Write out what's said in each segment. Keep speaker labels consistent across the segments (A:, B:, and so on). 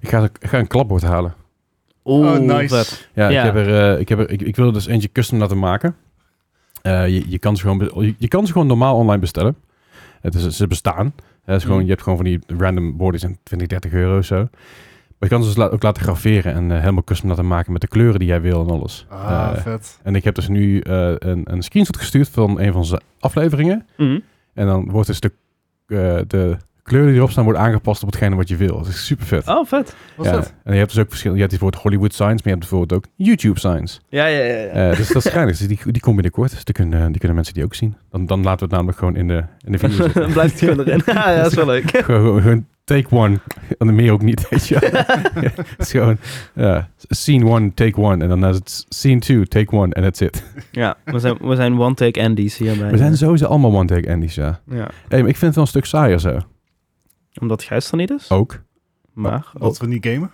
A: Ik ga, ik ga een klapbord halen.
B: Oeh,
C: Oh, nice.
B: vet.
A: Ja,
B: Ja.
A: Ik, heb er, eh, ik, heb er, ik, ik wilde dus eentje custom laten maken. Eh, je, je, kan ze gewoon, be- je, je kan ze gewoon normaal online bestellen. Het is, ze bestaan. Eh, het is gewoon,
B: Mhm.
A: Je hebt gewoon van die random bordjes en 20, 30 euro of zo. Maar je kan ze dus la- ook laten graveren en eh, helemaal custom laten maken met de kleuren die jij wil en alles.
C: Ah,
A: Eh,
C: vet.
A: en ik heb dus nu eh, een, een screenshot gestuurd van een van zijn afleveringen.
B: Mhm.
A: En dan wordt dus de, eh, de kleuren die erop staan wordt aangepast op hetgene wat je wil. Dat is super vet.
B: Oh, vet.
C: Wat is
A: Ja,
C: dat?
A: En je hebt dus ook verschillende. Je hebt bijvoorbeeld Hollywood Signs, maar je hebt bijvoorbeeld ook YouTube Signs.
B: Ja, ja, ja. ja.
A: Eh, dus dat is geinig. Dus die, die komen binnenkort. Dus die kunnen, die kunnen mensen die ook zien. Dan, dan laten we het namelijk gewoon in de, in de video zitten.
B: Dan blijft het gewoon erin. ja, ja, dat is wel leuk.
A: gewoon, gewoon- gewoon take one. En dan meer ook niet. Weet je. wel. Ja, het is gewoon ja, scene one, take one. En dan is het scene two, take one. En that's it.
B: Ja, we zijn, we zijn one take Andy's hierbij.
A: We zijn sowieso allemaal one take Andy's, ja.
B: eh, Ja,
A: Hey, maar ik vind het wel een stuk saaier zo.
B: omdat Gijs er niet is.
A: Ook.
B: Maar Oh.
C: Dat we niet gamen?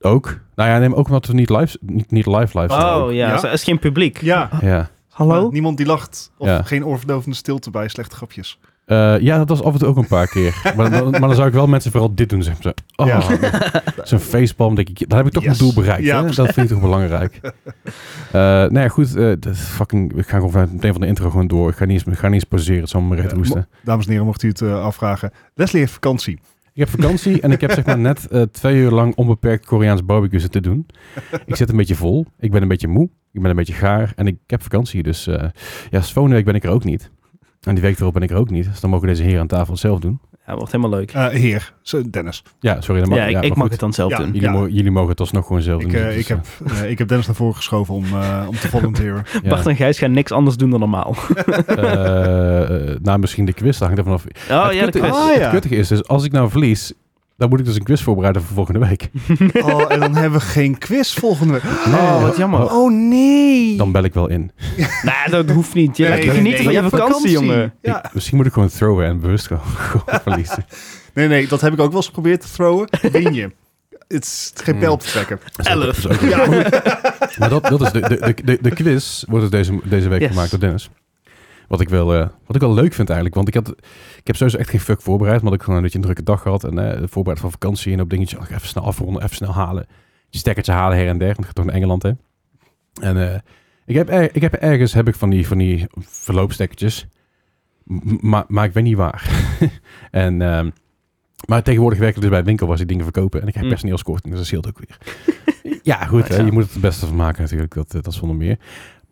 A: Ook. Nou ja, neem ook omdat we niet live, niet, niet live live zijn.
B: Oh ja,
C: Ja.
B: zo- er is geen publiek.
C: Ja.
A: Ja.
B: Hallo?
C: Niemand die lacht. Of
A: Ja.
C: geen oorverdovende stilte bij slechte grapjes.
A: Eh, ja, dat was af en toe ook een paar keer. maar, dan, maar dan zou ik wel mensen vooral dit doen. Zeg maar. oh,
C: Ja.
A: Zo'n facepalm, denk ik. Dan heb ik toch
C: Yes.
A: mijn doel bereikt.
C: Ja,
A: hè? Dat vind ik toch belangrijk. Eh nou ja, goed. eh, dat is fucking, ik ga gewoon vanuit meteen van de intro gewoon door. Ik ga niet eens, ik ga niet eens pauzeren. Het zal me recht
C: Ja,
A: roesten.
C: Eh, Dames en heren, mocht u het eh, afvragen. Leslie heeft vakantie.
A: Ik heb vakantie en ik heb zeg maar net eh, twee uur lang onbeperkt Koreaans barbecue te doen. Ik zit een beetje vol. Ik ben een beetje moe. Ik ben een beetje gaar. En ik heb vakantie. Dus eh ja, volgende week ben ik er ook niet. En die week erop ben ik er ook niet. Dus dan mogen deze heren aan tafel het zelf doen.
B: Ja, wordt helemaal leuk.
C: Eh, heer, zo, Dennis.
A: Ja, sorry. Dat mag,
B: ja, ik,
A: ja,
B: ik
A: maar
B: mag
A: goed.
B: het dan zelf
C: Ja.
B: doen.
A: Jullie, mogen, jullie mogen het alsnog gewoon zelf
C: Ik,
A: doen.
C: eh,
A: Dus,
C: ik, heb, eh, ik heb Dennis naar voren geschoven om, eh, om te volunteeren.
A: eh, ja.
B: Bart en Gijs gaan niks anders doen dan normaal. Oh
A: Eh, eh, nou, misschien de quiz, daar hangt er vanaf. het
B: ja, de
A: kutte-
B: quiz.
C: Ah, ja.
A: Het kuttige is, dus als ik nou verlies, dan moet ik dus een quiz voorbereiden voor volgende week.
C: Oh, en dan hebben we geen quiz volgende week.
B: Oh, wat jammer.
C: Oh, nee.
A: Dan bel ik wel in.
B: Nee, dat hoeft niet. Je
C: Nee,
B: lekker
C: nee,
B: genieten
C: nee,
B: van
C: je
B: je
C: hebt
B: vakantie, jongen.
C: Ja.
A: Ik- misschien moet ik gewoon throwen en bewust gewoon, gewoon verliezen.
C: Nee, nee, dat heb ik ook wel eens geprobeerd te throwen. Win je. Het is geen
A: Hmm.
C: pijl op te trekken.
B: Elf.
A: Dat is ook- Maar dat, dat is de, de, de, de quiz wordt dus deze, deze week
B: Yes.
A: gemaakt door Dennis. Wat ik, wel, eh, wat ik wel leuk vind eigenlijk. Want ik, had, ik heb sowieso echt geen fuck voorbereid. Maar ik gewoon een beetje een drukke dag gehad. En eh, voorbereid van vakantie. En op dingetje. oh, even snel afronden. Even snel halen. Je stekkertje halen her en der. Want ik ga toch naar Engeland hè. En eh, ik, heb, er- ik heb ergens heb ik van die, van die verloopstekkertjes. M- Maar, maar ik weet niet waar. en, ehm, maar tegenwoordig werk ik dus bij een winkel waar ze die dingen verkopen. En ik heb
B: Mm.
A: personeelskorting. Dus dat scheelt ook weer. Ja, goed.
B: Ja.
A: hè, je moet het het beste van maken natuurlijk. Dat, eh, dat is zonder meer.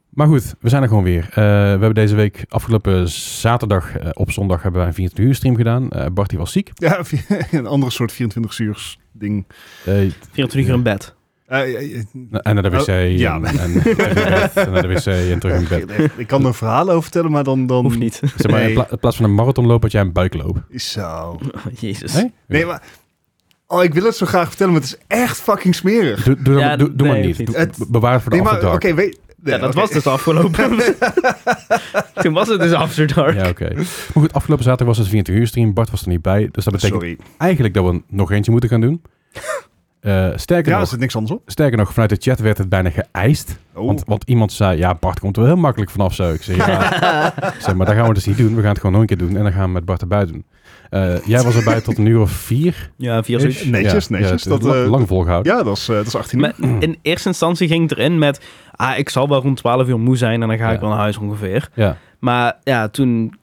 A: Maar goed, we zijn er gewoon weer. Eh, we hebben deze week, afgelopen zaterdag eh, op zondag, hebben wij een 24 uur stream gedaan. Eh Bart die was ziek.
C: Ja, een andere soort 24 uur ding.
A: Eh,
B: 24 uur in bed.
C: Eh, eh,
A: en naar de wc.
C: Oh, ja.
A: en, en, terug in bed, en naar de wc en terug in bed.
C: eh, ik kan er verhalen over vertellen, maar dan... dan...
B: Hoeft niet.
A: Zeg maar, in,
C: Nee.
A: pla- in plaats van een marathonloop had jij een buikloop.
C: Zo.
B: Oh, Jezus.
A: Nee?
C: Nee, maar... Oh, ik wil het zo graag vertellen, maar het is echt fucking smerig.
A: Doe, doe,
B: Ja,
A: dat- doe, doe
B: nee,
A: maar niet.
B: hoeft niet.
A: Doe-
C: Het-
A: be- bewaar het voor de
C: Nee, maar
A: after
C: oké,
A: dark.
C: weet... nee,
B: ja, dat
C: oké.
B: was dus de afgelopen. Toen was het dus After Dark.
A: Ja, oké. Maar goed, afgelopen zaterdag was het 24 uur stream. Bart was er niet bij. Dus dat betekent
C: Sorry.
A: eigenlijk dat we nog eentje moeten gaan doen. Eh, sterker,
C: Ja, er
A: nog,
C: zit niks anders op.
A: sterker nog, vanuit de chat werd het bijna geëist.
C: Oh.
A: Want, want iemand zei, ja, Bart komt er heel makkelijk vanaf zo. Ik zei, ja, Ik zeg, maar dat gaan we dus niet doen. We gaan het gewoon nog een keer doen en dan gaan we met Bart erbij doen. Eh, jij was erbij tot een uur of vier.
B: Ja, via zoiets.
A: ish?
C: Netjes, netjes.
A: het is
C: Dat,
A: lang,
C: eh,
A: lang volgehouden.
C: Ja, dat is, eh, dat is 18 uur.
B: Maar in eerste instantie ging ik erin met... Ah, ik zal wel rond 12 uur moe zijn en dan ga
A: Ja.
B: ik wel naar huis ongeveer.
A: Ja.
B: Maar ja, toen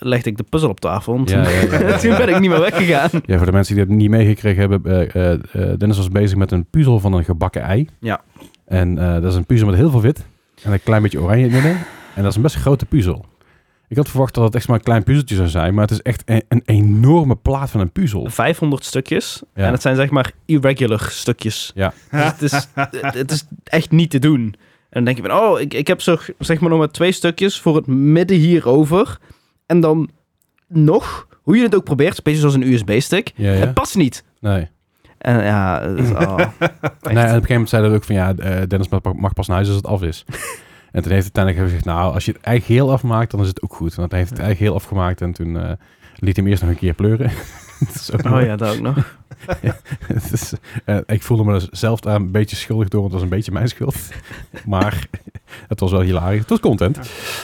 B: legde ik de puzzel op tafel. en Toen,
A: Ja, ja, ja, ja.
B: toen ben ik niet meer weggegaan.
A: Ja, voor de mensen die dat niet meegekregen hebben, eh, eh, eh, Dennis was bezig met een puzzel van een gebakken ei.
B: Ja.
A: En eh, dat is een puzzel met heel veel wit en een klein beetje oranje in het midden. En dat is een best grote puzzel. Ik had verwacht dat het echt maar een klein puzzeltje zou zijn, maar het is echt een, een enorme plaat van een puzzel.
B: 500 stukjes.
A: Ja.
B: En het zijn zeg maar irregular stukjes.
A: Ja.
B: Dus het, is, het, het is echt niet te doen. En dan denk je van, oh, ik, ik heb zo, zeg maar nog maar twee stukjes voor het midden hierover. En dan nog, hoe je het ook probeert, een beetje zoals een USB-stick.
A: Ja,
B: Het
A: ja.
B: past niet.
A: Nee.
B: En ja, het is- oh,
A: nee. En op een gegeven moment zei dat ook van ja, eh, Dennis mag- mag pas naar huis als het af is. en toen heeft uiteindelijk gezegd, nou, als je het ei heel afmaakt, dan is het ook goed. En dat heeft het ei heel afgemaakt en toen eh, liet hij hem eerst nog een keer pleuren. dat is ook
B: oh ja, dat ook nog.
A: Het is, eh, ik voelde me er zelf daar een beetje schuldig door, want het was een beetje mijn schuld. maar het was wel hilarisch. Het was content.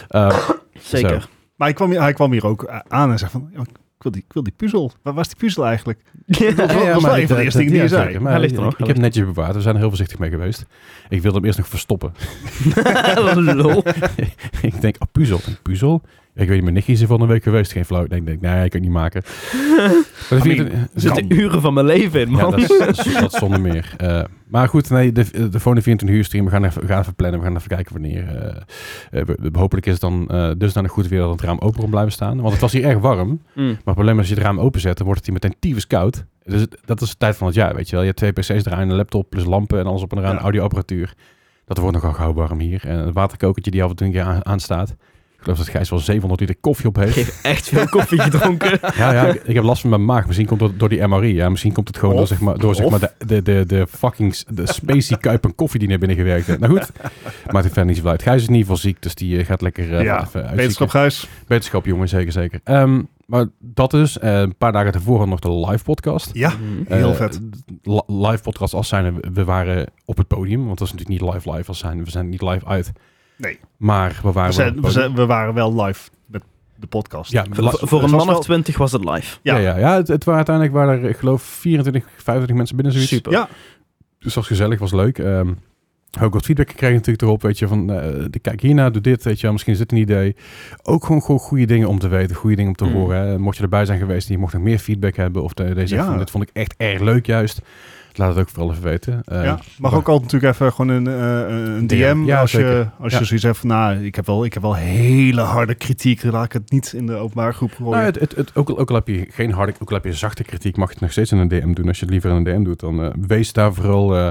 A: Ehm,
B: Zeker.
A: Zo.
C: Maar hij kwam, hier- hij kwam hier ook eh, aan en zei van... "Ja, Ik wil die, ik wil die puzzel. Waar was die puzzel eigenlijk?
B: Ja.
C: Dat was wel
A: maar
C: een van de
A: dat-
C: eerste
A: dat-
C: dingen die
A: ja,
C: je zei.
A: zeker. Maar
B: Hij ligt er
A: ik-
B: nog,
A: Ik
B: hij
A: heb
B: ligt
A: netjes bewaard. We zijn er heel voorzichtig mee geweest. Ik wilde hem eerst nog verstoppen.
B: Lol.
A: ik denk, ah, puzzel. Een puzzel? Ja, Ik weet niet, mijn nichtje is er van een week geweest. Geen flauw. Ik denk, denk, nee, ik kan het niet maken. Maar dat vind ik-
B: Er
A: zit-
B: zitten uren van mijn leven in,
A: Ja,
B: man.
A: dat, is, dat, is- dat is zonder meer. Eh, maar goed, nee, de, de Phone 24 uur stream, we gaan even, we gaan even plannen. We gaan even kijken wanneer. eh, eh, we- we- hopelijk is het dan eh dusdanig goed weer dat het raam open kan blijven staan. Want het was hier erg warm. Maar
B: Mm.
A: het probleem is, als je het raam openzet, dan wordt het hier meteen tyfus koud. Dus het- dat is de tijd van het jaar, weet je wel. Je hebt twee pc's draaien, een laptop plus lampen en alles op en eraan,
C: Ja.
A: audioapparatuur. Dat wordt nogal gauw warm hier. En het waterkokertje die af en toe een keer aan- aanstaat. Ik geloof dat Gijs wel 700 liter koffie op
B: Ik
A: heeft.
B: heb echt veel koffie gedronken.
A: Ja, ja ik, ik heb last van mijn maag. Misschien komt dat door die MRI. Ja. Misschien komt het gewoon
C: Of-
A: door, zeg maar, door zeg
C: of-
A: maar, de, de, de, de fucking s- de spacey kuip en koffie die naar binnen gewerkt heeft. Nou goed, maakt het verder niet zoveel uit. Gijs is in ieder geval ziek, dus die eh, gaat lekker eh, even
C: Ja,
A: uitzieken.
C: Wetenschap, Gijs.
A: Wetenschap, jongen, zeker, zeker. Ehm, maar dat is, eh, een paar dagen tevoren nog de live podcast.
C: Ja,
B: Mm.
C: heel
A: Eh,
C: vet.
A: li- live podcast als zijn, we waren op het podium, want dat is natuurlijk niet live live als zijn, we zijn niet live uit.
C: Nee.
A: Maar we waren
C: We,
A: wel op
C: zijn,
A: het
C: we,
A: podium.
C: zijn- we waren wel live met de podcast.
A: Ja,
B: Voor-
A: la-
B: Voor een
C: was
B: man
C: wel-
B: of twintig was het live.
A: Ja,
C: Ja.
A: ja, ja, het, het waren uiteindelijk waren er, ik geloof, 24, 25 mensen binnen zoiets.
B: Super.
C: Ja.
A: Dus dat was gezellig, was leuk. Ehm, ook wat feedback gekregen natuurlijk erop, weet je, van eh, de- kijk hierna, doe dit, weet je, wel, misschien is dit een idee. Ook gewoon, gewoon goede dingen om te weten, goede dingen om te
B: Mm.
A: horen. Hè. Mocht je erbij zijn geweest en je mocht nog meer feedback hebben of de, deze,
C: Ja.
A: van, dit vond ik echt erg leuk juist, laat het ook vooral even weten. Eh,
C: Ja, mag ook altijd natuurlijk even gewoon een, eh, een DM
A: Ja,
C: als, je,
A: zeker.
C: als
A: Ja.
C: je zoiets hebt van, nou, ik heb, wel, ik heb wel hele harde kritiek, laat ik het niet in de openbare groep gooien.
A: Nou, het, het, het- ook, al- ook al heb je geen harde, ook al heb je zachte kritiek, mag je het nog steeds in een DM doen. Als je het liever in een DM doet, dan eh, wees daar vooral, eh,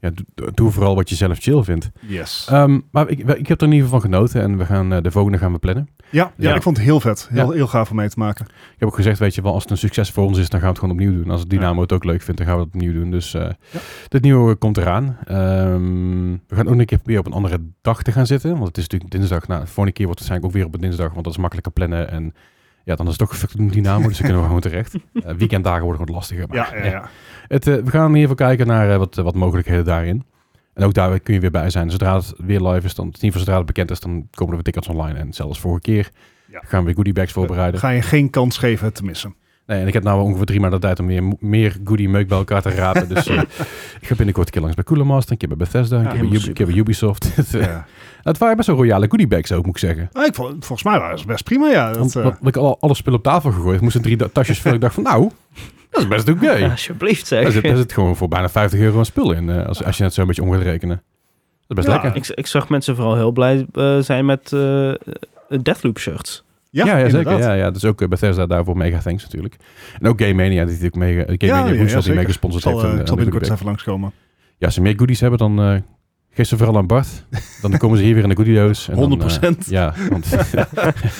A: ja, do- do- doe vooral wat je zelf chill vindt.
C: yes.
A: Ehm, maar ik, ik heb er in ieder geval van genoten en we gaan, eh, de volgende gaan we plannen.
C: ja, ja,
A: ja.
C: ik vond het heel vet. Heel,
A: Ja.
C: heel gaaf om mee te maken.
A: Ik heb ook gezegd, weet je wel, als het een succes voor ons is, dan gaan we het gewoon opnieuw doen. Als het Dynamo het ook leuk vindt, dan gaan we het opnieuw doen. Dus eh
C: Ja.
A: dit nieuwe komt eraan. Ehm, we gaan ook een keer proberen op een andere dag te gaan zitten. Want het is natuurlijk dinsdag. Nou, de vorige keer wordt het waarschijnlijk ook weer op een dinsdag, want dat is makkelijker plannen. En ja, dan is het toch gefuckt met Dynamo, dus dan kunnen we gewoon terecht. Eh, weekenddagen worden gewoon lastiger. maar
C: Ja, ja,
A: ja.
C: ja.
A: Het, eh, we gaan in ieder geval kijken naar eh, wat, eh, wat mogelijkheden daarin. En ook daar kun je weer bij zijn. Zodra het weer live is, dan, in ieder geval zodra het bekend is, dan komen er weer tickets online. En zelfs vorige keer
C: Ja.
A: gaan we weer goodie bags voorbereiden.
C: Ga je geen kans geven het te missen.
A: Nee, en ik heb nou ongeveer drie maanden tijd om weer m- meer goodie meuk bij elkaar te rapen. dus eh, ik ga binnenkort een keer langs bij Cooler Master, een keer bij Bethesda, een, keer,
C: Ja,
A: bij
B: helemaal
A: Ubi- een keer bij Ubisoft. Het, eh,
C: Ja.
A: Het waren best wel royale goodie bags ook, moet ik zeggen.
C: Ah, ik vond, volgens mij waren ze best prima, ja. Dat,
A: Want,
C: eh,
A: want ik had al alle spullen op tafel gegooid, moesten drie da- tasjes vullen. Ik dacht van nou, dat is best oké.
B: Ja, alsjeblieft zeg.
A: Daar zit, daar zit gewoon voor bijna 50 euro aan spul in. eh, als, als je het zo een beetje om gaat rekenen. Dat is best
C: Ja.
A: lekker.
B: Ik, ik zag mensen vooral heel blij eh, zijn met eh, eh, Deathloop shirts.
C: ja,
A: zeker.
C: inderdaad.
A: Ja, ja, dus ook eh, Bethesda daarvoor mega thanks natuurlijk. En ook Game Mania, die natuurlijk mega, eh, Game
C: Ja,
A: Mania
C: ja,
A: Woensdag die
C: zeker.
A: mega
C: Ik
A: gesponsord
C: zal,
A: heeft.
C: eh,
A: aan de-
C: ik zal
A: aan de
C: binnenkort
A: Goodie
C: even langskomen.
A: Bag. Ja, als ze meer goodies hebben dan... eh gisteren vooral aan Bart. Dan komen ze hier weer in de goodie doos. en dan, eh,
C: 100%.
A: ja, want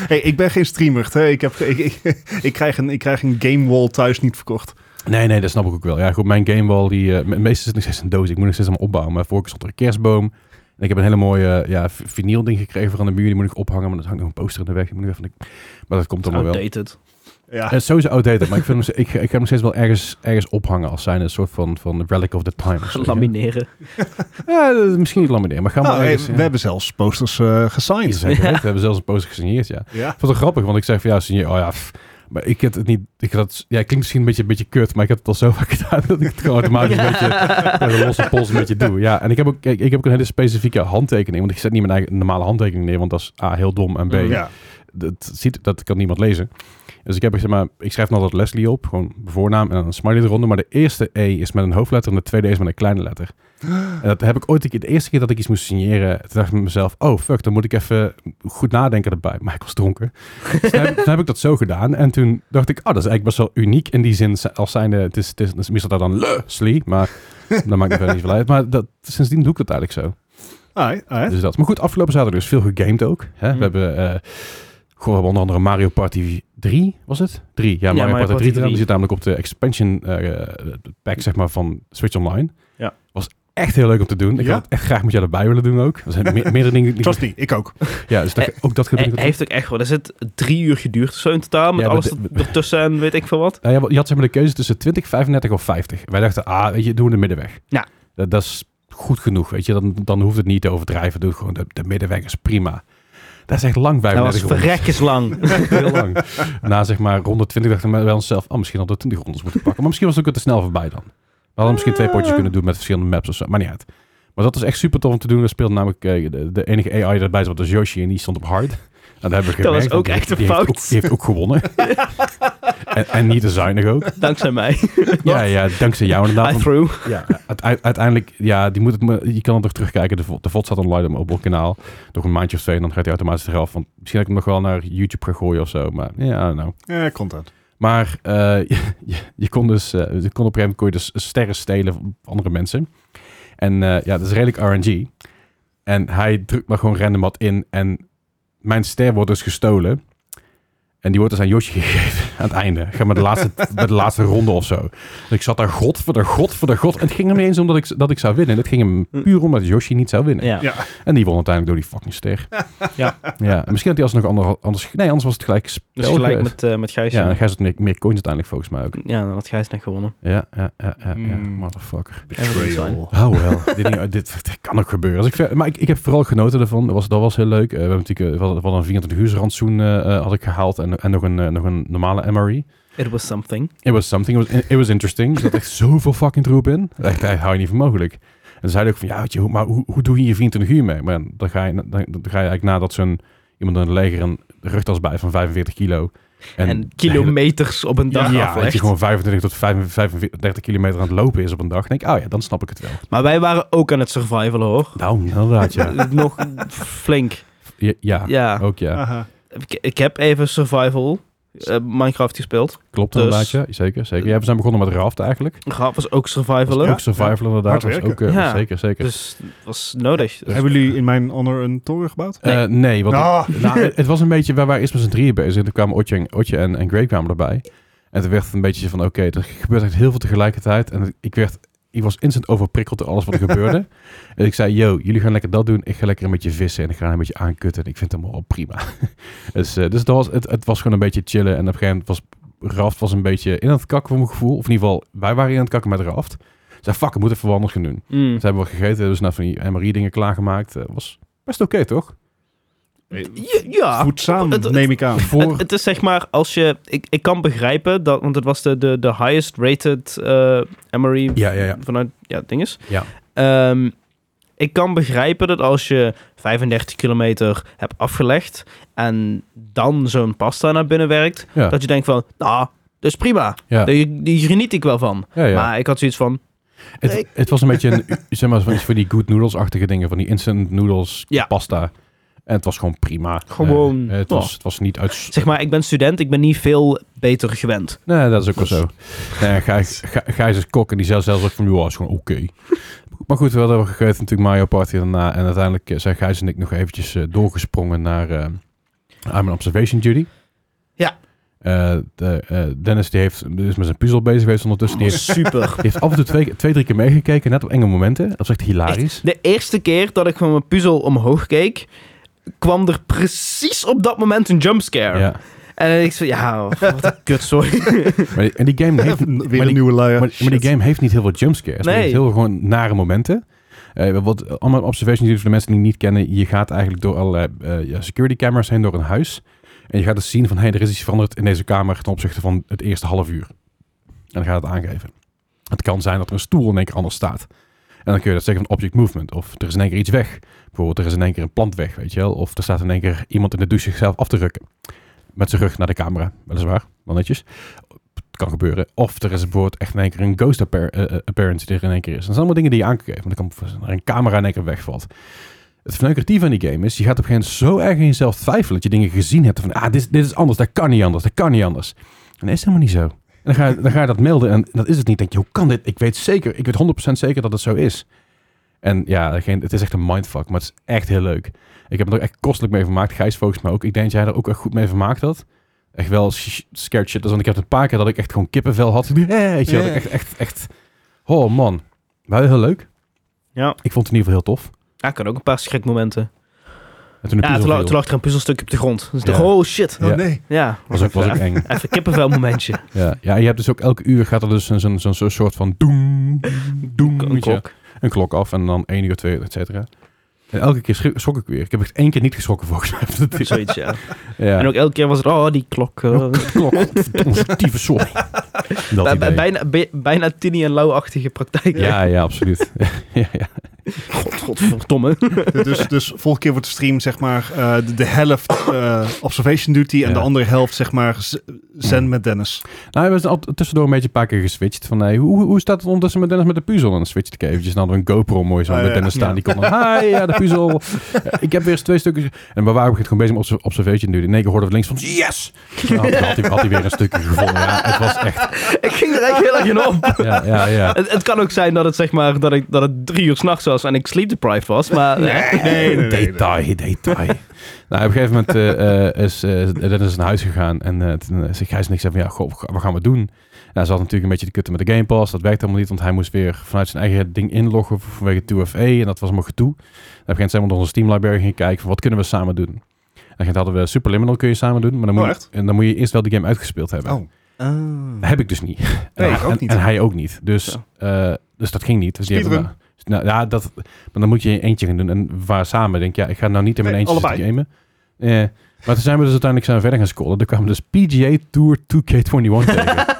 C: Hey, ik ben geen streamer, hè. Ik, heb, ik, ik, ik krijg een, ik krijg een game wall thuis niet verkocht.
A: Nee, nee, dat snap ik ook wel. Ja, goed, mijn gamewall, die, eh, me- meestal zit nog steeds een doos. Ik moet nog steeds allemaal opbouwen. Maar vorige keer stond er een kerstboom. En ik heb een hele mooie eh, ja, v- vinyl ding gekregen voor aan de muur. Die moet ik ophangen, maar er hangt nog een poster in de weg. Die moet ik even... Maar dat komt allemaal wel.
B: Outdated.
C: Ja,
A: Het is sowieso outdated, maar ik, vind hem, ik, ik ga hem nog steeds wel ergens, ergens ophangen als zijn een soort van, van relic of the time. of zo,
B: Lamineren.
A: Ja, Ja, eh, misschien niet lamineren, maar gaan we
C: Nou, hey,
A: ergens...
C: we hebben zelfs posters eh,
A: ja,
C: gesigned.
A: zeker weten. We hebben zelfs een poster gesigneerd, ja.
C: Ja.
A: Ik vond het grappig, want ik zei van ja, signeer, oh ja, pff. maar ik had het niet, ik had het, ja, het klinkt misschien een beetje, een beetje kut, maar ik heb het al zo vaak gedaan dat ik het gewoon automatisch een beetje met een losse pols een beetje doe. Ja, en ik heb ook, ik, ik heb ook een hele specifieke handtekening, want ik zet niet mijn eigen normale handtekening neer, want dat is A, heel dom en B,
B: Mm,
C: Ja.
A: dat, ziet, dat kan niemand lezen. Dus ik heb zeg maar, ik schrijf dan altijd Leslie op, gewoon mijn voornaam en dan een smiley eronder. Maar de eerste E is met een hoofdletter en de tweede E is met een kleine letter. En dat heb ik ooit een keer, de eerste keer dat ik iets moest signeren, toen dacht ik met mezelf, oh fuck, dan moet ik even goed nadenken erbij. Maar ik was dronken. Dus toen, heb, toen heb ik dat zo gedaan en toen dacht ik, oh dat is eigenlijk best wel uniek in die zin. Als zijnde, het is, het is, het is meestal daar dan Leslie, maar dat maakt me verder niet veel uit. Maar dat, sindsdien doe ik dat eigenlijk zo.
C: Alright, alright.
A: Dus dat. Maar goed, afgelopen zaterdag dus veel gegamed ook. Hè?
B: Mhm.
A: We hebben... eh, goh, we hebben onder andere Mario Party 3, was het? 3, ja, Mario,
B: Mario
A: Party
B: Party
A: 3. gedaan.
B: 3.
A: Die zit namelijk op de expansion eh, pack, zeg maar, van Switch Online.
B: Ja.
A: Was echt heel leuk om te doen. Ik
C: Ja?
A: had het echt graag met jou erbij willen doen ook. Er zijn me- meerdere dingen. die-
C: Trust me, ik ook.
A: Ja, dus dat, ook dat
B: Hij
A: gebeurt.
B: hij eh, heeft ook echt wel. Er zit drie uur geduurd of zo in totaal. Met
A: Ja,
B: alles
A: dat-
B: er- ertussen en weet ik veel wat.
A: Nou ja, je had zeg maar de keuze tussen 20, 35 of 50. Wij dachten, ah, weet je, doen we de middenweg.
B: Ja.
A: Dat, dat is goed genoeg, weet je. Dan, dan hoeft het niet te overdrijven. Doe het gewoon, de, de middenweg is prima. Dat is echt lang bij
B: Dat
A: me.
B: was verrekkers lang.
A: Heel lang. Na zeg maar ronde 20 dachten we bij onszelf, ah, misschien hadden we 20 rondes moeten pakken. Maar misschien was het ook te snel voorbij dan. We hadden misschien
B: Ah.
A: twee potjes kunnen doen met verschillende maps of zo. Maar niet uit. Maar dat was echt super tof om te doen. We speelden namelijk eh, de, de enige AI daarbij zat was Yoshi en die stond op hard. En dat hebben we
B: Dat was
A: gemerkt, want
B: ook
A: die heeft-
B: echt
A: die
B: een
A: heeft
B: fout.
A: ook- die heeft ook gewonnen. en, en niet te zuinig ook.
B: Dankzij mij.
A: Ja, ja, dankzij jou inderdaad.
B: I
A: want-
B: threw.
A: ja, uite- uiteindelijk, ja, die moet het, me- je kan het nog terugkijken. De, vo- de VOD staat online op mijn kanaal. Nog een maandje of twee en dan gaat hij automatisch eraf. Want misschien dat ik hem nog wel naar YouTube ga gooien of zo. Maar ja, I don't know.
C: Ja, content.
A: Maar eh, je, je, je kon dus, eh, je kon op een gegeven moment kon je dus sterren stelen van andere mensen. En eh, ja, dat is redelijk RNG. En hij drukt maar gewoon random wat in. En mijn ster wordt dus gestolen. En die wordt dus aan Yoshi gegeven aan het einde. Ga maar de laatste, bij de laatste ronde of zo. Dus ik zat daar god voor de god voor de god. En het ging hem niet eens om dat ik, dat ik zou winnen. Het ging hem puur om dat Yoshi niet zou winnen.
B: Mm. Ja.
C: Ja.
A: En die won uiteindelijk door die fucking ster.
B: Ja.
A: ja. En misschien had hij alsnog ander, anders... Nee, anders was het gelijk spel
B: Dus gelijk
A: geweest.
B: met, eh met Gijs.
A: Ja, en
B: Ja,
A: hij zat meer, meer coins uiteindelijk volgens mij ook.
B: dan had Gijs net gewonnen.
A: Ja, ja, ja, ja, ja.
C: Mm.
A: Motherfucker.
C: Betrayal.
A: Oh wel, dit, ding- dit, dit kan ook gebeuren. Dus ik, ver- maar ik, ik heb vooral genoten ervan. Dat was, dat was heel leuk. Eh, we hebben natuurlijk eh, we hadden- we hadden een 24 uur rantsoen eh, eh, had ik gehaald. En, en nog, een, eh, nog een normale MRE.
B: It was something.
A: It was something. It was, it was interesting. Er zat echt zoveel fucking troep in. Echt, dat hou je niet voor mogelijk. En zei hij ook van, ja, weet je, hoe- maar hoe, hoe doe je je 24 uur mee? Maar dan ga je, dan, dan ga je eigenlijk nadat zo'n iemand in het leger een rugtas bij van 45 kilo.
B: En,
A: de hele-
B: kilometers op een dag
A: ja, dat
B: aflegt.
A: je gewoon 25 tot 35 kilometer aan het lopen is op een dag. Dan denk ik, oh ja, dan snap ik het wel.
B: Maar wij waren ook aan het survivalen hoor.
A: Nou, inderdaad, ja.
B: Nog flink.
A: Ja, ja, Oh.
B: Ja.
A: ook ja.
C: Aha.
B: Ik, ik heb even survival eh, Minecraft gespeeld.
A: Klopt
B: Dus-
A: inderdaad, ja. Zeker, zeker. Ja, we zijn begonnen met raft eigenlijk.
B: Gaaf was ook
A: Dat was
B: survivalen.
A: ook survival inderdaad.
C: Hard
A: Dat was ook,
C: werken.
A: eh,
B: Ja.
A: Zeker, zeker.
B: Dus dat was nodig. Dus-
C: Hebben jullie in mijn honor een toren gebouwd?
A: Eh, nee. want
C: Ah.
A: het, nou, het- het was een beetje, wij waren eerst met z'n drieën bezig. En toen kwamen Otje en, Otje en, en Grey kwamen erbij. En toen werd het een beetje van, oké, er gebeurt echt heel veel tegelijkertijd. En ik werd, ik was instant overprikkeld door alles wat er gebeurde. En ik zei, yo, jullie gaan lekker dat doen. Ik ga lekker een beetje vissen en ik ga een beetje aankutten. En ik vind het allemaal wel prima. dus eh, dus dat was, het, het was gewoon een beetje chillen. En op een gegeven moment was Raft was een beetje in aan het kakken voor mijn gevoel. Of in ieder geval, wij waren in aan het kakken met Raft. Ik zei, fuck, we moeten even wat anders gaan doen.
B: Mm.
A: Ze hebben wat gegeten, hebben ze nou van die MRI-dingen klaargemaakt. Eh, was best oké, toch?
B: Ja, ja.
C: Voedzaam,
B: het- het-
C: neem ik aan.
A: Voor...
B: Het, het is zeg maar, als je... Ik, ik kan begrijpen, dat, want het was de, de, de highest rated eh Emory
A: Ja, ja, ja.
B: vanuit... Ja, het ding is.
A: Ja.
B: Ehm, ik kan begrijpen dat als je 35 kilometer hebt afgelegd... en dan zo'n pasta naar binnen werkt...
A: Ja,
B: dat je denkt van, nou, dat is prima.
A: Ja.
B: Die, die geniet ik wel van.
A: ja, ja.
B: Maar ik had zoiets van,
A: het, het was een beetje een, zeg maar, van iets voor die good noodles-achtige dingen, van die instant noodles,
B: Ja.
A: pasta. En het was gewoon prima.
B: Gewoon.
A: Eh, eh, het, was, het was niet uit...
B: zeg maar, ik ben student, ik ben niet veel beter gewend.
A: Nee, dat is ook wel zo. Nee, Gijs, Gij- Gijs is kok en die zei zelfs ook van, ja, is gewoon oké. Maar goed, we hadden wel gegeten natuurlijk Mario Party daarna. En uiteindelijk eh, zijn Gijs en ik nog eventjes eh, doorgesprongen naar eh I'm an Observation Duty.
B: Ja.
A: Eh, de, eh, Dennis die heeft, die is met zijn puzzel bezig geweest ondertussen. Die heeft,
B: Super.
A: die heeft af en toe twee, twee, drie keer meegekeken, net op enge momenten. Dat is echt hilarisch.
B: De eerste keer dat ik van mijn puzzel omhoog keek, kwam er precies op dat moment een jumpscare.
A: Ja.
B: En ik zei, ja, wat een kut, sorry.
A: Maar die- en die game heeft, maar,
C: Weer
A: die-
C: een nieuwe luier.
A: maar die game heeft niet heel veel jumpscares. maar die
B: Nee.
A: heeft heel veel gewoon nare momenten. Eh, wat allemaal observations voor de mensen die het niet kennen. Je gaat eigenlijk door allerlei eh, ja, security cameras heen door een huis. En je gaat dus zien van, hé, hey, er is iets veranderd in deze kamer ten opzichte van het eerste half uur. En dan gaat het aangeven. Het kan zijn dat er een stoel in één keer anders staat. En dan kun je dat zeggen van object movement. Of er is in één keer iets weg. Bijvoorbeeld, er is in één keer een plant weg, weet je wel. Of er staat in één keer iemand in de douche zichzelf af te rukken. Met zijn rug naar de camera, weliswaar. Wel netjes. Het kan gebeuren. Of er is bijvoorbeeld echt in één keer een ghost appar- eh, eh, appearance die er in één keer is. Dat zijn allemaal dingen die je aan kan geven. Want dan kan er een camera in één keer wegvalt. Het verneukeratieve aan die game is, je gaat op een gegeven moment zo erg in jezelf twijfelen dat je dingen gezien hebt van, ah, dit, is- dit is anders, dat kan niet anders, dat kan niet anders. En dat is helemaal niet zo. En dan ga, je, dan ga je dat melden en dat is het niet. Dan denk je, hoe kan dit? Ik weet zeker, ik weet 100% zeker dat het zo is. En ja, geen, het is echt een mindfuck, maar het is echt heel leuk. Ik heb me er echt kostelijk mee vermaakt. Gijs volgens mij ook. Ik denk dat jij er ook echt goed mee vermaakt had. Echt wel sh- scared shit. Dus want ik heb een paar keer dat ik echt gewoon kippenvel had. Eh, weet je, wel.
C: Ja.
A: echt, echt, echt. Oh man, wel heel leuk.
B: Ja.
A: Ik vond het in ieder geval heel tof.
B: Ja, ik had ook een paar schrikmomenten.
A: En toen de
B: Ja,
A: puzzel
B: toen lag,
A: viel,
B: toen lag er een puzzelstukje op de grond. Dus ik dacht,
A: Ja.
B: oh shit.
A: Ja.
C: Oh nee.
B: Ja,
A: was ook, was ook eng.
B: even kippenvel momentje.
A: Ja. ja, en je hebt dus ook elke uur gaat er dus een- zo'n zo'n zo'n soort van doem, doem,
B: Een
A: weet je,
B: klok.
A: een klok af en dan één uur, twee uur, et cetera. En elke keer schri- schrok ik weer. Ik heb echt één keer niet geschrokken volgens mij.
B: Zoiets, ja.
A: ja.
B: En ook elke keer was het, oh, die klok. eh.
A: klok. Verdomme, Tieve sorry. Dat
B: Bij- bij-
A: idee.
B: bijna, bij- bijna Tini en Lau-achtige praktijk.
A: Ja, ja, absoluut. ja, ja.
B: God, godverdomme.
C: dus, dus volgende keer wordt de stream zeg maar eh, de, de helft eh, observation duty en
A: Ja.
C: de andere helft zeg maar z-
B: Hmm.
C: zen met Dennis.
A: Nou, we zijn al tussendoor een beetje een paar keer geswitcht. Van, hey, hoe, hoe staat het ondertussen met Dennis met de puzzel? En dan switchte ik eventjes. Dan hadden we een GoPro mooi zo
C: Ah,
A: met
C: ja.
A: Dennis staan.
C: Ja.
A: Die kon dan, hi, ja, de puzzel. Ja, ik heb weer eens twee stukjes. En we waren het gewoon bezig met obs- observation duty. In één keer hoorden we links van, yes! Nou, had, had hij, had hij weer een stukje gevonden. Ja, het was echt,
B: ik ging er echt heel erg in op.
A: ja, ja, ja.
B: Het, het kan ook zijn dat het, zeg maar, dat, ik, dat het drie uur s'nachts was en ik sleep deprived was. Maar eh,
C: Nee, nee, nee,
A: detail, detail. nou, op een gegeven moment eh, eh, is eh, Dennis naar huis gegaan en eh toen eh, zegt Gijs niks van, ja, goh, wat gaan we doen? Nou, ze had natuurlijk een beetje de kutte met de Game Pass. Dat werkte allemaal niet, want hij moest weer vanuit zijn eigen ding inloggen vanwege 2FA en dat was allemaal gedoe. Dan begint ze helemaal door onze Steam library gaan kijken van, wat kunnen we samen doen? En dan hadden we Superliminal kun je samen doen, maar dan moet,
C: Oh,
A: je-
C: echt?
A: en dan moet je eerst wel de game uitgespeeld hebben.
C: Oh.
A: Dat heb ik dus niet.
C: Nee,
A: en,
C: ik ook
A: en-
C: niet.
A: en hij ook niet. Dus,
B: Zo.
A: eh, dus dat ging niet. Dus die
C: Speedrun.
A: hebben we- nou, ja, dat, maar dan moet je in je eentje gaan doen. En waar samen denk ik, ja, ik ga nou niet in mijn
C: Nee,
A: eentje zitten
C: allebei.
A: gamen. Eh, maar toen zijn we dus uiteindelijk zijn we verder gaan scrollen. Toen kwamen dus PGA Tour 2K21 tegen.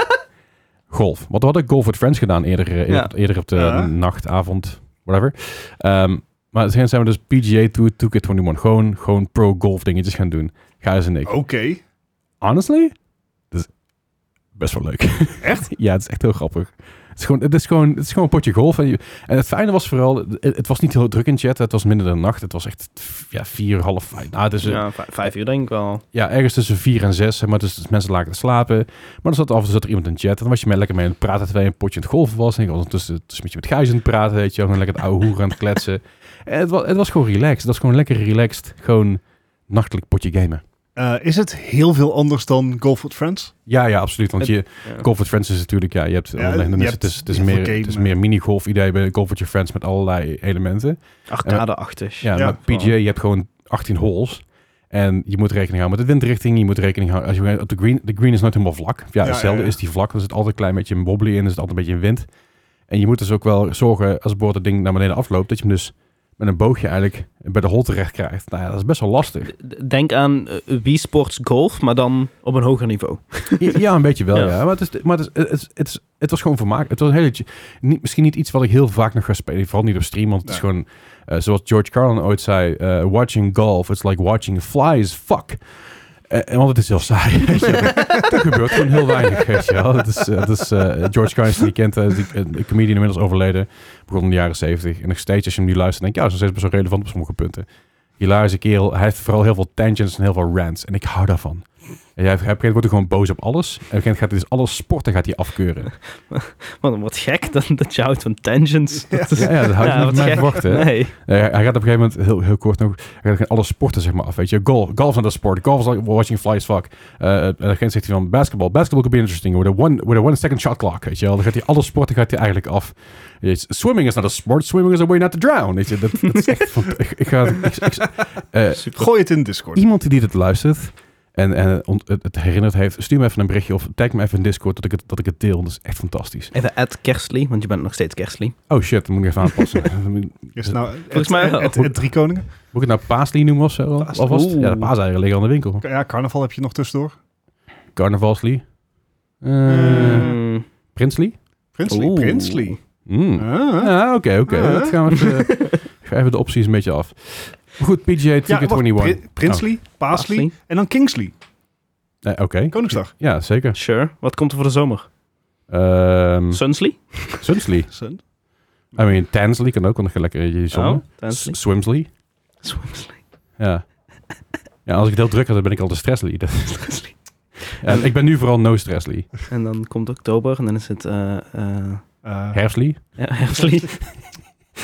A: Golf. Wat we hadden Golf with Friends gedaan eerder, eh, eerder,
B: Ja.
A: eerder op de
C: Ja.
A: nacht, avond, whatever. Ehm, maar toen zijn we dus PGA Tour 2K21 gewoon, gewoon pro-golf dingetjes gaan doen. Gijs en ik.
C: Ah. Oké.
A: Honestly, dat is best wel leuk.
C: Echt?
A: ja, het is echt heel grappig. Het is gewoon, het is gewoon, het is gewoon een potje golf. En, je- en het fijne was vooral, het, het was niet heel druk in chat. Het was minder dan nacht. Het was echt ja, vier, half vijf. Nou, dus, ja.
B: ja, vij- vijf uur denk ik wel.
A: ergens tussen vier en zes. zeg Maar dus, dus mensen lagen te slapen. Maar dan zat af en toe zat er iemand in chat. En dan was je met lekker mee aan het praten terwijl je een potje aan het golven was. En ik was ondertussen tussen met je met Gijs aan het praten. Weet je, wel. gewoon lekker het oude hoeren aan het kletsen. En het, was, het was gewoon relaxed. Dat is gewoon lekker relaxed. Gewoon nachtelijk potje gamen.
C: Eh, is het heel veel anders dan Golf with Friends?
A: Ja, ja, absoluut. Want je,
B: Ja.
A: Golf with Friends is natuurlijk, ja, je hebt
C: Ja,
A: allerlei
C: je
A: mensen.
C: hebt
A: het is, het is
C: heel
A: meer,
C: veel game,
A: het is
C: eh.
A: meer mini-golf idee bij Golf with Your Friends met allerlei elementen.
B: Arcade-achtig.
A: Ja,
C: Ja,
A: maar
B: vooral.
A: PGA, je hebt gewoon 18 holes. En je moet rekening houden met de windrichting. Je moet rekening houden als je op de green. De green is nooit helemaal vlak. Ja,
C: Ja,
A: hetzelfde
C: ja, ja.
A: is die vlak. Er zit altijd een klein beetje een wobbly in. Er zit altijd een beetje een wind. En je moet dus ook wel zorgen als het boord dat ding naar beneden afloopt, dat je hem dus met een boogje eigenlijk bij de hole terecht krijgt. Nou ja, dat is best wel lastig.
B: D- Denk aan eh, Wii Sports Golf, maar dan op een hoger niveau.
A: Ja, een beetje wel, ja.
B: Ja.
A: Maar, het, is, maar het, is, het, is- het, is- het was gewoon vermaak. Het was een hele, niet, misschien niet iets wat ik heel vaak nog ga spelen. Vooral niet op stream, want het is
C: Nee.
A: gewoon... eh, zoals George Carlin ooit zei, eh, watching golf, it's like watching a fly is fuck. Eh, en want het is heel saai. weet je wel. er gebeurt gewoon heel weinig, weet je wel. Het is, eh, het is, eh, George Carlin, die je kent, eh, is die, eh, een comedian inmiddels overleden. Begon in de jaren zeventig. En nog steeds, als je hem nu luistert, denk je, ja, ze is nog steeds best wel relevant op sommige punten. Hilarische kerel. Hij heeft vooral heel veel tangents en heel veel rants. En ik hou daarvan. En jij, op een gegeven moment wordt hij gewoon boos op alles. En op een gegeven moment gaat hij dus alles sporten gaat hij afkeuren.
B: Want dan wordt gek dan, dat je houdt van tangents. Dat is-
A: Ja, ja dat houdt
B: Ja,
A: je niet van
B: wat
A: mij
B: gek.
A: verwacht, hè.
B: Nee.
A: Eh, hij gaat op een gegeven moment, heel, heel kort nog, hij gaat alle sporten zeg maar af, weet je. Golf, golf is not a sport. Golf is like watching flies fuck. Eh, eh, en dan zegt hij van basketball. Basketball could be interesting with a one, with a one second shot clock, weet je wel. Dan gaat hij alle sporten gaat hij eigenlijk af. Weet je, Swimming is not a sport. Swimming is a way not to drown, weet je. Dat, dat is echt van, ik, ik ga... ik- ik- eh,
C: Gooi het in Discord.
A: iemand die dit luistert en, en ont- het, het herinnerd heeft, stuur me even een berichtje of tag me even in Discord dat ik het, dat ik het deel. want Dat is echt fantastisch.
B: Even at Kerstly, want je bent nog steeds Kerstly.
A: Oh shit, dat moet ik even aanpassen. moet ik
C: Is het nou,
B: Volgens mij wel.
C: het, het, het Drie Koningen?
A: moet ik het nou paaslie noemen of zo?
C: Paas-
A: Alvast?
B: Oeh.
A: Ja, de paaseieren liggen al in de winkel.
C: Ja, carnaval heb je nog tussendoor.
A: Carnavalslie. Eh,
B: Mm.
A: Prinslie?
C: Prinsly.
B: Oeh.
C: Prinsly.
A: Mm.
C: Ah.
A: Ja, oké, oké.
C: Ah.
A: Dat gaan we even, ik ga even de opties een beetje af. Maar goed, PGA
C: Ja, wacht,
A: 221.
C: Pri- Prinsly,
A: Oh.
C: Paasley
B: Paasley.
C: en dan Kingsley.
A: Nee, oké.
C: Koningsdag.
A: Ja, zeker.
B: Sure. Wat komt er voor de zomer?
A: Ehm
B: Sunsley?
A: Sunsley.
C: Sun.
A: I mean, Tansley kan ook, want dan ga je lekker in je zon.
B: Oh, Tansley.
A: Swimsley.
B: Swimsley.
A: Ja. Ja, als ik het heel druk had, dan ben ik al de stressly. Dat-
B: Sunsley.
A: En ik ben nu vooral no stressly.
B: En dan komt oktober en dan is het eh eh
C: Eh,
A: Herfstly.
B: ja, herfstlie.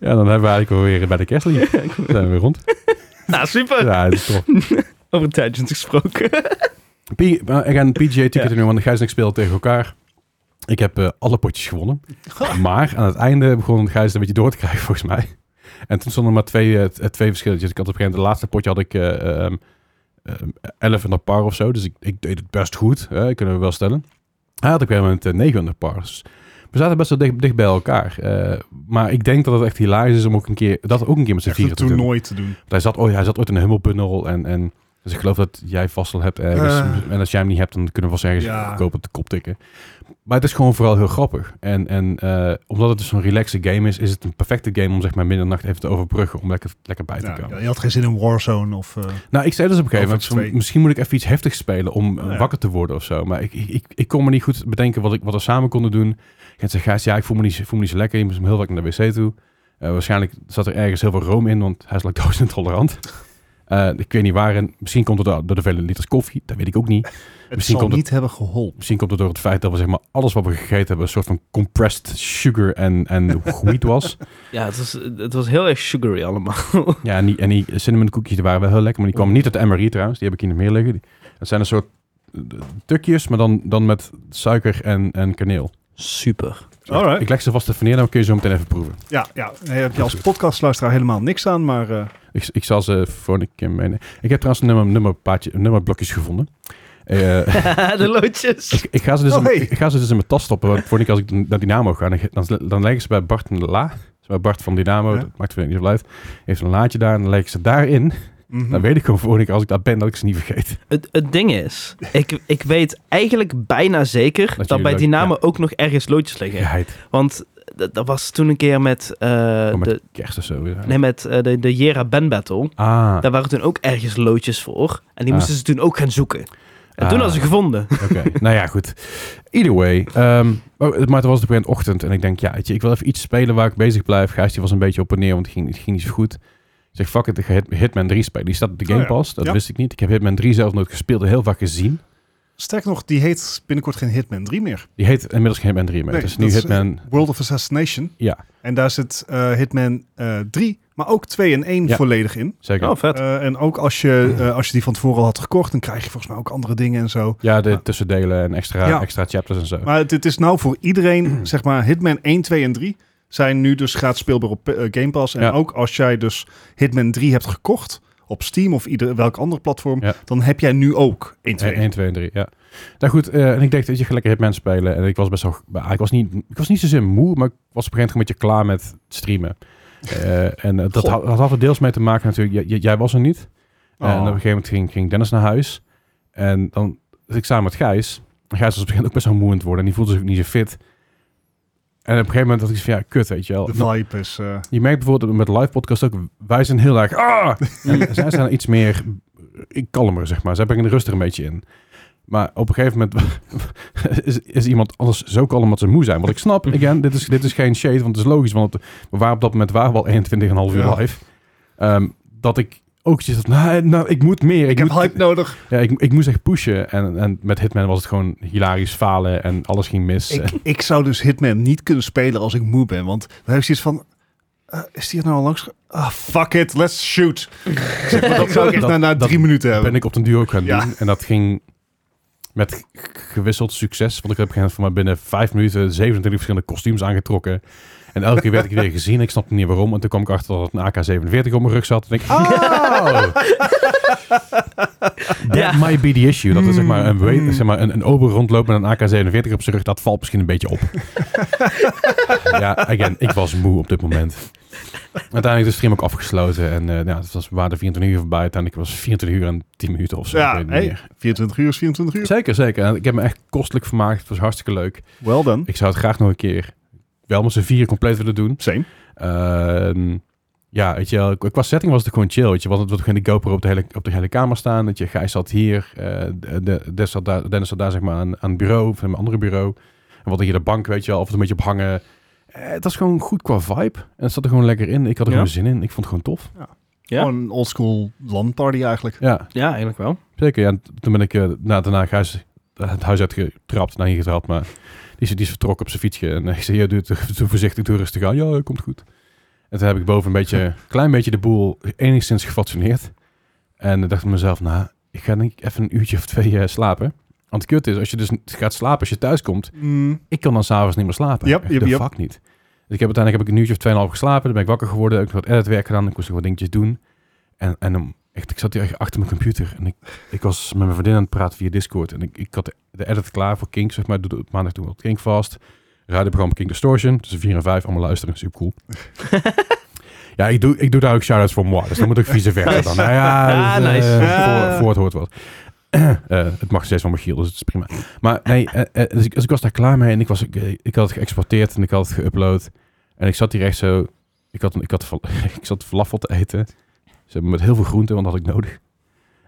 A: Ja, dan hebben we eigenlijk alweer bij de kerstly. Dan zijn we weer rond.
B: nou, super.
A: Ja, dat is tof.
B: Over tangents gesproken.
A: P ik ga een PGA ticket nu, want Gijs en ik spelen tegen elkaar. Ik heb eh, alle potjes gewonnen. Maar aan het einde begon Gijs het een beetje door te krijgen, volgens mij. En toen stonden er maar twee, eh, t- eh, twee verschilletjes. Ik had op een gegeven moment, de laatste potje had ik eh ehm ehm, 11 under par of zo. Dus ik, ik deed het best goed, hè, kunnen we wel stellen. Hij had op eh, een gegeven moment eh, 9 under par. Dus- We zaten best wel dicht, dicht bij elkaar. Eh, maar ik denk dat het echt hilarisch is om ook een keer, dat ook een keer met z'n
C: Echt een
A: vieren te doen.
C: toernooi te doen.
A: Want Hij zat, ooit, hij zat ooit in een hummelbundel en, en dus ik geloof dat jij vast al hebt ergens.
C: Eh.
A: en als jij hem niet hebt, dan kunnen we vast ergens
C: Ja.
A: goedkoop op de kop tikken. Maar het is gewoon vooral heel grappig. En, en eh, omdat het dus een relaxe game is, is het een perfecte game om zeg maar middernacht even te overbruggen om lekker, lekker bij te
C: Ja,
A: komen.
C: ja, je had geen zin in Warzone of... eh,
A: Nou, ik zei dus op een gegeven moment,
C: Overwatch
A: van,
C: 2.
A: misschien moet ik even iets heftigs spelen om eh,
C: Ja.
A: wakker te worden of zo. Maar ik, ik, ik, ik kon me niet goed bedenken wat, ik, wat we samen konden doen. En zei Gijs, ja, ik voel me, niet, zo- voel me niet zo lekker. Je moest hem heel vaak naar de wc toe. Eh, waarschijnlijk zat er ergens heel veel room in, want hij is lactose intolerant. Eh, ik weet niet waar. En misschien komt het door, door de vele liters koffie. Dat weet ik ook niet.
C: het
A: Misschien
C: zal
A: komt het-
C: niet hebben geholpen.
A: Misschien komt het door het feit dat we zeg maar, alles wat we gegeten hebben... een soort van compressed sugar en, en wheat was.
B: Ja, het was, het was heel erg sugary allemaal.
A: Ja, en die, en die cinnamon cookies die waren wel heel lekker, maar die kwamen niet uit de MRI trouwens. Die heb ik hier nog meer liggen. Die- Dat zijn een soort eh, tukjes, maar dan, dan met suiker en, en kaneel. Dus
B: Super.
C: Alright.
A: Ik leg ze vast even neer, dan kun je ze zo meteen even proeven.
C: Ja, ja, daar heb je als podcastluisteraar helemaal niks aan, maar... eh,
A: Ik, ik zal ze voor een keer meenemen. Ik heb trouwens een nummer, nummerpaardje, nummerblokjes gevonden. Eh,
B: de loodjes.
A: ik, ik, ga ze dus
C: Oh,
A: in,
C: hey.
A: ik ga ze dus in mijn tas stoppen. Want vorige keer als ik naar Dynamo ga, dan, dan, dan leg ik ze bij Bart en de La. Dus bij Bart van Dynamo,
C: Ja.
A: dat maakt verder niet zoveel uit. Heeft een laadje daar en dan leg ik ze daarin.
C: mhm.
A: Dan Nou, weet ik gewoon vorige keer als ik daar ben dat ik ze niet vergeet.
B: Het, het ding is, ik, ik weet eigenlijk bijna zeker dat,
A: jullie
B: bij
A: lood-
B: Dynamo ook nog ergens loodjes liggen.
A: Geheid.
B: Want d- dat was toen een keer met, eh,
A: Oh, met
B: de,
A: kerst of zo. ja.
B: nee, met eh, de, de Jera Ben Battle.
A: Ah,
B: Daar waren toen ook ergens loodjes voor. En die
A: Ah.
B: moesten ze toen ook gaan zoeken. En
A: Ah.
B: toen hadden ze gevonden.
A: oké. nou ja, goed. Either way. ehm, oh, het- maar het was op een ochtend en ik denk, ja, weet je, ik wil even iets spelen waar ik bezig blijf. Gijs die was een beetje op en neer, want het ging, het ging niet zo goed. Ik zeg, fuck it, ik ga Hit- Hitman 3 spelen. Die staat op de
C: Oh
A: Game
C: ja.
A: Pass, dat
C: Ja.
A: wist ik niet. Ik heb Hitman 3 zelf nooit gespeeld, heel vaak gezien.
C: Sterk nog, die heet binnenkort geen Hitman 3 meer.
A: Die heet inmiddels geen Hitman 3 meer.
C: Nee,
A: het is nu
C: dat is, eh,
A: Hitman...
C: World of Assassination.
A: Ja.
C: En daar zit eh, Hitman eh 3, maar ook 2 en 1
A: Ja.
C: volledig in.
A: Zeker.
B: Oh, vet.
C: Eh, en ook als je, eh, als je die van tevoren al had gekocht, dan krijg je volgens mij ook andere dingen en zo.
A: ja, de tussendelen en extra,
C: Ja.
A: extra chapters en zo.
C: Maar het, het is nou voor iedereen, zeg maar, Hitman 1, 2 en 3 zijn nu dus gaat speelbaar op eh, Game Pass. En
A: Ja.
C: ook als jij dus Hitman 3 hebt gekocht op Steam of ieder, welk ander platform,
A: Ja.
C: dan heb jij nu ook 1, 2
A: 1, 2 en 3, ja. Nou goed, eh, en ik dacht, weet je, ga lekker Hitman spelen. En ik was best wel, ah, ik was niet, ik was niet zozeer moe, maar ik was op een gegeven moment een beetje klaar met streamen. Eh, en eh, dat
C: Goh.
A: had, dat had er deels mee te maken natuurlijk, Jij- jij- jij was er niet.
C: Oh.
A: En op een gegeven moment ging, ging Dennis naar huis. En dan zat ik samen met Gijs. En Gijs was op een gegeven moment ook best wel moe aan het worden en die voelde zich ook niet zo fit. En op een gegeven moment dacht ik van, ja, kut, weet je wel.
C: De vibe is... eh,
A: Je merkt bijvoorbeeld met live podcast ook, wij zijn heel erg, ah! En zij zijn iets meer eh, kalmer, zeg maar. Zij brengen de rust er een beetje in. Maar op een gegeven moment is, is iemand anders zo kalm dat ze moe zijn. Wat ik snap, again, dit is, dit is geen shade, want het is logisch. Want we waren op dat moment waren we al 21,5 uur
C: Ja.
A: live. Ehm, dat ik ook zoiets had, nou, nou, ik moet meer.
C: ik heb
A: moet,
C: hype nodig.
A: ja, ik, ik moest echt pushen. En, en met Hitman was het gewoon hilarisch falen en alles ging mis.
C: Ik, ik zou dus Hitman niet kunnen spelen als ik moe ben. Want dan heb ik zoiets van... eh, is die er nou al langs? ge- Ah, fuck it, let's shoot. Zeg maar, dat zou ik echt
A: Dat-
C: na, na
A: dat
C: drie minuten hebben.
A: ben ik op den duur ook gaan
C: Ja.
A: doen. En dat ging met g- gewisseld succes. Want ik heb op een gegeven moment voor mij binnen vijf minuten 27 verschillende kostuums aangetrokken. En elke keer werd ik weer gezien. Ik snapte niet waarom. En toen kwam ik achter dat het een AK-47 op mijn rug zat. En ik, oh! That
B: Ja.
A: might be the issue. Dat er zeg maar, een,
C: Mm,
A: weet-
C: mm.
A: zeg maar, een, een ober rondloopt met een AK-47 op zijn rug. Dat valt misschien een beetje op. ja, again, ik was moe op dit moment. Uiteindelijk is de stream ook afgesloten. En eh ja, het was, we waren er 24 uur voorbij. Uiteindelijk was het 24 uur en 10 minuten of zo. ik
C: ja,
A: weet het niet
C: hey,
A: meer.
C: 24 uur is 24 uur.
A: Zeker, zeker. En Ik heb me echt kostelijk vermaakt. Het was hartstikke leuk.
C: Well done.
A: Ik zou het graag nog een keer wel met z'n vier compleet willen doen.
C: Same.
A: Ehm, ja, weet je wel, qua- qua setting was het gewoon chill. Weet je, want het was gewoon de GoPro op de hele, op de hele kamer staan. Dat je Gijs zat hier, eh, de, de- Des zat daar, Dennis zat daar zeg maar aan, aan het bureau, of aan mijn andere bureau. En wat hier de bank, weet je wel, of het een beetje op hangen. Eh, het was gewoon goed qua vibe. En het zat er gewoon lekker in. Ik had er
B: Ja.
A: gewoon zin in. Ik vond het gewoon tof.
B: Ja.
C: Gewoon een oldschool LAN party eigenlijk.
A: Ja,
B: Ja, eigenlijk wel.
A: zeker. Ja, en t- toen ben ik eh, na, daarna Gijs eh, het huis uitgetrapt, naar hier getrapt. Maar die is, die is vertrokken op zijn fietsje. En eh, ik zei, ja, doe, het- doe voorzichtig, doe rustig aan. Ja, komt goed. En toen heb ik boven een beetje, klein beetje de boel enigszins gefatsoeneerd. En ik dacht ik mezelf, nou, ik ga denk ik even een uurtje of twee eh, slapen. Want het kut is, als je dus n- gaat slapen, als je thuis komt, ik kan dan s'avonds niet meer slapen.
C: Yep,
A: Echt,
C: yep,
A: de
C: yep.
A: fuck niet. Dus ik heb uiteindelijk heb ik een uurtje of tweeënhalf geslapen. Dan ben ik wakker geworden. Heb ik wat editwerk gedaan. Ik moest nog wat dingetjes doen. En, en om, echt, ik zat hier echt achter mijn computer. En ik, ik was met mijn vriendin aan het praten via Discord. En ik, ik had de, de edit klaar voor Kink, zeg maar. Doe- doe- Op maandag doen we wat Kink vast. radioprogramma King Distortion. Tussen 4 en 5, allemaal luisteren. Super cool. ja, ik doe, ik doe daar ook shout-outs voor moi. Dus dan moet ik vice versa dan. Nou ja,
B: Ah,
A: dus, eh,
B: nice.
A: voor, voor het hoort wat. Eh, het mag steeds van Michiel, dus het is prima. Maar nee, eh, eh, dus, ik, dus ik was daar klaar mee en ik, was, ik, eh, ik had het geëxporteerd en ik had het geüpload. En ik zat hier echt zo... Ik, had, een- ik, had, fal- ik zat falafel te eten. Ze hebben met heel veel groenten, want dat had ik nodig.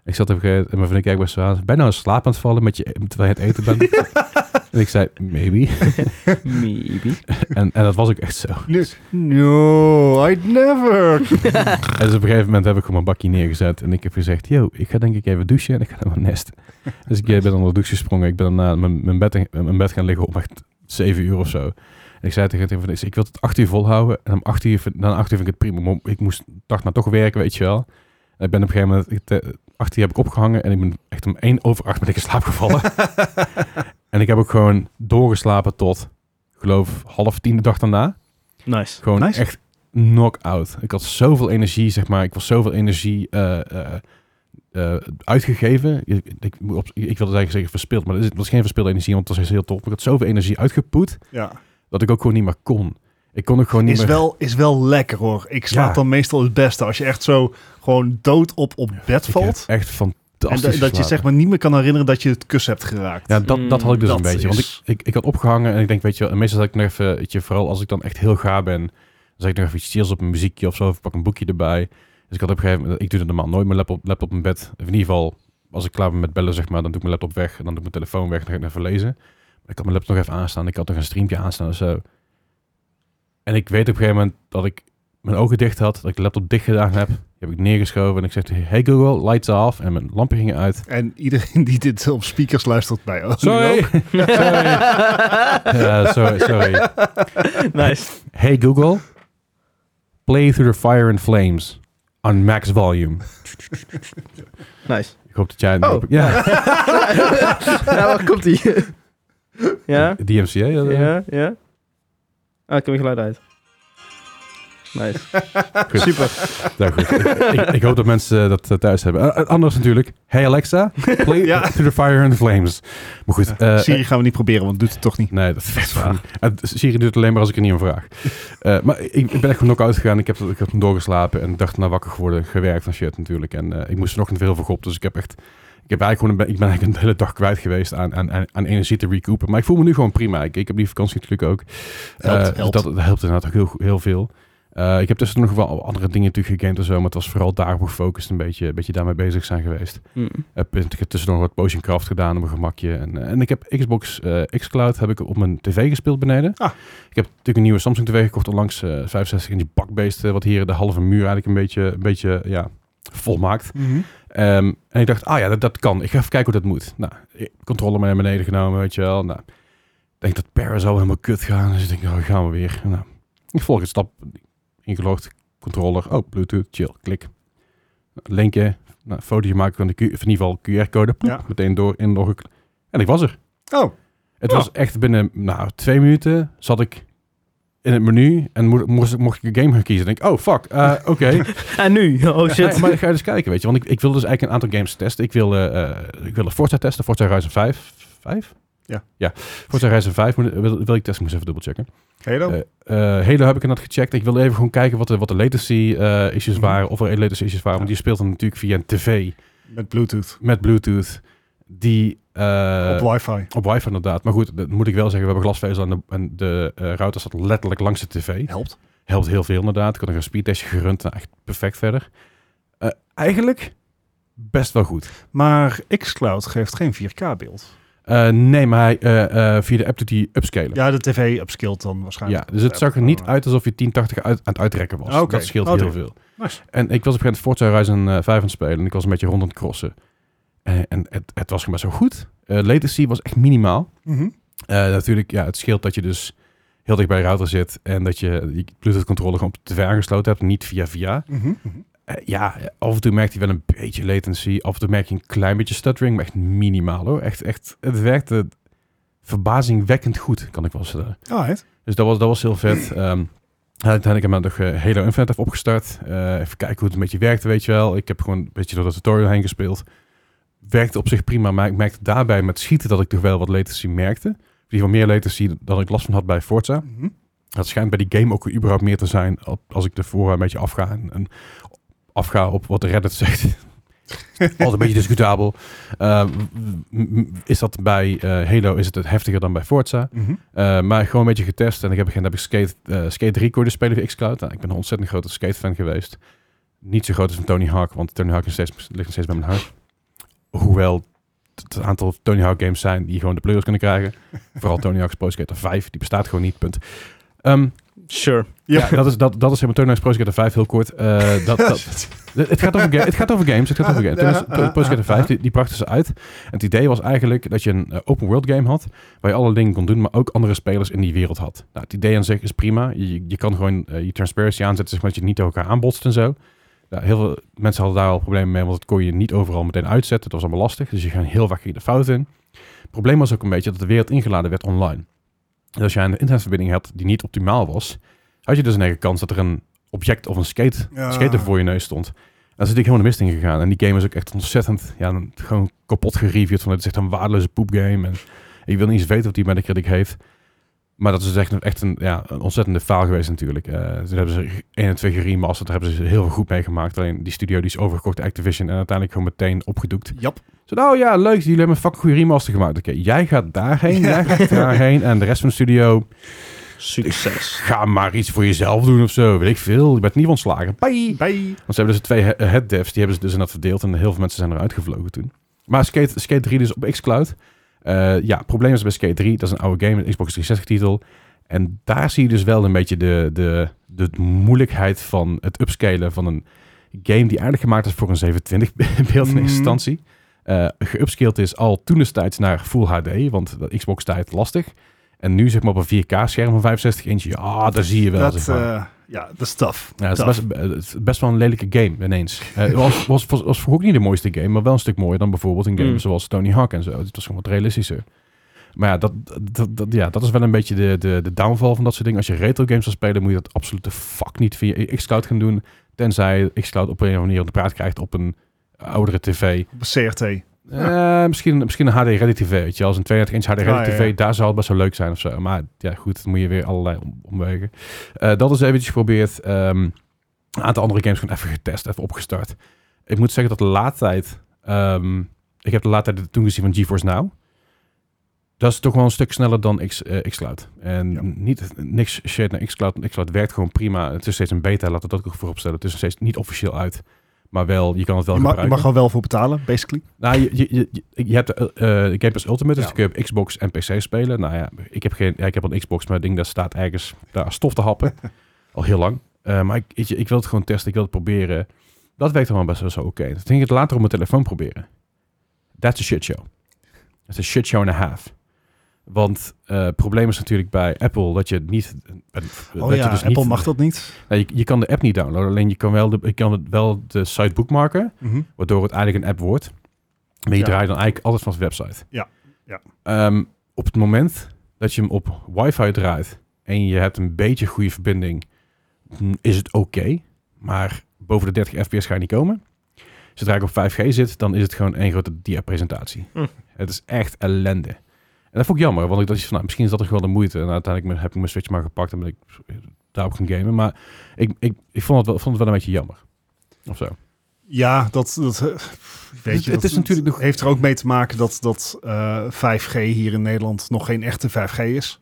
A: Ik zat op een gegeven moment en mijn vriendin kijkt me zo aan. Ben je nou in slaap aan het vallen met je, terwijl je aan het eten bent? en ik zei, maybe.
B: Maybe.
A: En, en dat was ook echt zo.
C: Nee. No, I'd never.
A: En dus op een gegeven moment heb ik gewoon mijn bakje neergezet. En ik heb gezegd, yo, ik ga denk ik even douchen en ik ga naar mijn nest. Dus ik eh, ben onder de douche gesprongen. Ik ben daarna mijn, mijn, bed, in- mijn bed gaan liggen om echt zeven uur of zo. En ik zei tegen hem, van, ik wil het acht uur volhouden. En om acht uur, vind- na acht uur vind ik het prima. Maar ik moest dag maar toch werken, weet je wel. En ik ben op een gegeven moment, ik, te- acht uur heb ik opgehangen. En ik ben echt om één over acht ben ik in slaap gevallen. en ik heb ook gewoon doorgeslapen tot, geloof, half tien de dag daarna.
B: Nice.
A: Gewoon
C: Nice.
A: echt knock-out. Ik had zoveel energie, zeg maar. Ik was zoveel energie eh, eh, eh, uitgegeven. Ik, ik, moet op, ik wilde het eigenlijk zeggen verspild, maar het was geen verspilde energie, want het was heel top. Ik had zoveel energie uitgepoet
C: Ja.
A: dat ik ook gewoon niet meer kon. Ik kon ook gewoon niet
C: Is
A: meer...
C: wel, is wel lekker hoor. Ik slaap
A: Ja.
C: dan meestal het beste als je echt zo gewoon dood op op bed
A: Ik heb
C: valt.
A: Echt
C: En
A: fantastisch
C: da- dat je
A: geslapen.
C: zeg maar niet meer kan herinneren dat je het kussen hebt geraakt.
A: Ja, dat, dat had ik dus
C: Mm,
A: een
C: dat
A: beetje. Want ik,
C: is-
A: ik, ik had opgehangen en ik denk, weet je wel, en meestal zat ik nog even, weet je, vooral als ik dan echt heel gaar ben, dan zet ik nog even iets stil's op een muziekje of zo, of pak een boekje erbij. Dus ik had op een gegeven moment, ik doe dat normaal nooit, mijn laptop, laptop in bed. Of in ieder geval, als ik klaar ben met bellen, zeg maar, dan doe ik mijn laptop weg en dan doe ik mijn telefoon weg en dan ga ik even lezen. Maar ik had mijn laptop nog even aanstaan, ik had nog een streampje aanstaan of zo. En ik weet op een gegeven moment dat ik mijn ogen dicht had, dat ik de laptop dicht gedaan heb. Die heb ik neergeschoven en ik zeg, tegen, hey Google, lights off. En mijn lampen gingen uit.
C: En iedereen die dit op speakers luistert bij ons.
A: Sorry! sorry. Ja, sorry, sorry.
B: nice.
A: Hey Google, play through the fire and flames on max volume.
B: Nice.
A: Ik hoop dat jij...
B: Oh.
A: ja,
B: nou, waar komt ie? ja?
A: DMCA. Ja,
B: Ja? Ja? Ah, ik heb mijn geluid uit. Nice.
A: Goed.
B: Super.
A: Nou, goed. Ik, ik- ik hoop dat mensen dat eh, thuis hebben. Eh, eh, anders natuurlijk. Hey Alexa, play
C: Ja.
A: through the fire and flames. Maar goed. eh,
C: Siri gaan we niet proberen, want het doet het toch niet.
A: Nee, dat is echt waar. En Siri doet het alleen maar als ik er niet om vraag. Eh, maar ik, ik ben echt gewoon knock-out gegaan. Ik heb, ik heb doorgeslapen en dacht na wakker geworden. Gewerkt van shit natuurlijk. En eh, ik moest er nog heel veel op. Dus ik heb echt... Ik, heb eigenlijk gewoon een, be- ik ben eigenlijk een hele dag kwijt geweest aan, aan, aan, aan energie te recoupen. Maar ik voel me nu gewoon prima. Ik, ik heb die vakantie natuurlijk ook. Eh,
C: Helpt,
A: dus
C: helpt.
A: Dat, dat helpt inderdaad ook heel, heel veel. Eh, ik heb tussen nog wel andere dingen natuurlijk gegamed en zo. Maar het was vooral daarop gefocust. Een beetje, een beetje daarmee bezig zijn geweest
B: Mm.
A: heb eh, ik heb tussendoor wat Potion Craft gedaan op mijn gemakje. En, eh, en ik heb Xbox eh xCloud heb ik op mijn tv gespeeld beneden.
C: Ah.
A: Ik heb natuurlijk een nieuwe Samsung tv gekocht onlangs. eh 65 in die bakbeest, eh, wat hier de halve muur eigenlijk een beetje, een beetje ja, volmaakt.
C: Mhm.
A: Ehm, en ik dacht, ah ja, dat, dat kan. Ik ga even kijken hoe dat moet. Nou, ik- controle maar naar beneden genomen, weet je wel. Nou, ik denk dat Paris al helemaal kut gaan. Dus ik denk, oh, gaan we weer. Nou, ik volg het stap. Ingelogd, controller. Oh, bluetooth, chill, klik. Linkje, nou, fotootje maken van de Q, of in ieder geval QR-code. Ploep,
C: Ja.
A: Meteen door, inloggen. En ik was er.
C: Oh,
A: Het
C: Oh.
A: was echt binnen nou, twee minuten zat ik in het menu en mo- moest, mocht ik een game gaan kiezen. Dan denk ik, oh fuck, eh, oké.
B: En nu? Oh
A: Ja,
B: shit.
A: maar ga je dus kijken, weet je. Want ik, ik wil dus eigenlijk een aantal games testen. Ik wil, eh eh, ik wil een Forza testen. Forza Horizon 5. 5?
C: Ja.
A: Ja. Forza Horizon 5 moet, wil, wil ik testen. Moest even dubbelchecken.
C: hello.
A: Eh, eh, Halo heb ik inderdaad gecheckt. Ik wilde even gewoon kijken wat de, wat de latency eh, issues
C: Mhm.
A: waren. Of er latency issues waren. Want die
C: Ja.
A: speelt dan natuurlijk via een tv
C: Met Bluetooth.
A: met bluetooth. Die... eh,
C: op wifi.
A: op wifi inderdaad. Maar goed, dat moet ik wel zeggen. We hebben glasvezel en de, en de eh, router zat letterlijk langs de tv.
C: Helpt.
A: Helpt heel veel inderdaad. Ik had nog een speedtestje gerund. Nou, echt perfect verder. Eh, eigenlijk best wel goed.
C: Maar xCloud geeft geen 4K-beeld.
A: Eh, nee, maar hij, eh, eh, via de app doet hij upscalen. Ja,
C: Ja, de tv upskillt dan waarschijnlijk.
A: dus het zag er niet uit alsof je 1080 uit, aan het uitrekken was.
C: Oké.
A: Dat scheelt
C: Oh,
A: heel
C: oké.
A: veel.
C: Nice.
A: En ik was op een gegeven moment Forza Horizon eh, 5 aan het spelen. En ik was een beetje rond aan het crossen. En, en het, het was gewoon best wel goed. Eh latency was echt minimaal.
C: Mhm.
A: Eh, natuurlijk, ja, het scheelt dat je dus heel dicht bij je router zit. En dat je je Bluetooth controller gewoon op de tv aangesloten hebt. Niet via via.
C: Mhm. Mhm.
A: Eh, ja, af en toe merkt hij wel een beetje latency. Af en toe merk je een klein beetje stuttering, maar echt minimaal hoor. Echt, echt, het werkte verbazingwekkend goed, kan ik wel zeggen.
C: Alright.
A: Dus dat was, dat was heel vet. Ehm uiteindelijk heb ik nog eh, Halo Infinite even opgestart. Eh, even kijken hoe het een beetje werkte, weet je wel. Ik heb gewoon een beetje door de tutorial heen gespeeld. Werkte op zich prima, maar ik merkte daarbij met schieten dat ik toch wel wat latency merkte. in ieder geval meer latency dan ik last van had bij Forza.
C: Mhm.
A: Het schijnt bij die game ook überhaupt meer te zijn op- als ik de fora een beetje afga en, en afga op wat Reddit zegt. Altijd een beetje discutabel. Eh, m- m- is dat bij eh, Halo is het, het heftiger dan bij Forza?
C: Mhm.
A: Eh, maar gewoon een beetje getest. En ik heb, op een gegeven moment heb ik Skate, eh, Skate 3 kunnen spelen via xCloud. Nou, ik ben een ontzettend grote Skate-fan geweest. Niet zo groot als van Tony Hawk, want Tony Hawk is steeds, ligt nog steeds bij mijn hart. Hoewel het het aantal Tony Hawk games zijn die gewoon de pleurs kunnen krijgen. Vooral Tony Hawk's Pro Skater 5, die bestaat gewoon niet, punt. Ehm,
B: Sure.
A: ja, dat is, dat, dat is helemaal Tony Hawk's Pro Skater 5, heel kort. Eh, dat, dat, het, gaat over ga- het gaat over games. Het gaat over games. Toen is Pro- Pro Skater 5, die, die brachten ze uit. En het idee was eigenlijk dat je een eh, open world game had. Waar je alle dingen kon doen, maar ook andere spelers in die wereld had. Nou, het idee aan zich is prima. Je, je kan gewoon eh, je transparency aanzetten, zeg maar, dat je niet tegen elkaar aanbotst en zo. Nou, heel veel mensen hadden daar al problemen mee, want dat kon je niet overal meteen uitzetten. Dat was allemaal lastig. Dus je ging heel vaak ging de fout in. Het probleem was ook een beetje dat de wereld ingeladen werd online. Dus als jij een internetverbinding had die niet optimaal was, had je dus een eigen kans dat er een object of een skate
C: Ja.
A: skater voor je neus stond. Daar zit ik helemaal de mist in gegaan. En die game is ook echt ontzettend, ja, dan gewoon kapot gereviewd. Van het is echt een waardeloze poepgame. En ik wil niet eens weten wat die Metacritic heeft. Maar dat is dus echt, een- echt een, ja, een ontzettende faal geweest natuurlijk. Eh toen hebben ze 1 en 2 geremasterd. Daar hebben ze heel goed mee gemaakt. Alleen die studio die is overgekocht door Activision. En uiteindelijk gewoon meteen opgedoekt.
C: Jap.
A: Zo, nou ja, leuk. Jullie hebben een fucking goede remaster gemaakt. Oké, jij gaat daarheen. Jij gaat daarheen. En de rest van de studio,
B: Succes.
A: ga maar iets voor jezelf doen of zo. Weet ik veel. Je bent niet ontslagen. Bye.
C: Bij.
A: Want ze hebben dus twee he- head devs, die hebben ze dus inderdaad verdeeld. En heel veel mensen zijn eruit gevlogen toen. Maar Skate, Skate 3 dus op xCloud. Eh ja, het probleem is bij Skate 3, dat is een oude game, een Xbox 360 titel. En daar zie je dus wel een beetje de, de, de moeilijkheid van het upscalen van een game die eigenlijk gemaakt is voor een 720 beeld in eerste
C: Mhm.
A: instantie. Eh geupscaled is al toen destijds naar Full HD, want dat Xbox tijd lastig. En nu zeg maar op een 4K scherm van 65 inch, ja, daar zie je wel.
C: Dat,
A: zeg maar.
C: eh, ja, dat is tough.
A: Ja, het is
C: Tough.
A: best, eh, het is best wel een lelijke game ineens. Eh, Het was, was, was, was vroeger ook niet de mooiste game, maar wel een stuk mooier dan bijvoorbeeld een game
B: Mm.
A: zoals Tony Hawk en zo. Het was gewoon wat realistischer. Maar ja, dat, dat, dat, ja, dat is wel een beetje de, de, de downfall van dat soort dingen. Als je retro games wil spelen, moet je dat absoluut de fuck niet via xCloud gaan doen. Tenzij xCloud op een of andere manier op de praat krijgt op een oudere tv.
C: Op een CRT.
A: Eh, misschien, misschien een HD Ready TV, weet je wel. Als een 32 inch HD Ready
C: Ah, Ja, ja,
A: TV,
C: ja.
A: daar zou het best wel leuk zijn of zo. Maar ja, goed, dan moet je weer allerlei om- omwegen. Eh, dat is eventjes geprobeerd. Ehm, een aantal andere games gewoon even getest, even opgestart. Ik moet zeggen dat de laatste tijd... ehm, ik heb de laatste tijd toen gezien van GeForce Now. Dat is toch wel een stuk sneller dan X, eh, xCloud. En
C: Ja.
A: niet, niks shit naar xCloud. want xCloud werkt gewoon prima. Het is steeds een beta, laten we dat ook voorop stellen. Het is nog steeds niet officieel uit. Maar wel, je kan het wel
C: Je mag, je
A: gebruiken.
C: mag er wel voor betalen, basically.
A: Nou, je, je, je, je hebt de eh, eh, Game Pass Ultimate, dus
C: Ja.
A: dan kun je op Xbox en PC spelen. Nou ja, ik heb, geen, ja, ik heb een Xbox, maar ik denk dat staat ergens daar stof te happen. Al heel lang. Eh, maar ik, weet je, ik wil het gewoon testen, ik wil het proberen. Dat werkt allemaal best wel zo oké. Toen ging ik het later op mijn telefoon proberen. That's a shit show. That's a shit show and a half. Want eh, het probleem is natuurlijk bij Apple dat je niet... eh, dat
C: Oh
A: je
C: ja,
A: dus
C: Apple
A: niet-
C: mag dat niet.
A: Nou, je, je kan de app niet downloaden, alleen je kan wel de, je kan wel de site bookmarken
C: Mhm.
A: waardoor het eigenlijk een app wordt. Maar je
C: Ja.
A: draait dan eigenlijk altijd van de website.
C: Ja, ja.
A: Ehm, op het moment dat je hem op wifi draait en je hebt een beetje goede verbinding, mm, is het oké. maar boven de 30 fps ga je niet komen. Zodra ik op 5G zit, dan is het gewoon één grote dia-presentatie.
B: Hm.
A: Het is echt ellende. En dat vond ik jammer, want ik dacht van, nou, misschien is dat toch wel de moeite. En uiteindelijk heb ik mijn Switch maar gepakt en ben ik daarop gaan gamen. Maar ik, ik, ik vond, het wel, vond het wel een beetje jammer. Of zo.
C: Ja, dat, dat eh, weet
A: Het-
C: je.
A: het
C: dat-
A: is natuurlijk
C: dat
A: nog-
C: heeft er ook mee te maken dat, dat eh, 5G hier in Nederland nog geen echte 5G is.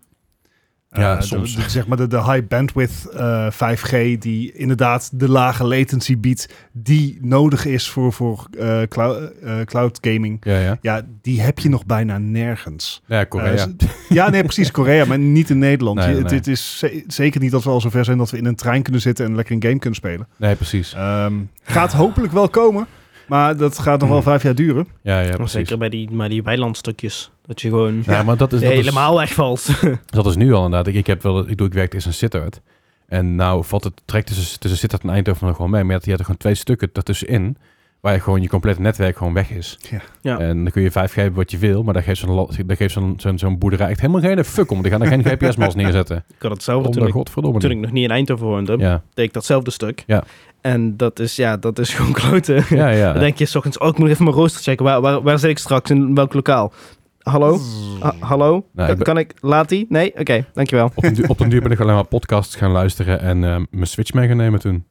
A: Ja,
C: Eh, de-
A: soms.
C: De, zeg maar de, de high bandwidth eh, 5G die inderdaad de lage latency biedt die nodig is voor, voor eh, clou- eh, cloud gaming.
A: Ja, ja.
C: Ja, die heb je nog bijna nergens.
A: Ja, Korea.
C: Eh, z- ja, nee, precies. Korea, maar niet in Nederland.
A: Nee,
C: Je-
A: nee.
C: Het, het is ze- zeker niet dat we al zover zijn dat we in een trein kunnen zitten en lekker een game kunnen spelen.
A: Nee, precies.
C: Ehm, gaat hopelijk wel komen, maar dat gaat nog wel vijf jaar duren.
A: Ja, ja, precies.
B: Zeker bij die, maar die weilandstukjes. Dat je gewoon
A: Nou, maar dat is, dat,
B: helemaal wegvalt.
A: is, dat is nu al inderdaad. Ik, ik, heb wel, ik, doe, ik werkte eerst in Sittard. En nou valt het trek tussen, tussen Sittard en Eindhoven nog wel mee. Maar je had- je had er gewoon twee stukken daartussenin. Waar je gewoon je complete netwerk gewoon weg is.
C: Ja.
B: Ja.
A: En dan kun je 5G hebben wat je wil. Maar daar geeft zo'n, la- daar geeft zo'n, zo'n, zo'n boerderij echt helemaal geen fuck om. Die gaan er geen GPS-mast neerzetten.
B: ik had hetzelfde toen
A: Omdat
B: ik,
A: godverdomme.
B: toen
A: niet.
B: ik nog niet in Eindhoven woonde.
A: Ja,
B: deed ik datzelfde stuk.
A: Ja.
B: En dat is, ja, dat is gewoon kloten.
A: ja, ja.
B: Dan denk je s ochtends, oh, ik moet even mijn rooster checken. Waar, waar, waar zit ik straks? In welk lokaal? hallo? Ha- hallo?
A: Nou,
B: Kan-
A: ik ben-
B: Kan ik, laat die? Nee? Oké, dankjewel.
A: Op den duur, op den duur ben ik alleen maar podcasts gaan luisteren en eh, mijn Switch mee gaan nemen toen.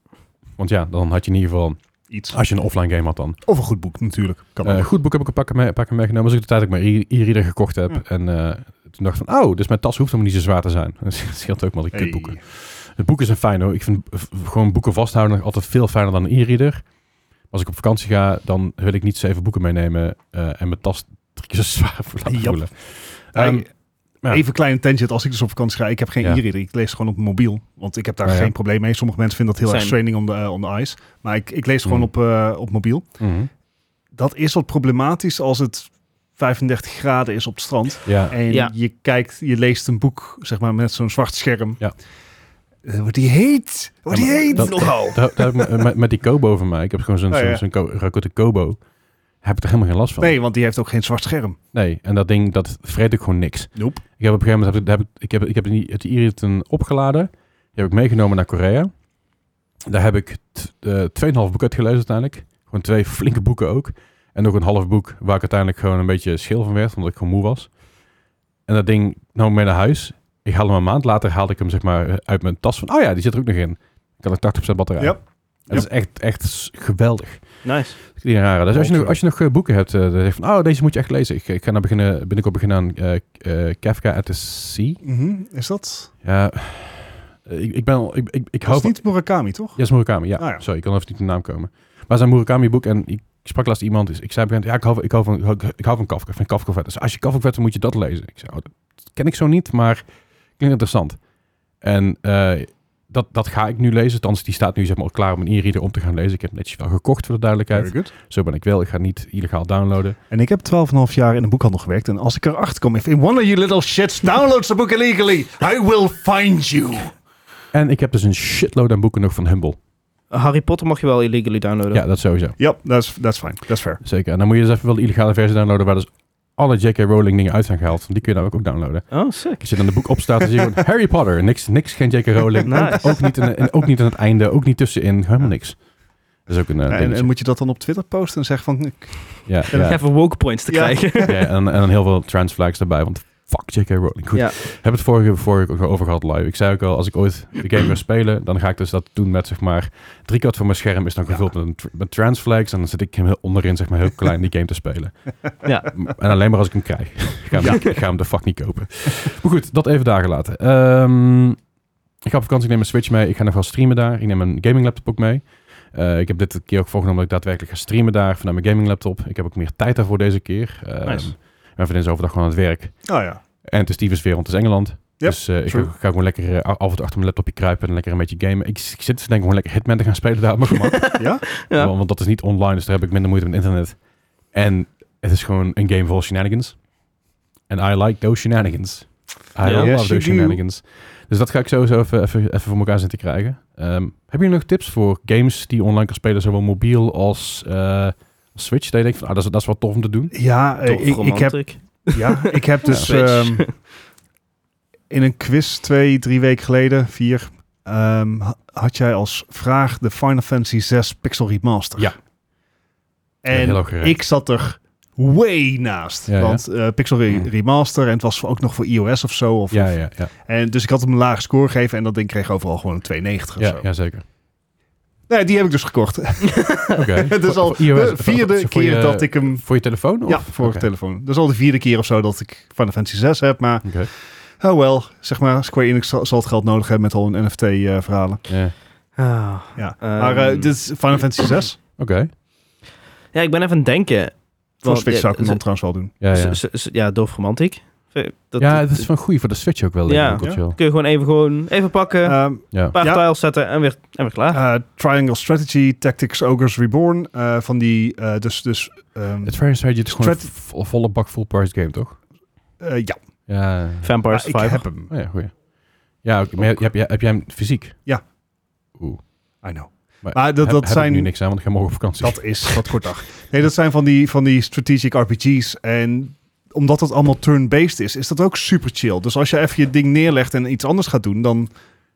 A: Want ja, dan had je in ieder geval,
C: Iets.
A: als je een offline game had dan.
C: Of een goed boek natuurlijk. Kan
A: Eh,
C: ook.
A: goed boek heb ik een pak, mee, pak meegenomen. Dus ik de tijd dat ik mijn e- e-reader gekocht heb.
C: Ja.
A: En eh, toen dacht ik van, oh, dus mijn tas hoeft helemaal niet zo zwaar te zijn. Dat scheelt ook, maar ik
C: Hey.
A: kut boeken. Het boeken zijn fijn hoor. Ik vind v- gewoon boeken vasthouden nog altijd veel fijner dan een e-reader. Als ik op vakantie ga, dan wil ik niet zeven boeken meenemen eh, en mijn tas drie keer zo zwaar voor laten
C: Jap.
A: voelen.
C: Nou,
A: Ehm,
C: ik-
A: ja.
C: Even een kleine tangent. Als ik dus op vakantie ga, ik heb geen
A: Ja.
C: e-reader. Ik lees gewoon op mijn mobiel. Want ik heb daar
A: Ah, ja.
C: geen probleem mee. Sommige mensen vinden dat heel erg
B: Same.
C: training on the, eh, on the ice. Maar ik, ik lees gewoon
A: Mm.
C: op, eh, op mobiel.
A: mhm.
C: Dat is wat problematisch als het 35 graden is op het strand.
A: Ja,
C: En
B: Ja.
C: je kijkt, je leest een boek, zeg maar, met zo'n zwart scherm.
A: Ja.
C: Eh, Wordt die heet? Wordt
A: Ja,
C: die
A: maar
C: heet?
A: dat-
C: Nogal.
A: Daar- daar heb ik me- met, met die Kobo van mij. Ik heb gewoon zo'n
C: Oh,
A: zo'n
C: ja.
A: zo'n Ko- Rakuten Kobo. Heb ik er helemaal geen last van.
C: Nee, want die heeft ook geen zwart scherm.
A: Nee, En dat ding, dat vreet ik gewoon niks.
C: Nope.
A: Ik heb op een gegeven moment, heb ik, heb, ik- ik heb, ik heb die- het Iriton opgeladen. Die heb ik meegenomen naar Korea. Daar heb ik t- eh, 2,5 boek uitgelezen uiteindelijk. Gewoon twee flinke boeken ook. En nog een half boek waar ik uiteindelijk gewoon een beetje scheel van werd. Omdat ik gewoon moe was. En dat ding nam ik mee naar huis. Ik haalde hem een maand later haalde ik hem zeg maar uit mijn tas van... Oh ja, die zit er ook nog in. Ik had er 80% batterij.
C: Ja.
A: Dat is echt, echt s- geweldig.
B: Nice.
A: Die rare. Dus als je, nog,
C: Halverwege.
A: als je nog eh, boeken hebt, eh, dan zeg je van, oh, deze moet je echt lezen. Ik, ik ga nou beginnen, binnenkort beginnen aan eh eh, Kafka at the Sea.
C: Mhm, Is dat?
A: Ja, eh, ik, ik ben al, ik, ik, ik
C: Dat
A: hou
C: is
A: van...
C: niet Murakami, toch?
A: Ja, is Murakami, ja.
C: Ah, ja.
A: Sorry, ik kan even niet op de naam komen. Maar zijn Murakami boek en ik sprak laatst iemand, dus ik zei op een gegeven moment, ja, ik hou van, ik hou, ik hou van Kafka, ik vind Kafka vet. Dus als je Kafka vet, dan moet je dat lezen. Ik zei, oh, dat ken ik zo niet, maar klinkt interessant. En eh, dat, dat ga ik nu lezen, althans die staat nu zeg maar al klaar om een e-reader om te gaan lezen. Ik heb het netjes wel gekocht voor de duidelijkheid.
C: Very good.
A: Zo ben ik wel. Ik ga niet illegaal downloaden.
C: En ik heb 12,5 jaar in een boekhandel gewerkt. En als ik erachter kom, if one of you little shits downloads the book illegally, I will find you.
A: En ik heb dus een shitload aan boeken nog van Humble.
B: Harry Potter mag je wel illegally downloaden.
A: Ja, dat sowieso.
C: Ja, that's, that's fine. That's fair.
A: Zeker. En dan moet je dus even wel de illegale versie downloaden waar dus alle J.K. Rowling dingen uit zijn gehaald. Die kun je daar ook downloaden.
B: Oh, sick.
A: Als je dan de boek opstaat, dan zie je gewoon Harry Potter. Niks, niks geen J.K. Rowling.
B: Nice.
A: Ook, niet in, en ook niet aan het einde. Ook niet tussenin. Helemaal niks. Dat is ook een eh,
C: en,
A: dingetje.
C: en moet je dat dan op Twitter posten en zeggen van... ik-
A: ja, ja,
B: Even woke points te
C: Ja.
B: krijgen.
A: ja, en, en dan heel veel trans flags erbij. Want fuck J.K. Rowling. Goed.
B: Ja.
A: Heb het vorige, vorige ook over gehad live. Ik zei ook al, als ik ooit de game ga spelen, dan ga ik dus dat doen met zeg maar driekwart van mijn scherm is dan gevuld met, een tr- met transflags en dan zit ik hem heel onderin zeg maar heel klein die game te spelen.
B: Ja.
A: En alleen maar als ik hem krijg. ik, ga hem, ik ga hem de fuck niet kopen. Maar goed, dat even daar gelaten. Ehm, ik ga op vakantie, ik neem mijn Switch mee. Ik ga nog wel streamen daar. Ik neem mijn gaming laptop ook mee. Eh, ik heb dit keer ook voorgenomen dat ik daadwerkelijk ga streamen daar vanuit mijn gaming laptop. Ik heb ook meer tijd daarvoor deze keer. Ehm,
B: Nice.
A: Mijn vriendin is overdag gewoon aan het werk.
C: Oh ja.
A: En het is tyfus weer, want het is Engeland.
C: Yep,
A: dus eh, ik ga,
C: true.
A: ga gewoon lekker eh, af en toe achter mijn laptopje kruipen en lekker een beetje gamen. Ik, ik zit dus te denken gewoon lekker Hitman te gaan spelen daar op mijn gemak.
C: Ja?
B: Ja.
A: want, want dat is niet online, dus daar heb ik minder moeite met internet. En het is gewoon een game vol shenanigans. En I like those shenanigans. I
B: Ja.
A: love
C: Yes,
A: those
C: you do.
A: shenanigans. Dus dat ga ik sowieso even, even, even voor elkaar zien te krijgen. Ehm, hebben jullie nog tips voor games die je online kan spelen, zowel mobiel als eh, Switch? Dat je denkt van, ah, dat, is, dat is wel tof om te doen.
C: Ja, eh, ik, ik heb, ja, ik heb dus
B: Ja.
C: ehm, in een quiz twee, drie weken geleden, vier, ehm, ha- had jij als vraag de Final Fantasy 6 Pixel Remaster.
A: Ja. Ja,
C: En
A: heel erg geraakt.
C: ik zat er way naast.
A: Ja, ja.
C: want eh, Pixel Re-
A: Mm.
C: Remaster, en het was ook nog voor iOS of zo. Of,
A: Ja, ja, ja.
C: En, dus ik had hem een laag score gegeven en dat ding kreeg overal gewoon een 92 of
A: Ja,
C: zo.
A: ja zeker.
C: Nee, die heb ik dus gekocht.
A: Oké.
C: Het is
A: Voor-
C: al
A: voor iOS,
C: de
A: voor-
C: vierde
A: voor
C: keer
A: je-
C: dat ik hem...
A: Voor je telefoon? Of?
C: Ja, voor
A: Oké.
C: de telefoon. Dat is al de vierde keer of zo dat ik Final Fantasy 6 heb. Maar
A: Oké.
C: oh wel, zeg maar, Square Enix zal, zal het geld nodig hebben met al hun NFT-verhalen.
A: Ja.
B: Ah.
C: ja.
B: Ehm.
C: eh, maar eh, dit is Final Fantasy 6.
A: Oké.
B: Ja, ik ben even aan het denken.
C: Voor
B: Want,
C: Switch
B: ja,
C: zou ik hem dan
B: ze-
C: trouwens wel doen.
A: Ja, ja.
B: ze- ze- Ja, doof romantiek. Dus Dat-
A: ja, dat is van goeie voor de Switch ook wel. denk
B: Ja.
A: ik, ook
C: Ja.
A: wel.
B: Kun je gewoon even, gewoon even pakken, een
C: Ehm,
A: ja.
B: paar
C: ja.
B: tiles zetten en weer, en weer klaar.
C: eh, Triangle Strategy, Tactics Ogres Reborn. eh, van die, eh, dus, dus ehm,
A: Het Fire Strategy is gewoon een
C: Strat-
A: vo- volle bak full price game, toch?
C: eh, ja,
A: Ja.
B: Vampire
C: maar ik
B: Survivor.
C: heb hem.
A: Oh ja, goeie. Ja, oké, maar heb, heb, jij- heb jij hem fysiek?
C: Ja.
A: Oeh.
C: I know.
A: Maar,
C: Maar dat-
A: heb-
C: dat
A: heb ik
C: zijn-
A: nu niks aan, want ik ga morgen op vakantie.
C: Dat is wat kort dag. Nee, dat zijn van die, van die strategic RPG's. En omdat het allemaal turn-based is, is dat ook super chill. Dus als je even je ding neerlegt en iets anders gaat doen, dan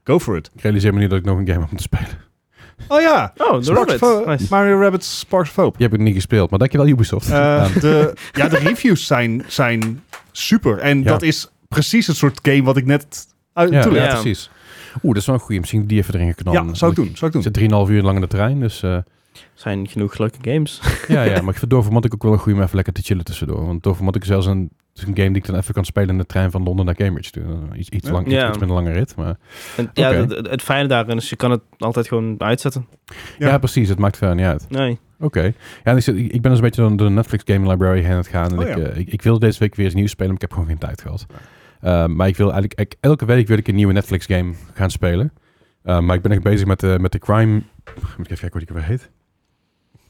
C: go for it.
A: Ik realiseer me nu dat ik nog een game heb om te spelen.
C: Oh ja,
B: Oh, The
C: Sparks
B: Rabbit.
C: of-
B: Nice.
C: Mario Rabbit's Sparks of Hope.
A: Je hebt het niet gespeeld, maar dankjewel Ubisoft.
C: Eh,
A: Ehm,
C: de, ja, de reviews zijn, zijn super. En
A: Ja.
C: dat is precies het soort game wat ik net uit
A: Ja,
C: toelicht.
A: ja,
B: Ja.
A: precies. Oeh, dat is wel een goeie. Misschien die even erin
C: Ja,
A: knallen.
C: zou ik doen. Zou ik
A: Ik
C: doen.
A: zit 3,5 uur lang in de trein, dus eh,
B: zijn genoeg leuke games.
A: ja, ja. Maar ik vind Dovermatic ook wel een goeie om even lekker te chillen tussendoor. Want Dovermatic is zelfs een, is een game die ik dan even kan spelen in de trein van Londen naar Cambridge. Toen, eh, iets, iets,
C: Ja.
A: lang, iets,
B: Ja.
A: iets met een lange rit. Maar,
B: En, ja,
A: Oké.
B: het, het- het fijne daarin is, je kan het altijd gewoon uitzetten.
A: ja.
C: Ja.
A: precies. Het maakt verder niet uit.
B: Nee.
A: Oké. Ja, en ik, zit- ik ik ben dus een beetje door de Netflix Game Library heen aan het gaan. En
C: Oh,
A: ik,
C: ja.
A: eh, ik, ik wilde deze week weer eens nieuws spelen, maar ik heb gewoon geen tijd gehad. Eh, maar ik wil eigenlijk, ik- elke week wil ik een nieuwe Netflix game gaan spelen. Eh, maar ik ben echt bezig met, de met de crime... Moet ik even kijken hoe die ook weer heet?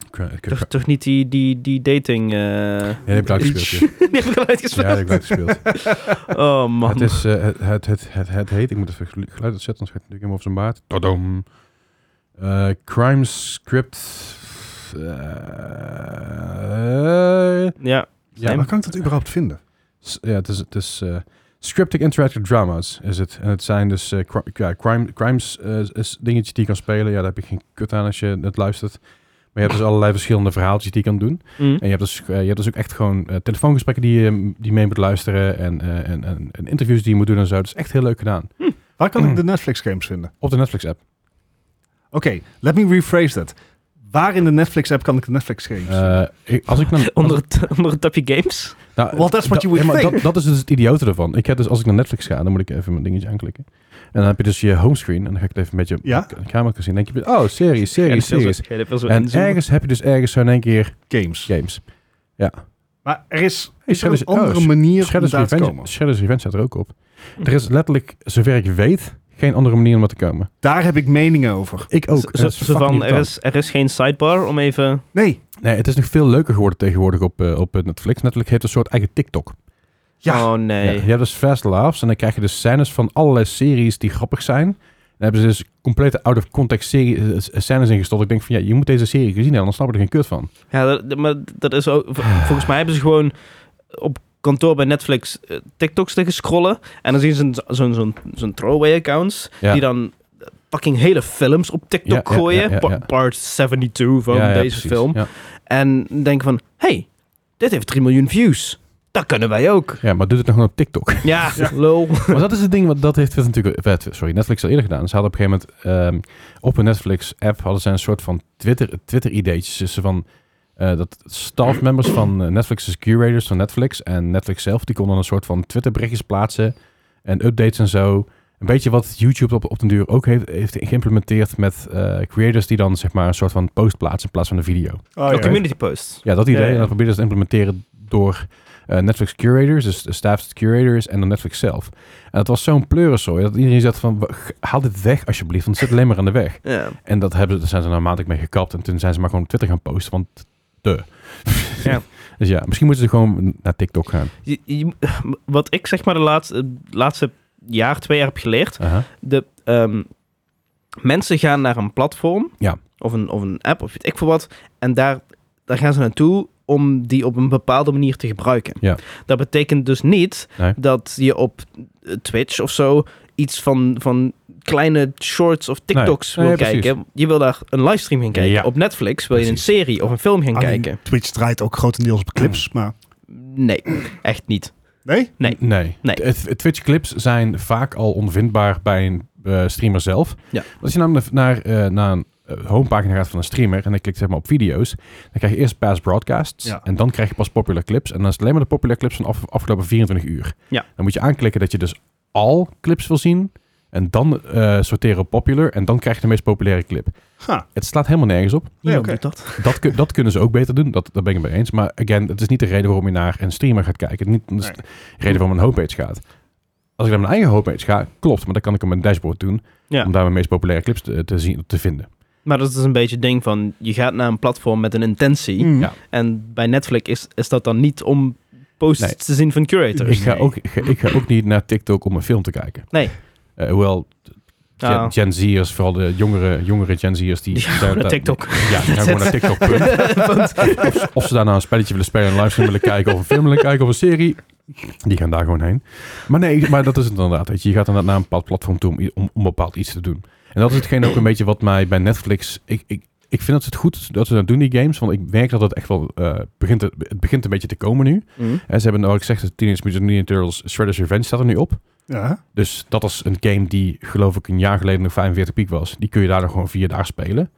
A: Cri- cri-
B: Toch, toch niet die, die, die dating... eh
A: Ja, die heb ik uitgespeeld.
B: die heb ik al
A: Ja, ja die
B: uitgespeeld.
A: heb ik uitgespeeld.
B: Oh man.
A: het, is, eh, het, het, het, het, het heet... Ik moet even gelu- geluid uitzetten, anders gaat het natuurlijk helemaal op zijn baard. Tadam. Eh, crime Script... eh,
B: Ja,
A: ja,
C: Maar kan ik dat überhaupt vinden?
A: S- Ja, het is, het is eh, scriptic interactive dramas is het. En het zijn dus eh, cri- ja, crime, crimes eh, is dingetjes die je kan spelen. Ja, daar heb je geen kut aan als je het luistert. Maar je hebt dus allerlei verschillende verhaaltjes die je kan doen.
B: Mm.
A: En je hebt dus, eh, je hebt dus ook echt gewoon eh, telefoongesprekken die je die je mee moet luisteren. En, eh, en, en, en interviews die je moet doen en zo. Dat is echt heel leuk gedaan.
C: Waar kan
A: Mm.
C: ik de Netflix games vinden?
A: Op de Netflix app.
C: Oké, let me rephrase that. Waar in de Netflix app kan ik de Netflix games?
A: Eh, ik- als ik dan,
B: onder, het, onder het tapje games.
A: Nou,
C: Well, that's what you would
A: ja, maar
C: think.
A: Dat, dat is dus het idiote ervan. Ik heb dus, als ik naar Netflix ga, dan moet ik even mijn dingetje aanklikken. En dan heb je dus je homescreen. En dan ga ik het even met je
C: Ja?
A: op de camera zien. Dan denk je, oh, series,
B: Ja,
A: series,
B: dat wil zo-
A: series.
B: ja, dat wil zo
A: En
B: inzoomen.
A: ergens heb je dus ergens zo in één keer
C: games.
A: games.
C: Maar er is,
A: Hey,
C: is er een
A: Shredder's-
C: andere
A: oh,
C: manier om
A: Shredder's
C: daar te
A: Revenge,
C: komen.
A: Shredder's Revenge staat er ook op. Er is letterlijk, zover ik weet, geen andere manier om er te komen.
C: Daar heb ik meningen over.
A: Ik ook. En
B: Zo,
A: dat is
B: zo
A: fucking
B: van, er
A: irritant.
B: is, er is geen sidebar om even...
C: Nee,
A: Nee, het is nog veel leuker geworden tegenwoordig op, eh, op Netflix. Netflix heeft een soort eigen TikTok.
C: ja.
B: Oh
A: Ja,
B: nee.
A: je hebt dus fast laughs en dan krijg je dus scènes van allerlei series die grappig zijn. Dan hebben ze dus complete out of context serie, eh, eh, scènes ingestopt. Ik denk van ja, je moet deze serie gezien hebben, anders snap je er geen kut van.
B: Ja, dat, dat- maar dat is ook...
A: Ah.
B: v- Volgens mij hebben ze gewoon op kantoor bij Netflix eh, TikToks liggen scrollen. En dan zien ze een- zo'n zo'n zo'n throwaway accounts.
A: Ja.
B: Die dan fucking hele films op TikTok
A: Ja, ja,
B: gooien.
A: ja, ja,
B: Pa-
A: ja.
B: Part 72 van
A: Ja, ja,
B: deze
A: precies.
B: film.
A: Ja.
B: En denken van... hey, dit heeft 3 miljoen views. Dat kunnen wij ook.
A: ja, maar doe het nog gewoon op TikTok.
B: Ja, lol.
A: maar dat is het ding, wat dat heeft natuurlijk, eh, sorry, Netflix al eerder gedaan. Ze hadden op een gegeven moment ehm, op hun Netflix-app hadden ze een soort van Twitter, Twitter-ideetjes. Dus van eh, dat staff members van eh, Netflix, dus curators van Netflix en Netflix zelf, die konden een soort van Twitter-berichtjes plaatsen en updates en zo. Een beetje wat YouTube op, op den duur ook heeft, heeft geïmplementeerd met eh, creators die dan zeg maar een soort van post plaatsen in plaats van een video.
C: Oh,
B: Ook
C: ja.
B: community posts.
A: Ja, dat idee.
B: Ja, ja.
A: En dat proberen ze te implementeren door eh, Netflix curators, dus de staffs curators en dan Netflix zelf. En dat was zo'n pleurensooi dat iedereen zegt van, "Wa- g- haal dit weg alsjeblieft, want het zit alleen maar aan de weg.
B: Ja.
A: En dat hebben, ze- daar zijn ze nou een maand ook mee gekapt en toen zijn ze maar gewoon op Twitter gaan posten, want de.
B: Ja.
A: dus ja, misschien moeten ze gewoon naar TikTok gaan.
B: Je- je- wat ik zeg maar de laatste, laatste jaar, twee jaar heb geleerd.
A: Aha.
B: De, ehm, mensen gaan naar een platform.
A: Ja.
B: Of, een, of een app of weet ik veel wat. En daar, daar gaan ze naartoe om die op een bepaalde manier te gebruiken.
A: Ja.
B: Dat betekent dus niet
A: Nee.
B: dat je op eh, Twitch of zo iets van, van kleine shorts of TikToks
A: Nee,
B: wil
A: precies.
B: kijken. Je wil daar een livestream gaan kijken.
A: Ja.
B: Op Netflix wil je
A: Precies.
B: een serie of een film gaan
C: Alleen
B: kijken.
C: Twitch draait ook grotendeels op clips, maar...
B: Nee, echt niet.
C: Mm. Nee?
B: Nee.
A: Eh, Nee.
B: Nee.
A: Het- het Twitch clips zijn vaak al onvindbaar bij een eh, streamer zelf.
B: Ja.
A: Want Als je namelijk naar, eh, naar een eh, homepagina gaat van een streamer en dan klikt zeg maar op video's, dan krijg je eerst past broadcasts
C: Ja.
A: en dan krijg je pas popular clips. En dan is het alleen maar de popular clips van af, afgelopen 24 uur.
B: Ja.
A: Dan moet je aanklikken dat je dus al clips wil zien en dan eh, sorteren op popular en dan krijg je de meest populaire clip.
C: Ha.
A: Het slaat helemaal nergens op.
C: Nee,
B: Niemand
C: oké.
B: doet dat.
A: Dat, kun- dat kunnen ze ook beter doen, dat, daar ben ik het mee eens. Maar again, het is niet de reden waarom je naar een streamer gaat kijken. Niet dat is
C: Nee.
A: de reden waarom een homepage gaat. Als ik naar mijn eigen homepage ga, klopt. Maar dan kan ik op mijn dashboard doen.
B: Ja.
A: Om daar mijn meest populaire clips te, te zien, te vinden.
B: Maar dat is dus een beetje het ding van, je gaat naar een platform met een intentie.
C: Mm.
A: Ja.
B: En bij Netflix is, is dat dan niet om posts
A: Nee.
B: te zien van curators.
A: Ik ga, ook, ik ga- ik ga ook niet naar TikTok om een film te kijken.
B: Nee.
A: Eh, hoewel Gen,
B: Ah.
A: Gen Z'ers, vooral de jongere, jongere Gen Z'ers... Die
B: Die gaan gewoon naar TikTok.
A: Ja, die gaan gewoon naar TikTok. punt. Of, of ze daar nou een spelletje willen spelen, een livestream willen kijken... of een film willen kijken of een serie. Die gaan daar gewoon heen. Maar nee, maar dat is het inderdaad. Weet je. je gaat inderdaad naar een bepaald platform toe om, i- om, om bepaald iets te doen. En dat is hetgeen ook een beetje wat mij bij Netflix... Ik, ik, ik vind dat het goed dat ze dat doen, die games. Want ik merk dat het echt wel eh, begint, te- het begint een beetje te komen nu.
B: Mm.
A: En ze hebben, nou, ik zeg het, Teenage Mutant Ninja Turtles Shredder's Revenge staat er nu op.
C: Ja.
A: Dus dat is een game die, geloof ik, een jaar geleden nog 45 piek was. Die kun je daar nog gewoon vier dagen spelen.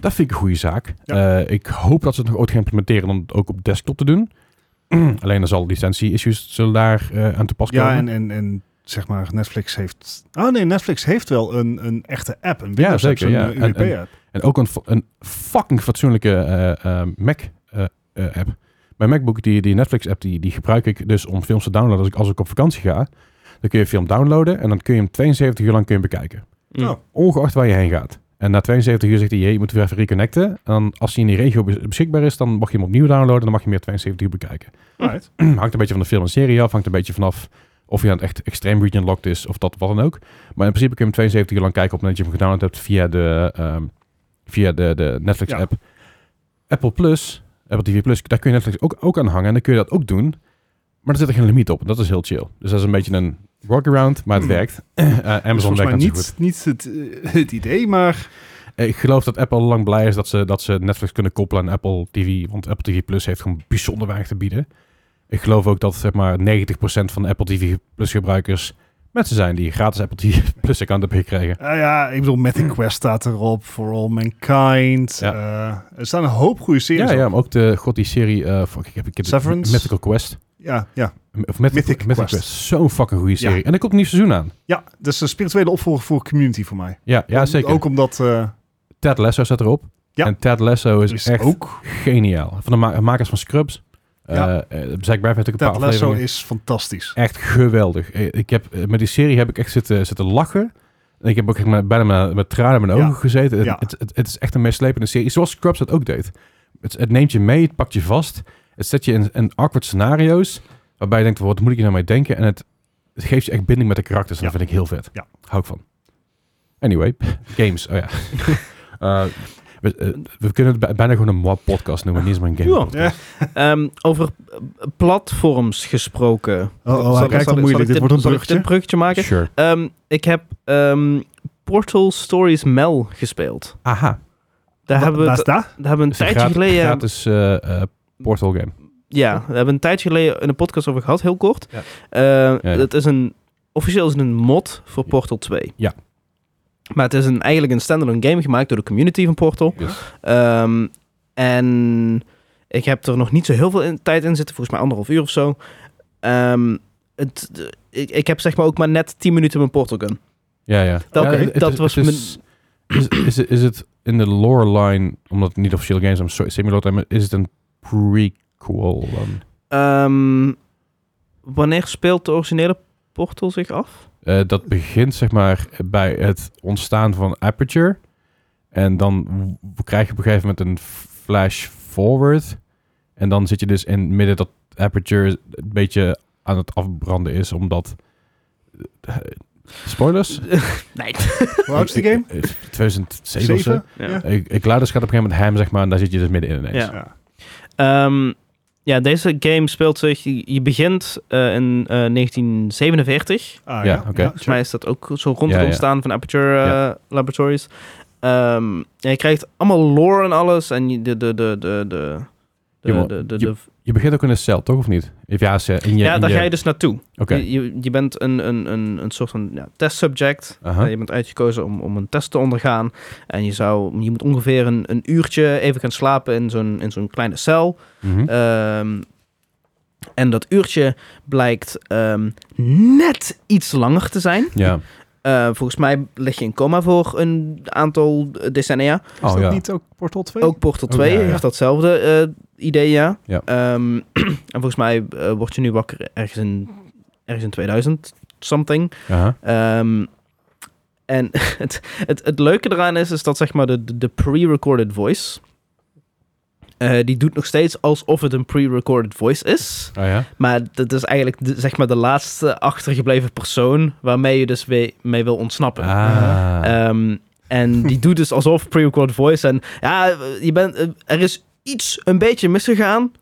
A: Dat vind ik een goede zaak.
C: Hm. Ja.
A: Eh, ik hoop dat ze het nog ooit gaan implementeren om het ook op desktop te doen. Alleen dan zal licentie-issues zullen daar eh, aan te pas komen.
C: Ja, en, en, en zeg maar, Netflix heeft... Ah nee, Netflix heeft wel een, een echte app. Een Windows app,
A: zeker,
C: zo'n,
A: ja.
C: eh, UWP
A: En- en-
C: app.
A: En ook een, fa- een fucking fatsoenlijke eh, eh, Mac eh, eh, app. Mijn MacBook, die, die Netflix app, die, die gebruik ik dus om films te downloaden. Als ik, als ik op vakantie ga, dan kun je een film downloaden en dan kun je hem 72 uur lang kun je hem bekijken.
B: Mm.
C: Oh.
A: Ongeacht waar je heen gaat. En na 72 uur zegt hij, hey, je moet weer even reconnecten. En dan, als hij in die regio bes- beschikbaar is, dan mag je hem opnieuw downloaden. En dan mag je meer 72 uur bekijken.
C: Alright.
A: hangt een beetje van de film en serie af. Hangt een beetje vanaf of je aan het echt extreem region locked is of dat wat dan ook. Maar in principe kun je hem 72 uur lang kijken op dat je hem gedownload hebt via de, ehm, via de, de Netflix
C: Ja.
A: app. Apple Plus, Apple TV Plus, daar kun je Netflix ook, ook aan hangen. En dan kun je dat ook doen. Maar er zit er geen limiet op. En dat is heel chill. Dus dat is een beetje een workaround, maar het
C: Hmm.
A: werkt. Eh, Amazon
C: Dus Volgens
A: werkt
C: mij
A: natuurlijk goed.
C: niet, niet het, eh, het idee, maar...
A: Eh, Ik geloof dat Apple al lang blij is dat ze, dat ze Netflix kunnen koppelen aan Apple TV. Want Apple TV Plus heeft gewoon bijzonder weinig te bieden. Ik geloof ook dat zeg maar 90% van de Apple TV Plus gebruikers mensen zijn die gratis Apple TV Plus account hebben gekregen.
C: Ah ja, ik bedoel, Met Quest staat erop, For All Mankind.
A: Ja.
C: eh, er staan een hoop goede series
A: Ja,
C: op.
A: ja, maar ook de god die serie eh fuck, ik heb, ik heb
C: Severance?
A: Mythical Quest.
C: Ja, ja.
A: Of Mythic,
C: Mythic
A: Mythic
C: Quest.
A: Quest. Zo'n fucking goede serie.
C: Ja.
A: En er komt een nieuw seizoen aan.
C: Ja, dat is een spirituele opvolger voor Community voor mij.
A: Ja, ja
C: Om-
A: zeker.
C: Ook omdat... eh
A: Ted Lasso staat erop.
C: Ja.
A: En Ted Lasso is,
C: is
A: Dus echt
C: ook...
A: geniaal. Van de ma- makers van Scrubs.
C: Ja.
A: Ja. Zach Braff heeft ook een paar
C: Dat Lasso
A: afleveringen.
C: is fantastisch.
A: Echt geweldig. Eh, Ik heb, eh, met die serie heb ik echt zitten, zitten lachen. En ik heb ook echt met- bijna met, met tranen in mijn
C: Ja.
A: ogen gezeten. Het-
C: Ja.
A: Het, het, het is echt een meeslepende serie. Zoals Scrubs dat ook deed. Het, het neemt je mee, het pakt je vast. Het zet je in, in awkward scenario's. Waarbij je denkt, wat moet ik hier nou mee denken? En het, het geeft je echt binding met de karakters. En
C: Ja.
A: Dat vind ik heel vet.
C: Ja.
A: Hou ik van. Anyway, games. Oh ja. Eh, we, eh, we kunnen het bij- bijna gewoon een mod podcast noemen. Niet eens maar een game
B: Ja.
A: podcast.
C: Ja.
B: Ehm, over eh, platforms gesproken.
C: Oh, oh, hij
B: Zal ik- zal
C: kijkt al
B: ik- zal ik
C: moeilijk. Dit wordt een
B: zal ik
C: bruggetje.
B: dit bruggetje maken?
A: Sure.
B: Ehm, ik heb ehm, Portal Stories Mel gespeeld.
A: Aha.
B: Daar
C: Wa-
B: hebben we,
C: waar
B: het-
C: is dat?
B: daar hebben we een
A: Is een
B: tijdje
A: gratis,
B: geleden...
A: gratis eh, eh, portal game.
B: Ja, daar hebben we een tijdje geleden in een podcast over gehad, heel kort.
A: Ja.
B: Eh,
A: ja.
B: Het is een, officieel is het een mod voor Portal 2.
A: Ja.
B: Maar het is een, eigenlijk een standalone game gemaakt door de community van Portal.
A: Yes.
B: Ehm, en ik heb er nog niet zo heel veel in, tijd in zitten, volgens mij anderhalf uur of zo. Ehm, het, de- ik, ik heb zeg maar ook maar net 10 minuten mijn Portal gun.
A: Ja, ja.
B: Dat-
A: Ja, het-
B: dat
A: het-
B: was
A: het is, is, is, het- is het in de lore line, omdat het niet officieel games, I'm sorry, simulator, maar is het een prequel dan?
B: Ehm, wanneer speelt de originele Portal zich af?
A: Eh, dat begint zeg maar bij het ontstaan van Aperture. En dan w- krijg je op een gegeven moment een flash forward. En dan zit je dus in het midden dat Aperture een beetje aan het afbranden is, omdat... eh, Spoilers?
B: Nee.
C: Hoe oud is die game?
A: Eh, 2007 of zo.
C: Zeven?
B: Ja.
C: Ja.
A: Ik, ik laat dus gaat op een gegeven moment hem, zeg maar, en daar zit je dus midden in ineens.
B: Ja. Ehm, ja, deze game speelt zich... Je je begint eh, in eh, 1947.
C: Ah,
A: Ja, oké.
B: Volgens mij is dat ook zo rond
A: Ja,
B: het
A: ja.
B: ontstaan van Aperture eh,
A: Ja.
B: Laboratories. Ehm, en je krijgt allemaal lore en alles. En je- de... de, de, de, de de,
A: Jawel,
B: de, de,
A: je-
B: de-
A: Je begint ook in een cel, toch? Of niet? Of Ja, ze- eh, in je,
B: ja,
A: in
B: daar
A: je-
B: ga je dus naartoe.
A: Oké.
B: Je, je, je bent een, een, een, een soort van ja, testsubject.
A: Aha.
B: Eh, je bent uitgekozen om, om een test te ondergaan. En je, zou, je moet ongeveer een, een uurtje even gaan slapen in zo'n in zo'n kleine cel.
A: Mhm.
B: Ehm, en dat uurtje blijkt ehm, net iets langer te zijn.
A: ja.
B: Eh, volgens mij lig je in coma voor een aantal decennia.
C: Is
A: Oh,
C: dat
A: ja.
C: niet ook Portal 2?
B: Ook Portal
A: Ook,
B: 2
A: Oh, ja, ja.
B: heeft datzelfde eh, idee, ja.
A: Ja.
B: Ehm, en volgens mij eh, word je nu wakker ergens in, ergens in 2000, something.
A: Aha.
B: Ehm, en het, het, het leuke eraan is, is dat zeg maar de, de, de pre-recorded voice... eh, die doet nog steeds alsof het een pre-recorded voice is.
A: Ah, ja.
B: Maar dat is eigenlijk de, zeg maar de laatste achtergebleven persoon waarmee je dus we- mee wil ontsnappen.
A: Ah.
B: Ehm, en die doet dus alsof pre-recorded voice. En ja, je bent, eh, er is iets een beetje misgegaan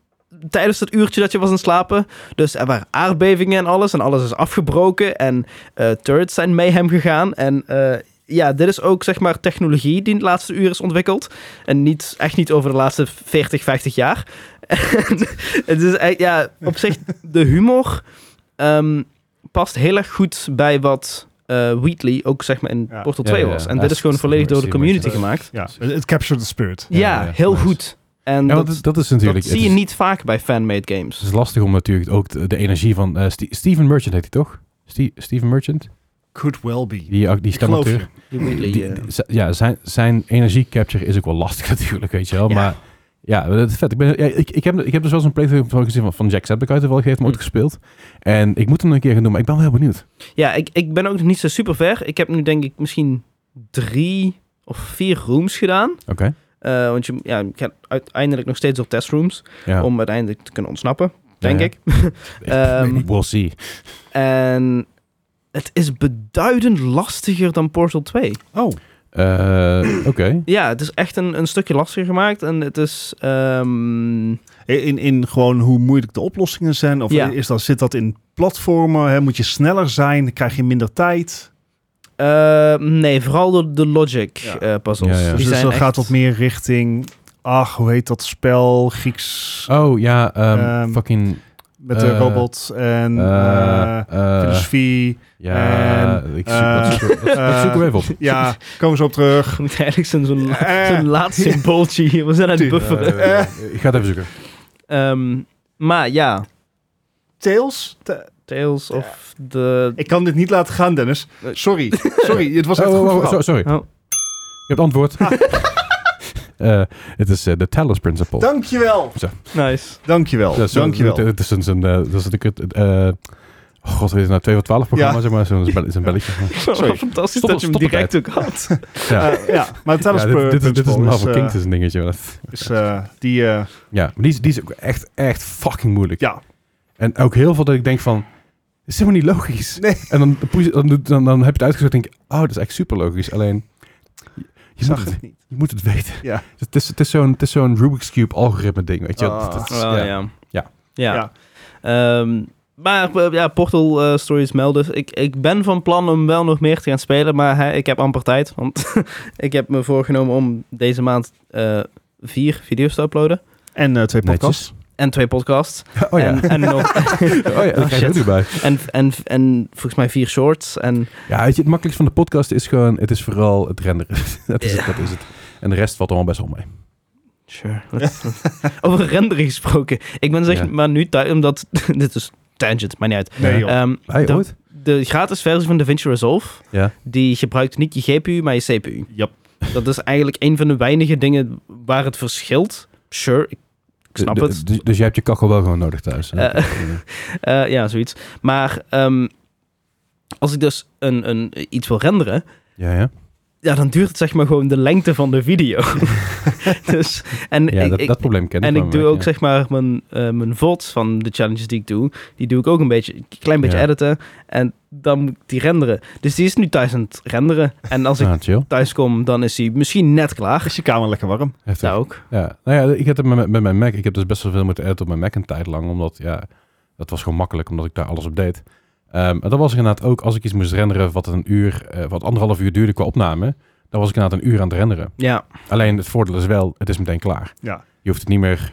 B: tijdens dat uurtje dat je was aan het slapen. Dus er waren aardbevingen en alles. En alles is afgebroken. En eh, turrets zijn mee hem gegaan. En eh, ja, dit is ook zeg maar technologie die in het laatste uur is ontwikkeld. En niet, echt niet over de laatste 40, 50 jaar. En het is echt, ja, op zich, de humor ehm, past heel erg goed bij wat eh, Wheatley ook zeg maar in
C: Ja.
B: Portal
A: Ja,
B: 2
A: ja,
B: was.
A: ja.
B: En
A: Ja,
B: dit
A: het
B: is gewoon
A: is
B: volledig door de
A: een beetje
B: community
A: dat-
B: gemaakt.
C: Ja, het captured the spirit.
A: Ja,
B: Ja,
A: ja,
B: heel
A: nice.
B: goed. En
A: Ja,
B: dat,
A: want dat, dat is natuurlijk...
B: dat zie
A: het,
B: je
A: is,
B: niet vaak bij fanmade games.
A: het is lastig om natuurlijk ook de, de energie van... eh, Ste- Steven Merchant heet hij toch? Ste- Steven Merchant?
C: Could well be.
A: Die, die, die
C: Ik geloof
A: stemacteur.
B: Die
C: je.
B: Wheatley,
A: Die-
B: eh,
A: die- z- ja, zijn, zijn energiecapture is ook wel lastig natuurlijk, weet je wel.
B: Ja.
A: Maar ja, dat is vet. Ik, ben, ja, ik, ik, heb, ik heb dus wel eens een playthrough van gezien van, van Jacksepticeye toevallig, heeft hem ooit
B: Hm.
A: gespeeld. En ik moet hem nog een keer gaan doen, maar ik ben wel heel benieuwd.
B: Ja, ik, ik ben ook nog niet zo super ver. Ik heb nu denk ik misschien drie of vier rooms gedaan.
A: Oké.
B: Eh, want je ja, je gaat uiteindelijk nog steeds op testrooms
A: Ja.
B: om uiteindelijk te kunnen ontsnappen, denk
A: Ja,
B: ik.
A: ja.
B: ehm,
A: we'll see.
B: En het is beduidend lastiger dan Portal 2.
C: Oh,
A: Eh, Oké.
B: Ja, het is echt een, een stukje lastiger gemaakt en het is... ehm,
C: in, in gewoon hoe moeilijk de oplossingen zijn? Of
B: Ja.
C: is dat, zit dat in platformen? Hè? Moet je sneller zijn? Krijg je minder tijd?
B: eh, nee, vooral door de logic
C: Ja.
B: eh, puzzels.
A: Ja, ja.
B: Die
C: Dus dat
B: zijn
C: gaat
B: echt-
C: wat meer richting... Ach, hoe heet dat spel? Grieks
A: Oh ja, ehm,
C: Ehm,
A: fucking...
C: met de
A: eh,
C: robots en
A: eh,
C: eh,
A: eh,
C: filosofie.
A: ja, ik zoek, wat,
C: eh,
A: zoeken we- wat, wat
C: eh,
A: zoeken we even op?
C: Ja, komen ze op terug.
B: Ik moet eigenlijk zo'n zo'n la-
C: Eh.
B: zo'n laatste symbooltje hier. We zijn aan het
C: Tuurlijk.
B: bufferen.
A: Eh, ik ga het even zoeken.
B: Ehm, maar ja,
C: Tails? Te-
B: Tales of the...
C: Ik kan dit niet laten gaan, Dennis. Sorry. Sorry, het was echt
A: Oh,
C: goed
A: oh,
C: Ah.
A: oh,
C: verhaal.
A: so- sorry.
B: Oh.
A: Ik heb het antwoord. Eh, het is eh, de Talos Principle.
C: Dankjewel.
B: Nice.
C: Dankjewel.
A: Ja, zo-
C: Dankjewel.
A: Het, het is een, een, eh, dat is een kut, eh, oh god, weet je nou, 2 voor 12 programma,
C: Ja.
A: zeg maar, zo'n bel- zo'n belletje.
C: Sorry.
B: Fantastisch
A: Stop-
B: dat je hem
A: stop
B: direct ook had.
A: ja.
C: Eh, ja, maar het Talos
A: Ja, dit, dit, is- dit is een dus.
C: Principle
A: halve
C: is, eh,
A: kind is een dingetje. maar dat-
C: is, eh, die... eh,
A: ja, maar die is, die is ook echt, echt fucking moeilijk.
C: ja,
A: En ook heel veel dat ik denk van, dit is helemaal niet logisch.
C: Nee.
A: En dan, poes- dan, doet- dan, dan heb je het uitgezocht en denk je, oh, dat is echt super logisch. Alleen, je-
C: ik
A: je, moet
C: zag
A: het,
C: het niet.
A: je moet het weten.
C: Ja.
A: Het is, het is zo'n het is zo'n Rubik's Cube algoritme ding, weet je. wel.
C: Ah.
A: Dat- dat is-
B: Wel,
A: ja.
B: Oh, ja.
A: Ja.
B: Ja. Ehm, maar eh, ja, Portal eh, Stories melden. Ik, ik ben van plan om wel nog meer te gaan spelen, maar hè, ik heb amper tijd. Want ik heb me voorgenomen om deze maand eh, vier video's te uploaden.
C: En eh, twee podcasts.
B: En twee podcasts.
A: Oh ja,
B: En, en, nog,
A: oh, ja dat
B: Oh,
A: krijg je ook
B: shit.
A: nog bij.
B: en, en, en volgens mij vier shorts. En
A: Ja, weet je, het makkelijkste van de podcast is gewoon, het is vooral het renderen. dat, is het, dat is het. En de rest valt allemaal best wel mee.
B: Sure. let's- let's- Over renderen gesproken. Ik ben zeg
A: Ja.
B: maar nu thuis, omdat... dit is tangent, maar niet uit.
C: Nee,
A: Ja.
C: joh.
B: Ehm,
A: Hey,
B: de,
A: ooit?
B: de gratis versie van DaVinci Resolve,
A: Ja.
B: die gebruikt niet je GPU, maar je CPU.
C: Yep.
B: Dat is eigenlijk een van de weinige dingen waar het verschilt. Sure, ik, ik snap
A: D- d-
B: het.
A: Dus, dus je hebt je kachel wel gewoon nodig thuis. hè?
B: Eh, Eh, ja, zoiets. Maar ehm, als ik dus een, een, iets wil renderen,
A: ja, ja.
B: ja, dan duurt het zeg maar gewoon de lengte van de video. dus, en
A: ja
B: ik-
A: dat,
B: ik-
A: dat probleem ken ik
B: En
A: wel
B: ik
A: een
B: doe ook
A: beetje,
B: zeg maar mijn, eh mijn VODs van de challenges die ik doe. Die doe ik ook een beetje, een klein beetje
A: Ja.
B: editen. En dan moet ik die renderen. Dus die is nu thuis aan het renderen. En als ik
A: ja. Ah, chill.
B: thuis kom, dan is die misschien net klaar.
C: Is je kamer lekker warm?
A: Heftig.
B: Ja, ook.
A: Ja. Nou ja, ik had het met, met mijn Mac. Ik heb dus best wel veel moeten editen op mijn Mac een tijd lang. Omdat, ja, dat was gewoon makkelijk. Omdat ik daar alles op deed. Ehm en dat was ik inderdaad ook. Als ik iets moest renderen wat een uur, eh, wat anderhalf uur duurde qua opname. Dan was ik inderdaad een uur aan het renderen.
B: Ja,
A: Alleen het voordeel is wel, het is meteen klaar.
C: Ja.
A: Je hoeft het niet meer...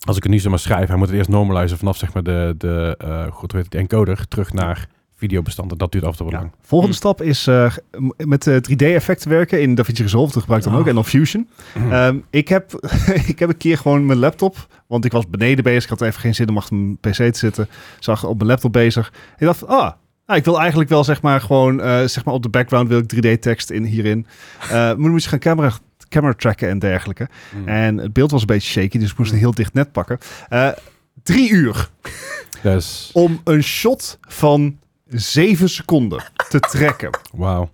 A: Als ik het nu zomaar schrijf, hij moet het eerst normalizen vanaf zeg maar de, de, eh, goed, hoe heet het, de encoder terug naar videobestand. En dat duurt af en toe wel
C: Ja.
A: lang.
C: Volgende
B: Hm.
C: stap is eh, m- met 3D-effecten werken in DaVinci Resolve. Dat gebruikt dan
A: Oh.
C: ook. En dan Fusion. Ehm, ik, heb, ik heb een keer gewoon mijn laptop... Want ik was beneden bezig. Ik had even geen zin om achter mijn pc te zitten. Zag op mijn laptop bezig. Ik dacht, ah... ah, ik wil eigenlijk wel zeg maar gewoon eh, zeg maar op de background wil ik 3D-tekst in hierin. Eh, maar dan moet je gaan camera, camera tracken en dergelijke. En het beeld was een beetje shaky, dus ik moest een heel dicht net pakken. Eh, drie uur
A: Dus,
C: om een shot van zeven seconden te trekken.
A: wauw.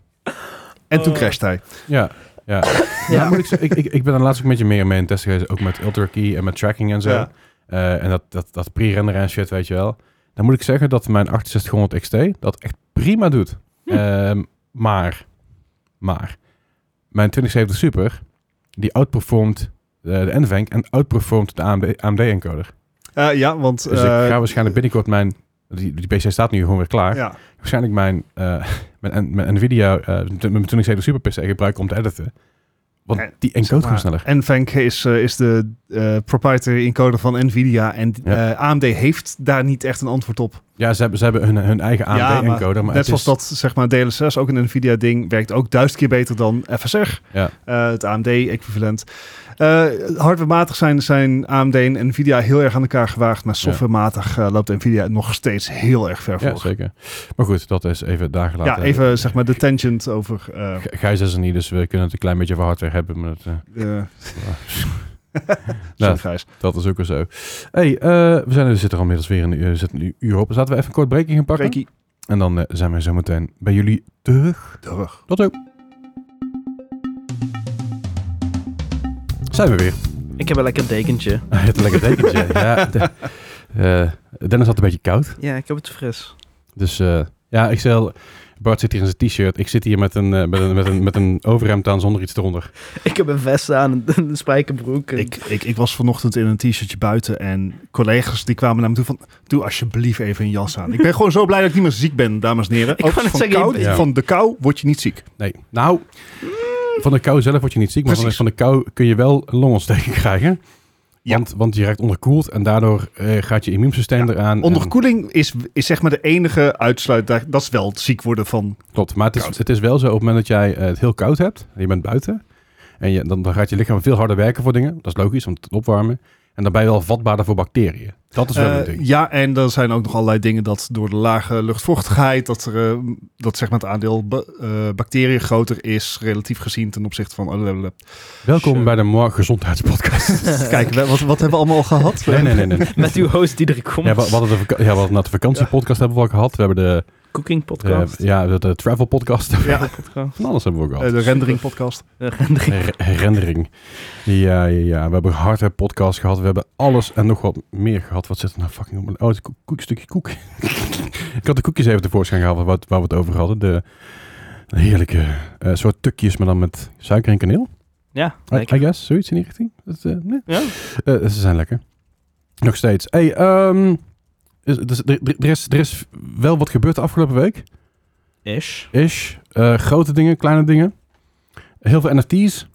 C: En
A: Oh.
C: toen crasht hij.
A: Ja, ja. ja. Moet ik, zeggen, ik, ik, ik ben er laatst ook met je meer mee in testen geweest. Ook met Ultra Key en met tracking en zo.
C: Ja.
A: Eh, en dat, dat, dat pre-renderen en shit, weet je wel. Dan moet ik zeggen dat mijn 6800 XT dat echt prima doet.
C: Hm.
A: Ehm, maar, maar, mijn 2070 Super, die outperformt eh, de NVENC en outperformt de AMD-encoder.
C: Eh, ja, want
A: Dus
C: eh,
A: ik ga waarschijnlijk binnenkort mijn Die, die PC staat nu gewoon weer klaar.
C: Ja.
A: Waarschijnlijk mijn, eh, mijn, mijn Nvidia, eh, de- mijn 2070 Super PC gebruiken om te editen. Want
C: En,
A: die encode gewoon sneller.
C: En Fenk is, eh, is de eh, proprietary encoder van Nvidia. En
A: Ja.
C: eh, AMD heeft daar niet echt een antwoord op.
A: Ja, ze hebben, ze hebben hun, hun eigen
C: Ja, maar
A: AMD-encoder. maar,
C: Net
A: het
C: zoals
A: is-
C: dat, zeg maar, DLSS, ook een NVIDIA-ding, werkt ook duizend keer beter dan FSR.
A: Ja.
C: Eh, het AMD-equivalent. Eh hardwarematig zijn, zijn AMD en NVIDIA heel erg aan elkaar gewaagd, maar softwarematig eh, loopt NVIDIA nog steeds heel erg ver
A: Ja,
C: voor.
A: zeker. Maar goed, dat is even daar
C: Ja,
A: gelaten.
C: even zeg maar de tangent over... eh,
A: G- Gijs is er niet, dus we kunnen het een klein beetje over hardware hebben. Maar dat, eh,
C: eh,
A: nou,
C: sorry, Gijs.
A: dat is ook weer zo. hey, eh, we, zijn, we zitten er inmiddels weer een uur, we zitten een uur op. Zaten we even een kort breakje gaan pakken?
C: Reiki.
A: En dan eh, zijn we zo meteen bij jullie terug.
C: Dag.
A: Tot ook. Zijn we weer.
B: Ik heb een lekker dekentje.
A: Het lekker dekentje. ja, de- eh, Dennis had een beetje koud.
B: Ja, ik heb het fris.
A: Dus eh, ja, ik stel... Bart zit hier in zijn t-shirt. Ik zit hier met een, eh, met, een, met, een, met een overhemd aan zonder iets eronder.
B: Ik heb een vest aan, een spijkerbroek. en-
C: Ik, ik, ik was vanochtend in een t-shirtje buiten en collega's die kwamen naar me toe van... Doe alsjeblieft even een jas aan. Ik ben gewoon zo blij dat ik niet meer ziek ben, dames en heren.
B: Ik
C: Ook
B: wou net
C: van,
B: zeggen,
C: kou,
A: ja.
C: van de kou word je niet ziek.
A: Nee, nou... Van de kou zelf word je niet ziek, maar van de, van
C: Precies.
A: de kou kun je wel een longontsteking krijgen.
C: Ja.
A: Want, want je raakt onderkoeld en daardoor eh, gaat je immuunsysteem
C: Ja,
A: eraan. en-
C: Onderkoeling is, is zeg maar de enige uitsluit. daar- Dat is wel het ziek worden van.
A: Klopt, maar het is,
C: Koud.
A: het is wel zo, op het moment dat jij eh, het heel koud hebt, en je bent buiten, en je, dan, dan gaat je lichaam veel harder werken voor dingen. Dat is logisch, want het opwarmen. En dan ben je wel vatbaarder voor bacteriën. Dat is wel een
C: Eh,
A: ding.
C: ja, en dan zijn ook nog allerlei dingen dat door de lage luchtvochtigheid. dat, er, eh, dat zeg maar het aandeel ba- eh, bacteriën groter is. relatief gezien ten opzichte van. allerlei-
A: Welkom
C: Zo.
A: bij de Morgen Gezondheidspodcast.
C: Kijk, we- wat, wat hebben we allemaal al gehad?
A: nee, nee, nee. nee.
B: Met uw host Diederik Komt.
A: Ja, we, we hadden de, vaka- ja, we hadden de vakantiepodcast hebben we al gehad. We hebben de,
B: Cooking
A: eh,
B: podcast.
A: ja, de, de travel podcast.
C: Ja,
A: Van alles hebben we ook
C: eh,
A: gehad.
C: de rendering podcast.
B: Eh, rendering.
A: Her- Herinnering. Ja, ja, ja. We hebben hardware podcast gehad. We hebben alles en nog wat meer gehad. Wat zit er nou fucking op mijn... Oh, het koek, koek- stukje koek. ik had de koekjes even tevoorschijn gehaald waar, we het- waar we het over hadden. De heerlijke eh, soort tukjes, maar dan met suiker en kaneel.
B: Ja,
A: I,
B: lekker.
A: I guess, zoiets in die richting. Dat, eh, nee.
B: Ja?
A: Eh, ze zijn lekker. Nog steeds. Hey, ehm, is- dus er, er- er is, er is wel wat gebeurd de afgelopen week.
B: Ish.
A: Ish. Eh, grote dingen, kleine dingen. Heel veel NFT's.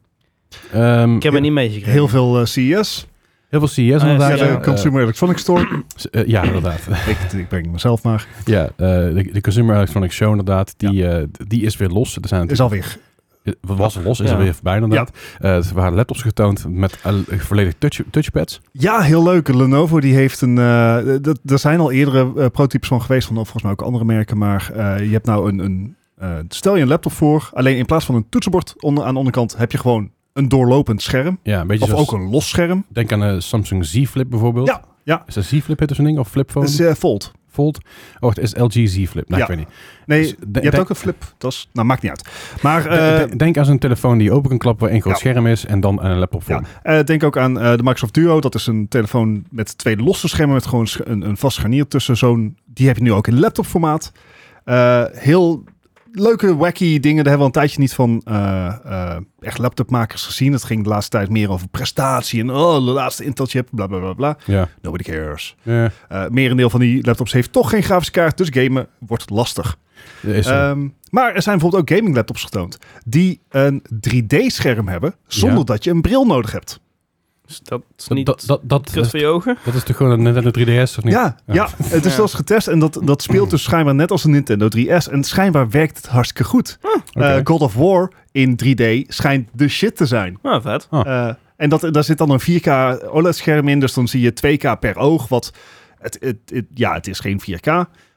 A: Ehm,
B: Ik heb er niet meegekregen.
C: Heel veel eh, CES.
A: Heel veel CES
B: Ah, ja,
A: inderdaad.
C: Ja, de
A: Eh,
C: Consumer Electronics Store.
A: s- eh, ja, inderdaad.
C: ik, ik breng mezelf maar.
A: ja, eh, de, de Consumer Electronics Show inderdaad, die, eh, d- die is weer los. Er zijn
C: Is alweer.
A: eh, was er los, is
B: Ja.
A: er weer voorbij inderdaad. Eh, er waren laptops getoond met eh, volledig touch, touchpads.
C: Ja, heel leuk. Lenovo die heeft een. eh, dat, er zijn al eerdere eh, prototypes van geweest, van volgens mij ook andere merken. Maar eh, je hebt nou een. een eh, stel je een laptop voor. Alleen in plaats van een toetsenbord onder, aan de onderkant heb je gewoon een doorlopend scherm.
A: Ja, een beetje
C: Of
A: zoals,
C: ook een los scherm.
A: denk aan de Samsung Z Flip bijvoorbeeld.
C: Ja, ja.
A: Is dat Z Flip het zo'n ding? Of Flip Phone?
C: Dat is eh, Fold.
A: Fold? Oh, het is LG Z Flip. Nou,
C: Ja.
A: ik weet niet.
C: Nee,
A: Dus de-
C: je hebt
A: denk-
C: ook een flip. Dat is, nou, maakt niet uit. Maar eh,
A: De- de- denk aan zo'n telefoon die je open kan klappen waar één groot
C: Ja.
A: scherm is en dan een laptop voor.
C: Ja. eh, denk ook aan eh, de Microsoft Duo. Dat is een telefoon met twee losse schermen met gewoon sch- een, een vast scharnier tussen. Zo'n, die heb je nu ook in laptopformaat. Eh, heel leuke, wacky dingen. Daar hebben we een tijdje niet van eh, eh, echt laptopmakers gezien. Het ging de laatste tijd meer over prestatie en oh, de laatste Intel-chip, bla bla bla bla.
A: Ja.
C: Nobody cares.
A: Ja.
C: Eh merendeel van die laptops heeft toch geen grafische kaart, dus gamen wordt lastig.
A: Is eh, zo.
C: Ehm, maar er zijn bijvoorbeeld ook gaming laptops getoond die een 3D-scherm hebben zonder
A: Ja.
C: dat je een bril nodig hebt.
B: Dus dat is
A: dat,
B: niet
A: dat, dat, dat,
B: kut
A: is,
B: voor je ogen.
A: dat is toch gewoon een Nintendo 3DS of niet?
C: Ja,
A: Ja.
C: ja. het is
B: Ja.
C: zelfs getest en dat, dat speelt dus schijnbaar net als een Nintendo 3S. En schijnbaar werkt het hartstikke goed.
B: Ah,
A: Oké.
C: Eh, God of War in 3D schijnt de shit te zijn.
B: Nou, vet.
C: Eh, en dat, daar zit dan een 4K OLED-scherm in, dus dan zie je 2K per oog. Wat het, het, het- ja, het is geen 4K,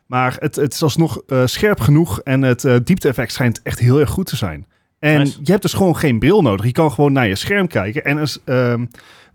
C: maar het, het is alsnog eh, scherp genoeg en het eh, diepte-effect schijnt echt heel erg goed te zijn. En
B: Nice.
C: je hebt dus gewoon geen bril nodig. Je kan gewoon naar je scherm kijken. En als, ehm,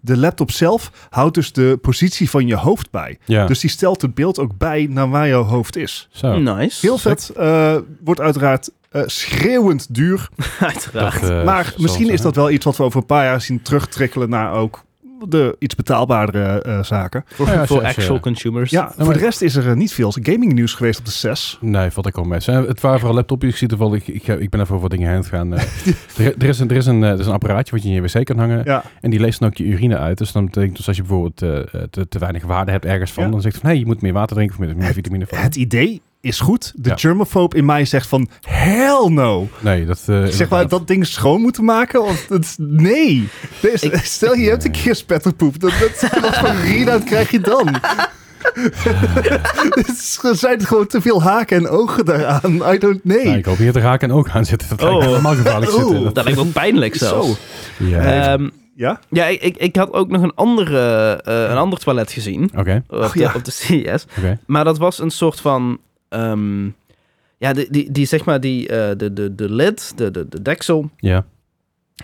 C: de laptop zelf houdt dus de positie van je hoofd bij.
A: ja.
C: Dus die stelt het beeld ook bij naar waar jouw hoofd is.
A: zo.
B: Nice.
C: Heel vet. eh, wordt uiteraard eh, schreeuwend duur.
B: Uiteraard.
A: Dat, eh,
C: maar
A: zal
C: misschien
A: het
C: is
A: zijn.
C: dat wel iets wat we over een paar jaar zien terugtrikkelen naar ook de iets betaalbaardere eh, zaken.
B: Voor,
A: Ja,
B: voor
A: als je- als je-
B: actual consumers.
C: Ja, voor
A: Nou, maar-
C: de rest is er eh, niet veel gaming nieuws geweest op de 6.
A: Nee, valt ik wel mee. Zijn- Het waren vooral laptopjes. Ik zie toevallig, ik, ga- ik ben even over wat dingen heen gaan. eh. er, er, is een, er, is een, eh, er is een apparaatje wat je in je wc kan hangen.
C: Ja,
A: En die leest dan ook je urine uit. Dus dan betekent dus als je bijvoorbeeld eh, eh, te, te weinig waarde hebt ergens van,
C: Ja.
A: dan zegt het van hé, je moet meer water drinken of meer, meer vitamine van.
C: het idee is goed. De
A: Ja.
C: germophobe in mij zegt van, hell no.
A: Nee, dat... eh,
C: Zeg maar,
A: inderdaad.
C: dat ding schoon moeten maken? Of, dat, is- nee. Dus,
B: Ik-
C: stel, je hebt een keer spetterpoep. Dat, dat, wat voor readout krijg je dan? Het is- Er zijn gewoon te veel haken en ogen daaraan. I don't know.
A: Nou, ik hoop hier te raken en ook aan zitten. Dat lijkt me
B: Oh.
A: helemaal gevaarlijk
C: Oeh.
A: zitten. Dat-
B: Dat lijkt wel pijnlijk zelfs.
C: Zo.
A: Ja.
B: Ehm,
C: Ja?
B: ja, ik, ik, ik had ook nog een, andere, eh, een ander toilet gezien.
A: Oké,
B: Op,
C: Oh,
B: de,
C: ja.
B: op de CES.
A: oké.
B: Maar dat was een soort van. ehm, ja, die, die, die zeg maar, die, eh, de, de, de lid, de, de, de deksel,
A: Ja.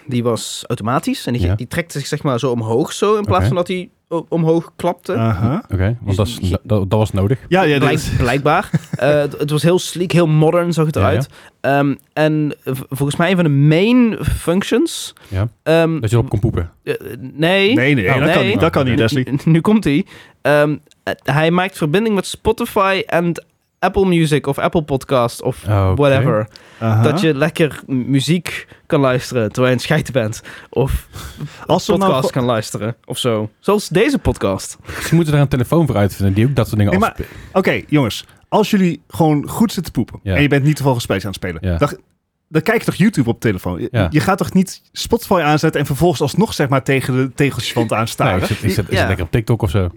B: die was automatisch. En die,
A: Ja.
B: die trekt zich zeg maar zo omhoog zo, in plaats
A: Oké.
B: van dat hij o- omhoog klapte.
C: Aha.
A: Oké, want dat, is, dat, dat was nodig.
C: Ja, ja, dat
B: Blijk-
C: Ah, is-
B: blijkbaar. Eh, het, het was heel sleek, heel modern zag het
A: Ja,
B: eruit. Ehm, en v- volgens mij een van de main functions...
A: Ja.
B: ehm,
A: Dat je erop kon poepen.
B: eh, nee.
C: Nee, nee,
A: Oh,
C: dat kan
B: nee.
C: niet. Dat kan niet, Leslie.
B: Nu, nu komt hij. Ehm, eh, hij maakt verbinding met Spotify en Apple Music of Apple Podcast of
A: Oh, oké.
B: whatever.
C: Aha.
B: Dat je lekker m- muziek kan luisteren terwijl je een schijt bent. Of
C: Als we
B: podcast
C: nou gewoon-
B: kan luisteren of zo. Zoals deze podcast.
A: Ze moeten daar een telefoon voor uitvinden die ook dat soort dingen
C: Nee, maar-
A: afspeelt.
C: Oké, jongens. Als jullie gewoon goed zitten poepen
A: Ja.
C: en je bent niet toevallig een spelletje aan het spelen,
A: Ja.
C: dan, dan kijk je toch YouTube op telefoon. Je,
A: Ja.
C: je gaat toch niet Spotify aanzetten en vervolgens alsnog zeg maar tegen de tegels van het
A: Nou,
C: aanstaren.
A: ik zit, ik zit- ik
B: Ja.
A: zit lekker op TikTok of zo.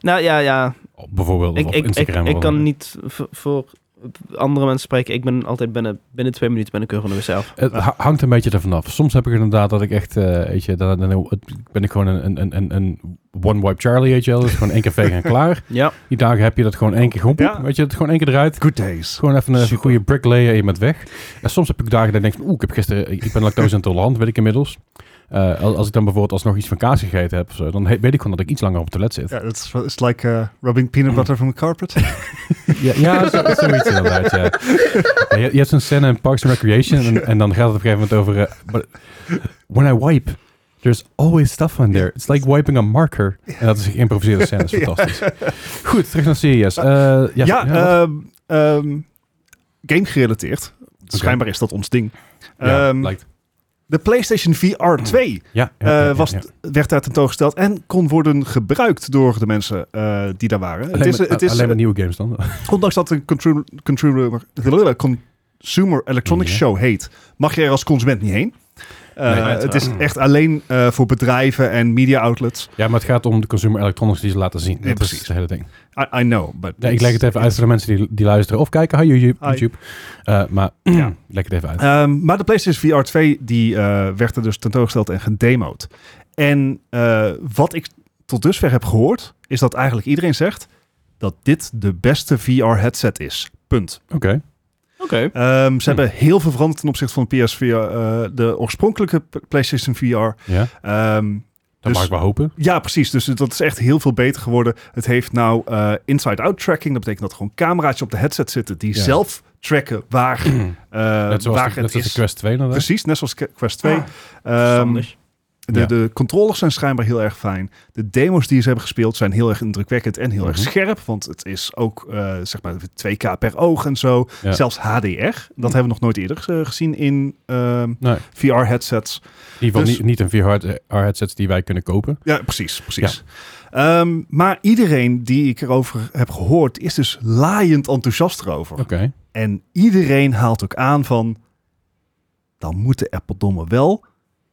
B: Nou ja, ja.
A: Op- Bijvoorbeeld,
B: Ik,
A: of op
B: ik, ik,
A: Instagram.
B: ik
A: of
B: kan
A: wat.
B: niet v- voor andere mensen spreken. Ik ben altijd binnen, binnen twee minuten ben ik er van mezelf.
A: Het ha- hangt een beetje ervan af. Soms heb ik inderdaad dat ik echt, eh, weet je, dan, dan- dan ben ik gewoon een, een, een, een one wipe Charlie, weet je wel. Dus gewoon één keer vegen en klaar.
B: Ja.
A: Die dagen heb je dat gewoon één keer gewoon, poep,
C: Ja.
A: weet je, het gewoon één keer eruit.
C: Good days.
A: Gewoon even een even
C: Super.
A: goede bricklayer en je bent weg. En soms heb ik dagen dat ik denk van, oeh, ik heb gisteren, ik ik ben lactose intolerant, weet ik inmiddels. Eh, als als ik dan bijvoorbeeld alsnog iets van kaas gegeten heb, of zo, dan he- weet ik gewoon dat ik iets langer op het toilet zit.
C: Ja, dat is it's like eh, rubbing peanut butter from a carpet.
A: Ja, ja zo, zoiets inderdaad, ja. Ja, je, je hebt zo'n scène in Parks and Recreation en, en dan gaat het op een gegeven moment over... eh, but when I wipe, there's always stuff on there. It's like wiping a marker. En dat is een geïmproviseerde scène, dat is fantastisch. Goed, terug naar CES. Eh, ja,
C: ja,
A: ja, wat?
C: ehm, ehm, game gerelateerd. Schijnbaar is dat ons ding.
A: Ja,
C: Ehm,
A: blijkt.
C: de PlayStation VR 2
A: Ja, ja,
C: eh,
A: ja, ja,
C: was,
A: ja.
C: werd daar tentoongesteld en kon worden gebruikt door de mensen eh, die daar waren.
A: Alleen,
C: het is,
A: met,
C: het is,
A: alleen met nieuwe games dan.
C: Ondanks dat het een control- controller, Consumer Electronics
A: Ja.
C: Show heet, mag je er als consument niet heen. Uh,
A: Nee,
C: het
A: uiteraard. Mm.
C: is echt alleen eh, voor bedrijven en media outlets.
A: Ja, maar het gaat om de consumer electronics die ze laten zien.
C: Ja,
A: dat is
C: precies.
A: het hele ding.
C: I, I know, but
A: Ja, ik leg het even uit voor de mensen die, die luisteren of kijken. Hi YouTube.
C: Hi.
A: YouTube. Eh, maar
C: Ja.
A: leg het even uit.
C: Ehm, maar de PlayStation VR 2 die, eh, werd er dus tentoongesteld en gedemoed. En eh, wat ik tot dusver heb gehoord, is dat eigenlijk iedereen zegt dat dit de beste VR-headset is. Punt.
A: Oké.
B: Oké.
C: Ehm, ze
A: Hm.
C: hebben heel veel veranderd ten opzichte van de PSVR, eh, de oorspronkelijke P- PlayStation VR.
A: Ja,
C: Ehm,
A: dat
C: Dus-
A: mag ik wel hopen.
C: ja, precies. Dus dat is echt heel veel beter geworden. Het heeft nou eh, inside-out tracking. Dat betekent dat er gewoon camera's op de headset zitten die
A: Ja.
C: zelf tracken waar, eh,
A: net zoals
C: waar
A: de, net
C: het
A: zoals de
C: is.
A: Quest 2 inderdaad.
C: Precies, net zoals Ke- Quest 2. Ehm,
B: Verstandig.
C: de,
A: Ja.
C: de controllers zijn schijnbaar heel erg fijn. De demo's die ze hebben gespeeld zijn heel erg indrukwekkend en heel erg
A: Mhm.
C: scherp. Want het is ook eh, zeg maar 2K per oog en zo.
A: Ja. Mhm.
C: Zelfs HDR. Dat hebben we nog nooit eerder eh, gezien in ehm,
A: Nee.
C: VR-headsets.
A: In ieder geval
C: Dus-
A: niet, niet een VR-headsets die wij kunnen kopen.
C: Ja, precies, precies. Ehm, maar iedereen die ik erover heb gehoord, is dus laaiend enthousiast erover.
A: Oké.
C: En iedereen haalt ook aan van, dan moeten er verdomme wel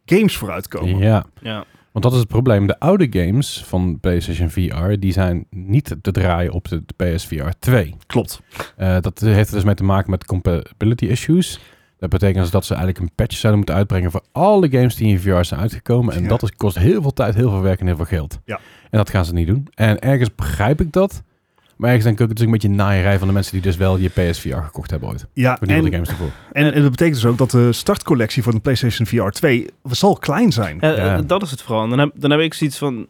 C: games vooruitkomen.
A: Ja.
B: Ja.
A: Want dat is het probleem. De oude games van PlayStation VR, die zijn niet te draaien op de, de PSVR 2.
C: Klopt.
A: Eh, dat heeft er dus mee te maken met compatibility issues. Dat betekent dus dat ze eigenlijk een patch zouden moeten uitbrengen voor alle games die in VR zijn uitgekomen. En
C: Ja.
A: dat is, kost heel veel tijd, heel veel werk en heel veel geld.
C: Ja.
A: En dat gaan ze niet doen. En ergens begrijp ik dat. Maar ergens denk ik ook, het is een beetje een naaierij van de mensen die dus wel je PSVR gekocht hebben ooit.
C: Ja,
A: Voor nieuwe
C: en,
A: games ervoor.
C: en, en dat betekent dus ook dat de startcollectie voor de PlayStation VR 2 zal klein zijn.
B: Ja,
A: Ja.
B: eh, Dat is het vooral. En Dan heb, dan heb ik zoiets van...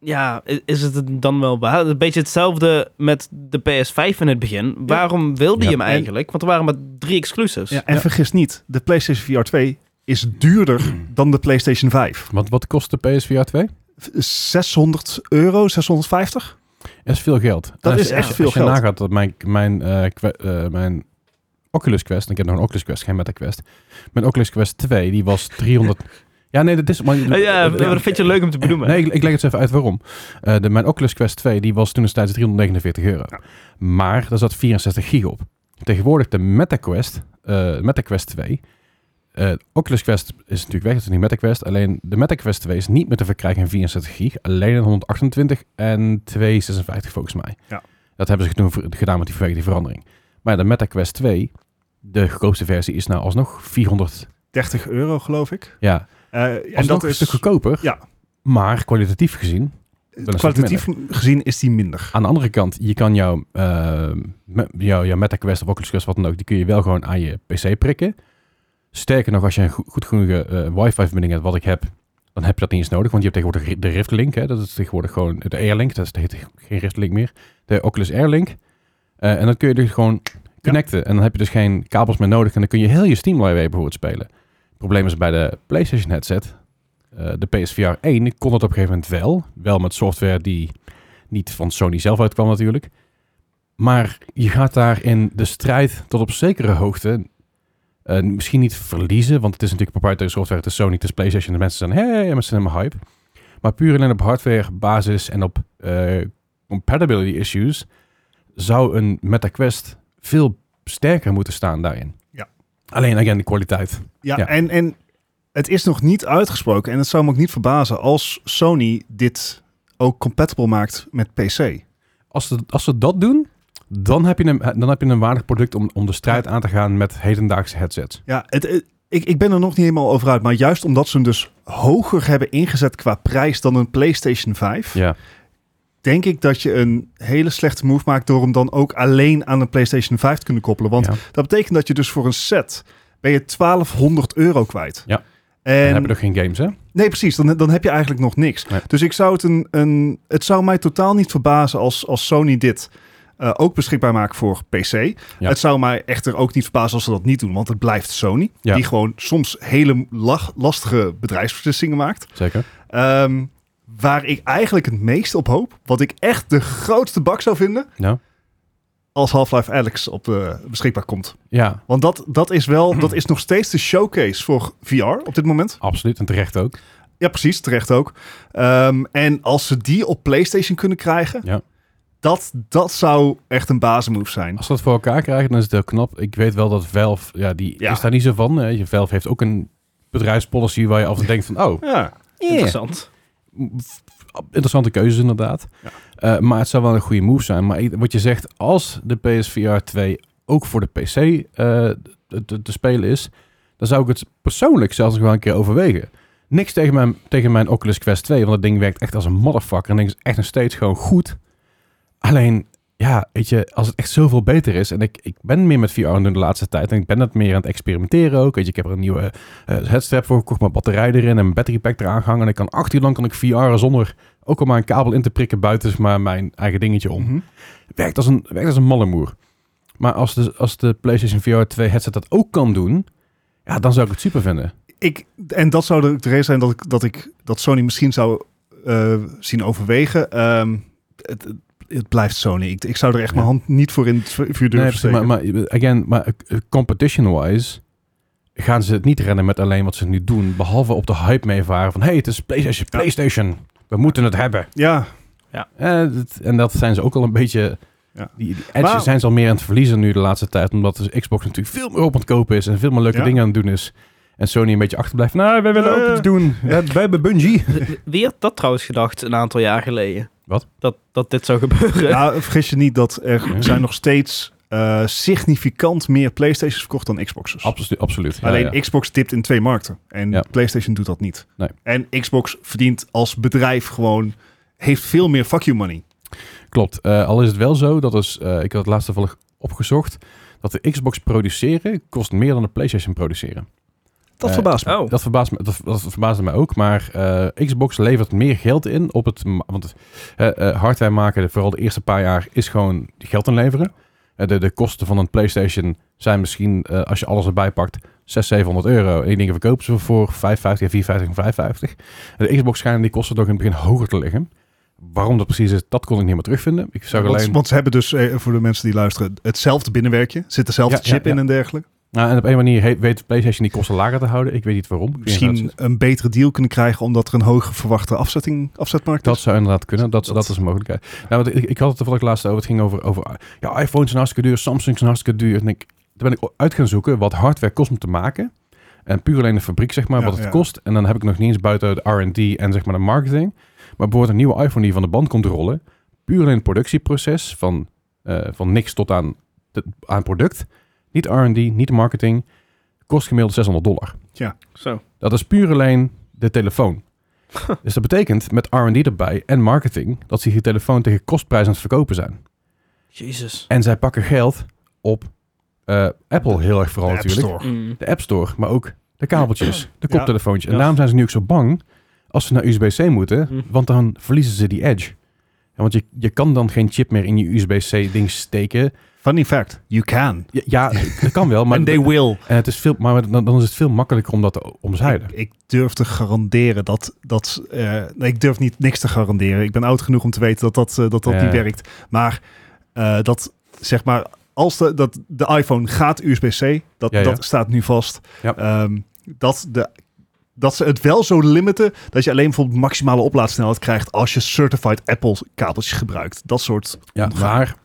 B: Ja, i- is het het dan wel waar? Een beetje hetzelfde met de PS5 in het begin. Waarom wilde
A: Ja.
B: je hem
C: En-
B: eigenlijk? Want er waren maar drie exclusives.
C: Ja, en vergis niet, de PlayStation VR 2 is duurder dan de PlayStation 5.
A: Want wat kost de PSVR 2?
C: 600 euro, 650.
A: Dat is veel geld.
C: Dat
A: En
C: is echt veel
A: als je
C: geld.
A: nagaat dat mijn, mijn, eh, que- eh, mijn Oculus Quest, en ik heb nog een Oculus Quest, geen Meta Quest. Mijn Oculus Quest 2, die was 300... ja, nee, dat is... Maar,
B: ja, dat vind je leuk om te benoemen.
A: Nee, ik, ik leg het eens even uit waarom. Eh, de, mijn Oculus Quest 2 die was toen destijds 349 euro. Maar daar zat 64 gig op. Tegenwoordig de MetaQuest, eh MetaQuest 2. eh, Oculus Quest is natuurlijk weg, dat is niet MetaQuest. Alleen de MetaQuest 2 is niet meer te verkrijgen in 64 gig. Alleen in 128 en 256 volgens mij.
C: Ja.
A: Dat hebben ze toen voor- gedaan met die, vanwege die verandering. Maar ja, de MetaQuest 2, de goedkoopste versie, is nou alsnog 400.
C: 30 euro, geloof ik.
A: Ja,
C: Eh,
A: en dat een stuk goedkoper.
C: Ja.
A: Maar kwalitatief gezien wel een stuk
C: kwalitatief gezien is die minder.
A: Aan de andere kant, je kan jouw, eh, me- jouw, jouw MetaQuest of Oculus Quest, wat dan ook, die kun je wel gewoon aan je PC prikken. Sterker nog, als je een go- goed genoeg eh, wifi-verbinding hebt, wat ik heb, dan heb je dat niet eens nodig. Want je hebt tegenwoordig ri- de Rift Link, hè, dat is tegenwoordig gewoon de Airlink, dat is- dat heet geen Rift Link meer. De Oculus Airlink. Eh en dan kun je dus gewoon connecten. En dan heb je dus geen kabels meer nodig en dan kun je heel je Steam Library bijvoorbeeld spelen. Het probleem is bij de PlayStation headset, eh, de PSVR 1, kon dat op een gegeven moment wel. Wel met software die niet van Sony zelf uitkwam natuurlijk. Maar je gaat daar in de strijd tot op zekere hoogte eh, misschien niet verliezen. Want het is natuurlijk proprietary software. Het is Sony, het is PlayStation. De mensen zijn, hey, en mensen zijn helemaal hype. Maar puur alleen op hardware basis en op eh, compatibility issues... zou een MetaQuest veel sterker moeten staan daarin.
C: Ja.
A: Alleen, again, de kwaliteit.
C: Ja,
A: Ja.
C: En, en het is nog niet uitgesproken. En het zou me ook niet verbazen als Sony dit ook compatible maakt met PC.
A: Als ze, als ze dat doen, dan heb je een, dan heb je een waardig product... om, om de strijd aan te gaan met hedendaagse headsets.
C: Ja, het, het- ik, ik ben er nog niet helemaal over uit. Maar juist omdat ze hem dus hoger hebben ingezet qua prijs dan een PlayStation 5...
A: Ja.
C: denk ik dat je een hele slechte move maakt... door hem dan ook alleen aan een PlayStation 5 te kunnen koppelen. Want
A: ja.
C: dat betekent dat je dus voor een set... ben je 1200 euro kwijt.
A: Ja.
C: En,
A: En hebben nog geen games, hè?
C: Nee, precies. Dan, dan heb je eigenlijk nog niks.
A: Nee.
C: Dus ik zou het, een, een, het zou mij totaal niet verbazen als, als Sony dit eh, ook beschikbaar maakt voor PC. Het zou mij echter ook niet verbazen als ze dat niet doen, want het blijft Sony.
A: Ja.
C: Die gewoon soms hele lach- lastige bedrijfsbeslissingen maakt.
A: Zeker.
C: Ehm, waar ik eigenlijk het meest op hoop, wat ik echt de grootste bak zou vinden,
A: Nou,
C: als Half-Life Alex op, eh, beschikbaar komt.
A: ja,
C: Want dat, dat is wel, dat is nog steeds de showcase voor VR op dit moment.
A: absoluut. En terecht ook.
C: Ja, precies, terecht ook. Ehm, en als ze die op PlayStation kunnen krijgen,
A: Ja.
C: dat, dat zou echt een basismove zijn.
A: Als ze dat voor elkaar krijgen, dan is het heel knap. Ik weet wel dat Valve, ja, die
C: Ja.
A: is daar niet zo van. Hè. Je Valve heeft ook een bedrijfspolicy waar je af en toe denkt van, oh,
C: Ja,
B: Interessant.
A: interessante keuzes inderdaad.
C: Ja.
A: Eh, maar het zou wel een goede move zijn. Maar ik- wat je zegt, als de PSVR 2 ook voor de PC eh, te- te, te spelen is, dan zou ik het persoonlijk zelfs nog wel een keer overwegen. Niks tegen mijn, tegen mijn Oculus Quest 2, want dat ding werkt echt als een motherfucker. En ding is echt nog steeds gewoon goed. Alleen, ja, weet je, als het echt zoveel beter is. En ik, ik ben meer met VR aan het doen de laatste tijd. En ik ben dat meer aan het experimenteren ook. Weet je, ik heb er een nieuwe eh, headstrap voor gekocht. Mijn batterij erin en een battery pack eraan gehangen. En ik kan acht uur lang kan ik VR zonder ook al maar een kabel in te prikken buiten zeg maar mijn eigen dingetje om.
C: Mhm.
A: Werkt als een, werkt als een mallemoer. Maar als de, als de PlayStation VR 2 headset dat ook kan doen, ja, dan zou ik het super vinden.
C: Ik, en dat zou de de reden zijn dat, ik, dat, ik, dat Sony misschien zou eh, zien overwegen. Ehm, het, het- het blijft Sony. Ik, ik zou er echt
A: Ja.
C: mijn hand niet voor in het vu- vuur
A: Nee,
C: durven
A: precies,
C: steken.
A: maar, maar again, maar eh, competition-wise gaan ze het niet rennen met alleen wat ze nu doen, behalve op de hype meevaren van hey, het is PlayStation,
C: Ja.
A: PlayStation, we moeten het hebben.
C: Ja,
A: Eh, dat- en dat zijn ze ook al een beetje.
C: Ja.
A: Die, die edge
C: Maar-
A: zijn ze al meer aan het verliezen nu de laatste tijd, omdat dus Xbox natuurlijk veel meer op aan het kopen is en veel meer leuke
C: Ja.
A: dingen aan het doen is. En Sony een beetje achterblijft. Nou, wij willen ook
C: Eh.
A: iets doen. Wij, wij hebben Bungie.
B: Wie had dat trouwens gedacht een aantal jaar geleden?
A: Wat?
B: Dat, dat dit zou gebeuren.
C: nou, vergis je niet dat er
A: Ja.
C: zijn nog steeds eh, significant meer PlayStations verkocht dan Xboxes.
A: Absoluut, absoluut. Ja,
C: Alleen
A: ja.
C: Xbox tipt in twee markten. En
A: Ja.
C: PlayStation doet dat niet.
A: Nee.
C: En Xbox verdient als bedrijf gewoon... heeft veel meer fuck you money.
A: Klopt. Eh, al is het wel zo, dat is, eh, ik had het laatst toevallig opgezocht, dat de Xbox produceren kost meer dan de PlayStation produceren.
C: Dat
A: Eh,
C: verbaast me.
B: Oh,
A: Dat, verbaast me, dat, dat verbaasde mij ook, maar eh, Xbox levert meer geld in op het... ma- Want eh, eh, hardware maken, vooral de eerste paar jaar, is gewoon geld inleveren. Eh, de, de kosten van een PlayStation zijn misschien, eh, als je alles erbij pakt, 600, 700 euro. En die dingen verkopen ze voor 550, 450 en 550. En de Xbox schijnen die kosten toch in het begin hoger te liggen. Waarom dat precies is, dat kon ik niet meer terugvinden. Ik zou
C: Want,
A: alleen...
C: want ze hebben dus, eh, voor de mensen die luisteren, hetzelfde binnenwerkje. Zit dezelfde
A: Ja, ja,
C: chip in
A: ja.
C: en dergelijke.
A: Nou, en op een manier heet, weet PlayStation die kosten lager te houden. Ik weet niet waarom. Ik weet niet waar het
C: Misschien
A: zit.
C: een betere deal kunnen krijgen omdat er een hoger verwachte afzetting, afzetmarkt
A: Dat
C: is.
A: zou inderdaad kunnen. Dat, dat,
C: Dat-
A: is een mogelijkheid. Nou, want ik, ik had het toevallig laatst over. Het ging over, over ja, iPhones zijn hartstikke duur. Samsung zijn hartstikke duur. En ik, toen ben ik uit gaan zoeken wat hardware kost om te maken. En puur alleen de fabriek, zeg maar,
C: Ja,
A: wat het
C: ja.
A: kost. En dan heb ik nog niet eens buiten de R&D en zeg maar de marketing. Maar bijvoorbeeld een nieuwe iPhone die van de band komt rollen. Puur alleen het productieproces van, eh, van niks tot aan, de, aan product. Niet R&D, niet marketing. Kost gemiddeld 600 dollar.
B: Zo.
A: Dat is puur alleen de telefoon. dus dat betekent met R&D erbij en marketing dat ze die telefoon tegen kostprijs aan het verkopen zijn.
B: Jezus.
A: En zij pakken geld op eh, Apple heel erg vooral
C: De App
A: natuurlijk.
C: Store.
B: Mm.
A: De App Store, maar ook de kabeltjes, de
C: Ja.
A: koptelefoontjes. En
C: Ja.
A: daarom zijn ze nu ook zo bang als ze naar USB-C moeten,
B: Hm.
A: want dan verliezen ze die edge. Ja, want je, je kan dan geen chip meer in je USB-C-ding steken.
C: Funny fact, you can.
A: Ja, ja, dat kan wel, maar,
C: And they will.
A: en het is veel, maar dan, dan is het veel makkelijker om dat te omzeilen.
C: Ik, ik durf te garanderen dat dat. eh, nee, ik durf niet niks te garanderen. Ik ben oud genoeg om te weten dat dat, eh, dat, dat
A: Ja.
C: niet werkt. Maar eh, dat zeg maar. Als de, dat, de iPhone gaat USB-C, dat,
A: Ja, ja.
C: dat staat nu vast.
A: Ja.
C: Ehm, dat, de, dat ze het wel zo limiten dat je alleen bijvoorbeeld maximale oplaadsnelheid krijgt als je certified Apple kabeltjes gebruikt. Dat soort.
A: Ja,
C: omgaan.
A: maar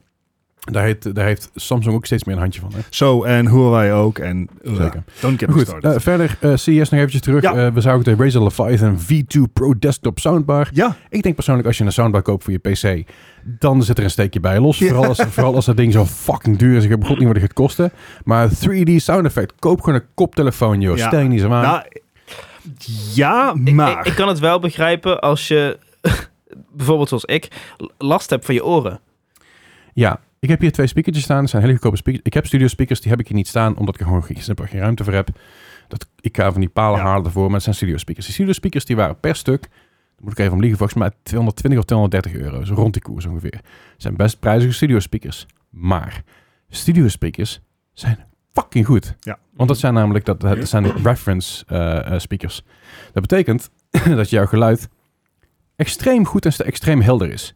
A: daar heeft, daar heeft Samsung ook steeds meer een handje van. Hè?
C: Zo, en Huawei ook. En uh,
A: Zeker.
C: don't get me
A: Goed,
C: started.
A: eh, verder eh CES nog eventjes terug.
C: Ja.
A: Eh, we zagen de Razer Leviathan V2 Pro Desktop Soundbar.
C: ja,
A: Ik denk persoonlijk, als je een soundbar koopt voor je PC, dan zit er een steekje bij los.
C: Ja.
A: Vooral, als, vooral als dat ding zo fucking duur is. Ik heb goed niet wat het gaat kosten. Maar 3D sound effect, koop gewoon een koptelefoon, joh.
C: Ja.
A: Stel je niet zo aan.
C: nou, ja,
B: Ik-
C: maar.
B: Ik, ik kan het wel begrijpen als je, bijvoorbeeld zoals ik, l- last hebt van je oren.
A: Ja, ik heb hier twee speakertjes staan. Het zijn hele goedkope speakers. Ik heb studio speakers, die heb ik hier niet staan, omdat ik er gewoon geen, simpel geen ruimte voor heb. Dat, ik ga van die palen
C: Ja.
A: halen ervoor, maar het zijn studio speakers. Die studio speakers die waren per stuk, daar moet ik even om liegen, volgens mij 220 of 230 euro. Zo rond die koers ongeveer. Het zijn best prijzige studio speakers. Maar studio speakers zijn fucking goed.
C: Ja.
A: Want dat zijn namelijk dat, dat zijn reference eh, eh, speakers. Dat betekent dat jouw geluid extreem goed en st- extreem helder is.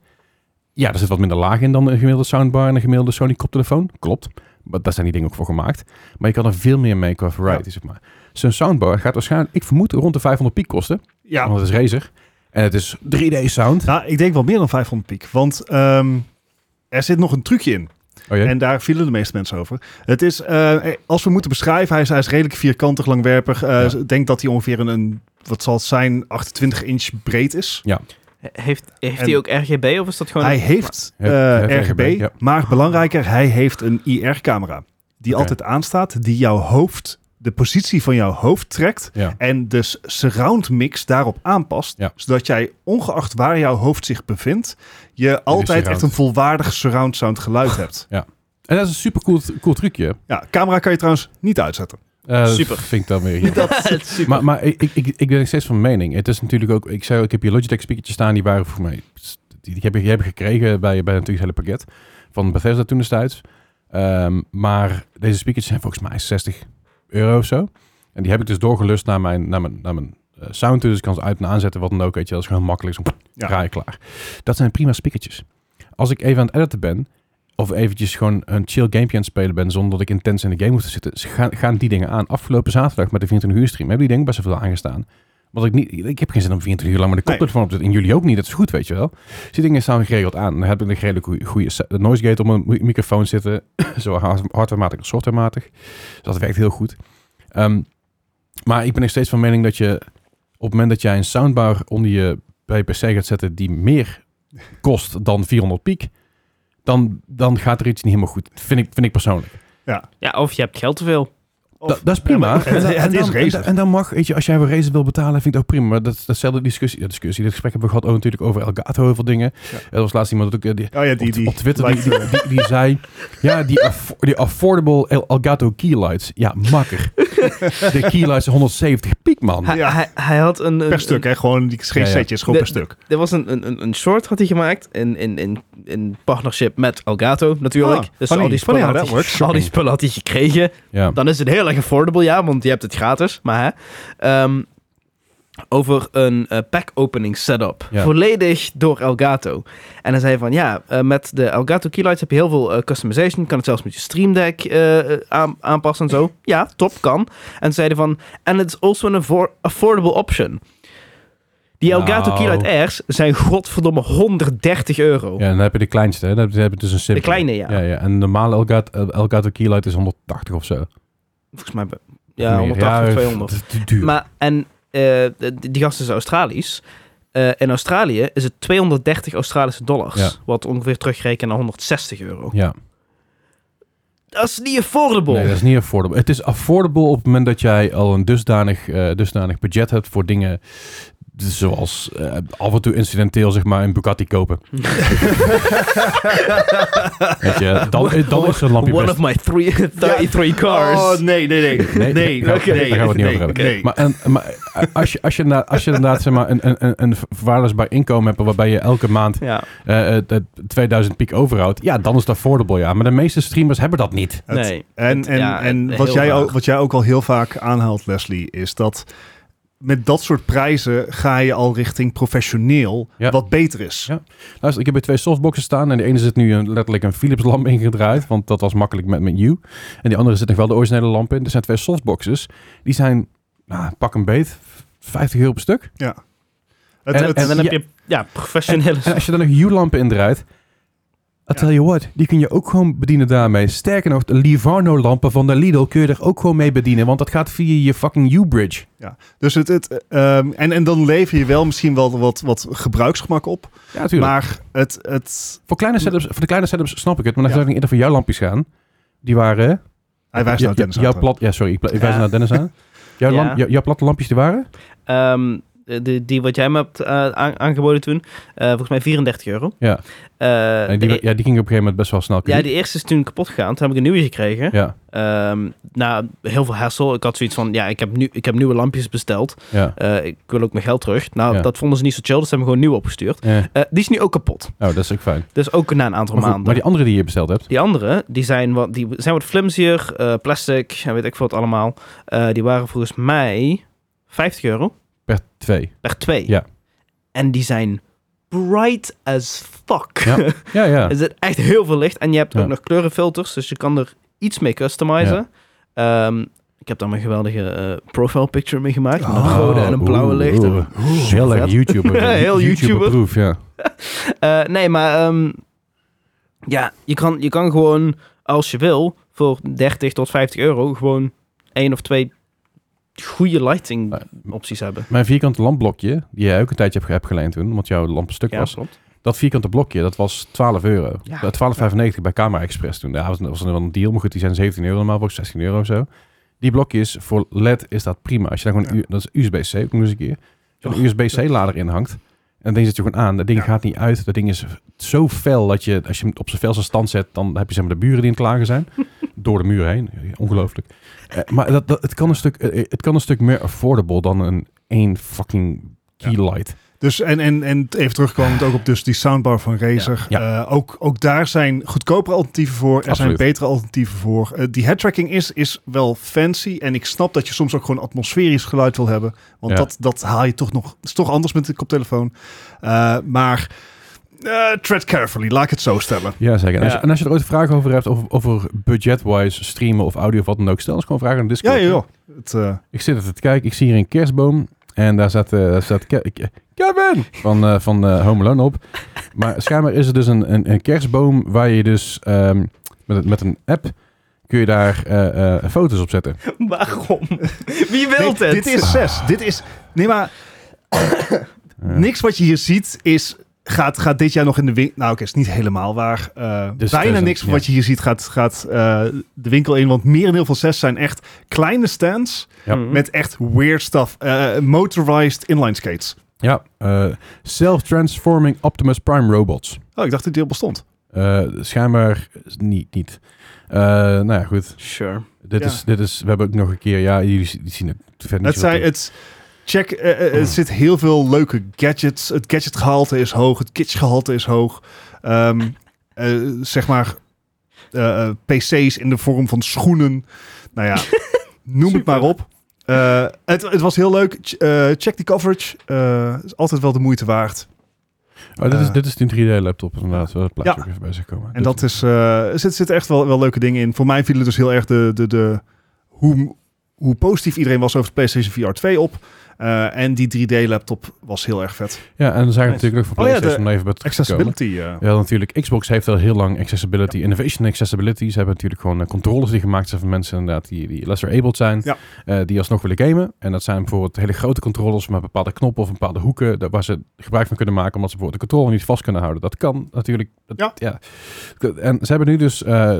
A: Ja, er zit wat minder laag in dan een gemiddelde soundbar en een gemiddelde Sony koptelefoon. Klopt. Maar daar zijn die dingen ook voor gemaakt. Maar je kan er veel meer mee qua variety, zeg maar. Zo'n soundbar gaat waarschijnlijk, ik vermoed, rond de 500 piek kosten.
C: ja,
A: Want het is Razer. En het is 3D sound.
C: Nou, ik denk wel meer dan 500 piek. Want ehm, er zit nog een trucje in.
A: Oh jee.
C: En daar vielen de meeste mensen over. Het is, eh, als we moeten beschrijven, hij is, hij is redelijk vierkantig, langwerpig. Eh,
A: Ja.
C: Ik denk dat hij ongeveer een, een, wat zal het zijn, 28 inch breed is.
B: He- Heeft, heeft
C: En-
B: hij ook RGB of is dat gewoon...
C: Hij
B: een-
C: heeft
A: Ja, hij
C: eh,
A: heeft
C: RGB,
A: RGB, ja.
C: maar belangrijker, hij heeft een IR-camera. Die
A: Oké.
C: altijd aanstaat, die jouw hoofd, de positie van jouw hoofd trekt.
A: ja.
C: En dus surround mix daarop aanpast.
A: Ja.
C: Zodat jij, ongeacht waar jouw hoofd zich bevindt, je altijd
A: surround.
C: echt een volwaardig surround sound geluid hebt.
A: En dat is een super cool, cool trucje.
C: Ja, camera kan je trouwens niet uitzetten.
A: Eh,
B: Super.
A: dat Vind ik dan weer. ja.
B: Dat is super.
A: Maar, maar ik, ik, ik- ik ben nog steeds van mening. Het is natuurlijk ook. Ik zei, ook, ik heb hier Logitech speakertjes staan. Die waren voor mij. Die, die heb ik die heb ik gekregen bij, bij natuurlijk het hele pakket van Bethesda toen destijds. Ehm, maar deze speakertjes zijn volgens mij 60 euro of zo. En die heb ik dus doorgelust naar mijn, naar mijn, naar mijn eh, sound. toe. Dus ik kan ze uit en aanzetten, wat dan ook. Weet je, dat is gewoon makkelijk. Zo
C: Ja.
A: draai je klaar. Dat zijn prima speakertjes. Als ik even aan het editen ben, of eventjes gewoon een chill gamepje aan het spelen ben, zonder dat ik intens in de game hoef te zitten, ze gaan, gaan die dingen aan. Afgelopen zaterdag met de 24 uur stream hebben die dingen best wel veel aangestaan. Want ik, niet, ik heb geen zin om 24 uur lang met de
C: Nee.
A: koptelefoon op te zitten. En jullie ook niet, dat is goed, weet je wel. Dus die dingen staan geregeld aan. Dan heb ik een redelijk goede noise gate op mijn mi- microfoon zitten. Zo hard- hardwarematig als softwarematig. Dus dat werkt heel goed. Ehm, maar ik ben nog steeds van mening dat je op het moment dat jij een soundbar onder je bij je PC gaat zetten die meer kost dan 400 piek, dan, dan gaat er iets niet helemaal goed. Vind ik, vind ik persoonlijk.
B: Ja, of je hebt geld te veel.
A: Da- dat is prima.
C: Ja, maar het-
A: En dan-
C: het
A: en
C: is
A: dan- en dan-
C: Razer.
A: En dan mag, weet je, als jij voor Razer wil betalen, vind ik dat ook prima. Maar dat is datzelfde discussie. Ja, discussie. Dit gesprek hebben we gehad ook natuurlijk over Elgato heel veel dingen.
C: Ja.
A: Er was laatst iemand dat ook, eh, die,
C: Oh ja, die,
A: op,
C: die
A: op Twitter die,
C: lijkt,
A: die,
C: eh,
A: die- die zei... Ja, die, affo- die affordable El- Elgato keylights. Ja, makker. De keylights zijn 170 piek, man.
B: Hij,
C: Ja.
B: hij, hij had een... een
C: per stuk, hè? Gewoon die, geen
A: Ja, ja.
C: setjes, gewoon
B: De-
C: per stuk.
B: Er was een, een, een- een short had hij gemaakt in, in, in, in partnership met Elgato natuurlijk.
C: Ah,
B: dus
C: funny.
B: al die, spullen
C: Funny how
B: had
C: that
B: hij,
C: works.
B: al die spullen had hij gekregen.
A: Ja.
B: Dan is het heel heel erg affordable, ja, want je hebt het gratis. Maar hè, ehm, over een eh, pack opening setup.
A: Ja.
B: Volledig door Elgato. En hij zei van, ja, eh, met de Elgato Keylights heb je heel veel eh, customization. Kan het zelfs met je Stream Deck eh, eh, aan- aanpassen en zo. Ja, top, kan. En zeiden van, and it's also an affor- affordable option. Die Elgato
A: Nou.
B: Keylight Airs zijn godverdomme 130 euro.
A: Ja, en dan heb je de kleinste. Hè? Dan heb je- dan heb je dus een simpele.
B: kleine, ja.
A: ja, En de normale Elgato, Elgato Keylight is 180 of zo.
B: Volgens mij, be-
A: Of
B: ja,
A: meer.
B: 180 of 200.
A: het is te duur.
B: Maar, en eh, d- die gast is Australisch. Eh, in Australië is het 230 Australische dollars.
A: Ja.
B: Wat ongeveer terugrekenen naar 160 euro.
A: Ja,
B: Dat is niet affordable.
A: nee, dat is niet affordable. Het is affordable op het moment dat jij al een dusdanig, eh, dusdanig budget hebt voor dingen zoals eh, af en toe incidenteel zeg maar een Bugatti kopen. Weet je, dan, dan is een lampje
B: One
A: best.
B: of my three, 33 cars.
C: Oh, nee, nee, nee. Nee, nee,
A: daar gaan we-
C: nee,
A: daar gaan we het niet over hebben.
C: nee.
A: Maar, en, maar als je, als je, inderdaad- als je inderdaad zeg maar, een, een- een, een verwaarloosbaar inkomen hebt waarbij je elke maand
B: Ja.
A: eh, eh, eh, 2000 piek overhoudt, ja, dan is dat affordable, ja. Maar de meeste streamers hebben dat niet.
C: Het-
B: Nee.
C: En,
B: Het-
C: en,
B: ja,
C: en
B: het-
C: wat,
B: heel
C: jij
B: vaag.
C: ook, wat jij ook al heel vaak aanhaalt, Leslie, is dat met dat soort prijzen ga je al richting professioneel
A: Ja.
C: wat beter is.
A: Ja. Luister, ik heb hier twee softboxen staan en de ene zit nu een, letterlijk een Philips lamp ingedraaid, want dat was makkelijk met mijn U. En die andere zit nog wel de originele lamp in. Er zijn twee softboxes, die zijn, nou, pak een beet, 50 euro per stuk.
C: Het,
A: En-
C: het-
B: En dan
A: Ja.
B: heb je ja, professionele...
A: En als je dan nog U-lampen indraait, I tell you what, die kun je ook gewoon bedienen daarmee. Sterker nog, de Livarno-lampen van de Lidl kun je er ook gewoon mee bedienen, want dat gaat via je fucking U-bridge.
C: dus het, het, ehm, en, en dan lever je wel misschien wel wat, wat gebruiksgemak op.
A: Ja, natuurlijk.
C: Maar het, het,
A: Voor, kleine setups, voor de kleine setups snap ik het, maar dan
C: Hm. Ja.
A: zou ik niet eerder voor jouw lampjes gaan. Die waren...
C: hij wijst
A: Ja,
C: nou Dennis
A: ja,
C: aan
A: jouw plat,
C: trouwens.
A: Ja, sorry, ik, pla- ik
B: Ja.
A: wijs naar Dennis aan. Jouw,
B: Ja.
A: lamp, jou- jouw platte lampjes die waren?
B: Ehm, die, die wat jij me hebt eh, aan- aangeboden toen. eh, volgens mij 34 euro.
A: Ja.
B: Eh,
A: Nee, die,
B: de- e-
A: ja, die gingen op een gegeven moment best wel snel.
B: ja,
A: kapot.
B: die eerste is toen kapot gegaan. Toen heb ik een nieuwe gekregen.
A: ja,
B: Ehm, nou, heel veel hassle. Ik had zoiets van, ja, ik heb, nu, ik heb nieuwe lampjes besteld.
A: ja.
B: Eh, ik wil ook mijn geld terug. Nou,
A: Ja.
B: dat vonden ze niet zo chill, dus ze hebben gewoon nieuw opgestuurd.
A: Eh,
B: Eh, die is nu ook kapot.
A: Oh, dat is ook fijn.
B: Dus ook na een aantal
A: Maar, goed,
B: maanden.
A: maar
B: die...
A: die andere die je besteld hebt?
B: andere, die zijn wat, die zijn wat flimsier, eh, plastic en weet ik veel wat allemaal. Eh, die waren volgens mij 50 euro
A: Per twee.
B: per twee.
A: Ja.
B: En die zijn bright as fuck.
A: Ja. Ja, ja.
B: Er zit echt heel veel licht. En je hebt
A: Ja.
B: ook nog kleurenfilters, dus je kan er iets mee customizen. Ehm, ik heb daar mijn geweldige eh, profile picture mee gemaakt. Met een
A: Oh,
B: rode en een blauwe
A: oeh,
B: licht.
A: oeh. Heel erg
B: vet.
A: YouTuber.
B: Heel YouTuber.
A: proof ja.
B: Eh, nee, maar ehm, ja, je kan, je kan gewoon, als je wil, voor 30 tot 50 euro gewoon één of twee goede lighting opties hebben.
A: Mijn vierkante lampblokje, die jij ook een tijdje hebt, hebt geleend toen, omdat jouw lamp stuk
B: Ja,
A: was.
B: klopt.
A: Dat vierkante blokje, dat was 12 euro.
B: Ja.
A: Eh, 12,95 bij Camera Express toen. Daar was, was er wel een deal, maar goed, die zijn 17 euro normaal, ook 16 euro of zo. Die blokjes, voor LED is dat prima. Als je daar gewoon, een U- dat is USB-C, ook nog eens een keer. Zo'n
B: Och.
A: USB-C lader in hangt. En ding zet je gewoon aan. Dat ding
C: Ja.
A: gaat niet uit. Dat ding is zo fel dat je, als je hem op zijn felste stand zet, dan heb je zeg maar de buren die aan het klagen zijn. Door de muur heen. Ongelooflijk. Eh, maar dat, dat, het, kan een stuk, eh, het kan een stuk meer affordable dan een één fucking keylight.
C: Dus en, en, en even terugkomend ook op dus die soundbar van Razer.
A: Ja.
C: Eh, ook, ook daar zijn goedkopere alternatieven voor. Er
A: Absoluut.
C: zijn betere alternatieven voor. Eh, die headtracking is, is wel fancy. En ik snap dat je soms ook gewoon atmosferisch geluid wil hebben. Want
A: Ja.
C: dat, dat haal je toch nog. is toch anders met de koptelefoon. Eh, maar eh, tread carefully, laat ik het zo stellen.
A: Ja, zeker. En, als je,
B: Ja.
A: en als je er ooit vragen over hebt, over, over budget-wise streamen of audio of wat dan ook, stel eens gewoon vragen aan de
C: Ja,
A: Discord.
C: joh. Het, eh,
A: Ik zit even te kijken, ik zie hier een kerstboom en daar staat, eh, daar staat Ke- Ke- Kevin van, eh, van eh, Home Alone op. Maar schijnbaar is er dus een, een, een kerstboom waar je dus ehm, met, een- met een app kun je daar eh, eh, foto's op zetten.
B: Waarom? Wie wil
C: dit,
B: dit?
C: dit is zes. Dit is. Nee, maar
A: Ja.
C: niks wat je hier ziet is. Gaat, gaat dit jaar nog in de winkel? Nou, oké, is niet helemaal waar. Eh,
A: Dus
C: bijna
A: het is
C: niks
A: een-
C: van
A: ja.
C: wat je hier ziet gaat, gaat eh, de winkel in. Want meer in heel veel zes zijn echt kleine stands
A: Ja.
B: Mhm.
C: met echt weird stuff. Eh, motorized inline skates.
A: Ja, eh, self-transforming Optimus Prime robots.
C: Oh, ik dacht dat die al bestond.
A: Eh, schijnbaar niet. niet. Eh, nou ja, goed.
B: Sure.
A: Dit,
C: Ja.
A: is, dit is, we hebben ook nog een keer, ja, jullie z- die zien het verder niet
C: Het,
A: zo
C: zijn,
A: goed. Hmm.
C: het, check, eh, eh, het zit heel veel leuke gadgets. Het gadgetgehalte is hoog. Het kitschgehalte is hoog. Ehm, eh, zeg maar eh, eh, PC's in de vorm van schoenen. Nou ja, Noem het
A: Super.
C: maar op. Eh, het, het was heel leuk. Ch- eh, check die coverage. Eh, is altijd wel de moeite waard.
A: Oh, dit, is,
C: Eh.
A: dit is die 3D-laptop inderdaad. Waar het plaatje ook even bij is gekomen.
C: En dat is, eh, er zit, zitten echt wel, wel leuke dingen in. Voor mij vielen dus heel erg de, de, de, hoe, hoe positief iedereen was over de PlayStation VR 2 op. Eh, en die 3D-laptop was heel erg vet.
A: Ja, en dan zijn we
C: Nice.
A: natuurlijk nog voor
C: Oh ja, de
A: PlayStation om daar even bij terug te komen.
C: Accessibility. eh.
A: Ja, natuurlijk. Xbox heeft al heel lang accessibility, innovation en accessibility. Ze hebben natuurlijk gewoon eh, controllers die gemaakt zijn voor mensen inderdaad die, die lesser abled zijn.
C: Ja.
A: eh, die alsnog willen gamen. En dat zijn bijvoorbeeld hele grote controllers met bepaalde knoppen of bepaalde hoeken daar- waar ze gebruik van kunnen maken omdat ze bijvoorbeeld de controller niet vast kunnen houden. Dat kan natuurlijk. Dat-
C: Ja.
A: En ze hebben nu dus eh,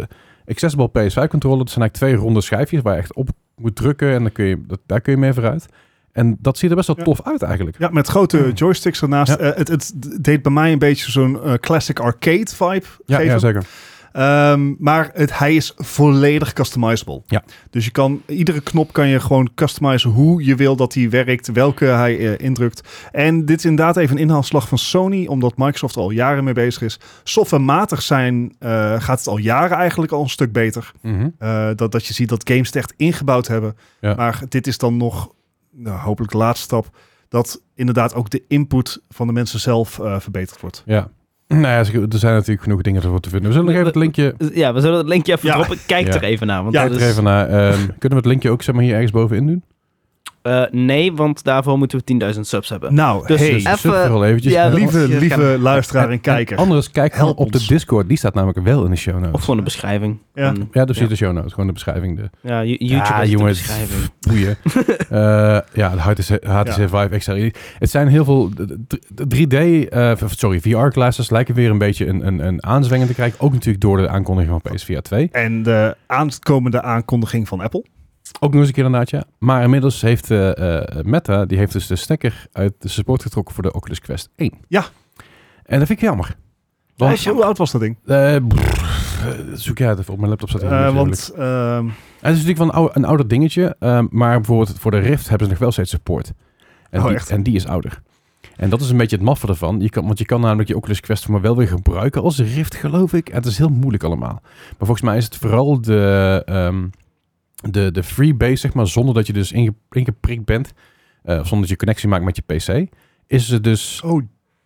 A: accessible PS5 controller. Dat zijn eigenlijk twee ronde schijfjes waar je echt op moet drukken en dan kun je, dat, daar kun je mee vooruit. En dat ziet er best wel
C: Ja.
A: tof uit eigenlijk.
C: Ja, met grote joysticks ernaast.
A: eh. Hmm. Ja.
C: Eh, het, het deed bij mij een beetje zo'n eh, classic arcade vibe
A: Ja,
C: geven.
A: ja zeker.
C: Ehm, maar het, hij is volledig customizable.
A: Ja.
C: Dus je kan, iedere knop kan je gewoon customizen hoe je wil dat hij werkt, welke hij eh, indrukt. En dit is inderdaad even een inhaalslag van Sony, omdat Microsoft er al jaren mee bezig is. Softwarematig zijn eh, gaat het al jaren eigenlijk al een stuk beter.
A: Mhm.
C: Eh, dat, dat je ziet dat games het echt ingebouwd hebben.
A: Ja.
C: Maar dit is dan nog nou, hopelijk de laatste stap. Dat inderdaad ook de input van de mensen zelf eh, verbeterd wordt.
A: Ja. Nou ja, ze- er zijn natuurlijk genoeg dingen ervoor te vinden. We zullen nog even het linkje...
B: Ja, we zullen het linkje even
C: Ja.
B: droppen. Kijk
A: Ja.
B: er even naar. Want
C: Ja,
A: Kijk
B: dat
A: er
B: is-
A: even naar. Ehm, kunnen we het linkje ook zeg maar, hier ergens bovenin doen?
B: Eh, nee, want daarvoor moeten we 10.000 subs hebben.
C: Nou,
B: Dus-
C: hey,
B: dus-
A: Dus zit er al eventjes.
B: ja, dat-
C: lieve,
B: Ja,
C: lieve luisteraar
A: En-
C: en
A: en
C: kijker.
A: Anders kijk gewoon
C: Help
A: op de
C: ons.
A: Discord. Die staat namelijk wel in de show notes.
B: Of gewoon de beschrijving.
C: Ja.
B: Dan-
A: ja, dus
B: Ja.
A: hier de show notes. Gewoon de beschrijving. De...
B: ja Ju- YouTube
A: ja,
B: is de
A: jongens,
B: beschrijving.
A: pff, Boeien. Eh, ja, de HTC, HTC
C: Ja.
A: Vive XR. Het zijn heel veel d- d- 3D, eh, v- sorry, VR-classes lijken weer een beetje een, een, een aanzwengen te krijgen. Ook natuurlijk door de aankondiging van PSVR 2.
C: En de aankomende aankondiging van Apple.
A: Ook nog eens een keer inderdaad, ja. Maar inmiddels heeft eh, eh, Meta, die heeft dus de stekker uit de support getrokken voor de Oculus Quest 1.
C: Ja.
A: En dat vind ik jammer.
C: Hoe
A: Want,
C: hoe oud was dat ding?
A: eh, brrr, eh, zoek jij het even op mijn laptop staat er
C: Eh,
A: niet natuurlijk.
C: want ehm,
A: Het is natuurlijk wel een, oude- een ouder dingetje, eh, maar bijvoorbeeld voor de Rift hebben ze nog wel steeds support. En,
C: Oh,
A: die,
C: echt?
A: en die is ouder. En dat is een beetje het maffe ervan. Je kan, want je kan namelijk je Oculus Quest maar wel weer gebruiken als Rift, geloof ik. En het is heel moeilijk allemaal. Maar volgens mij is het vooral de, ehm, de, de freebase, zeg maar, zonder dat je dus inge, ingeprikt bent, eh, of zonder dat je connectie maakt met je PC, is het dus...
C: oh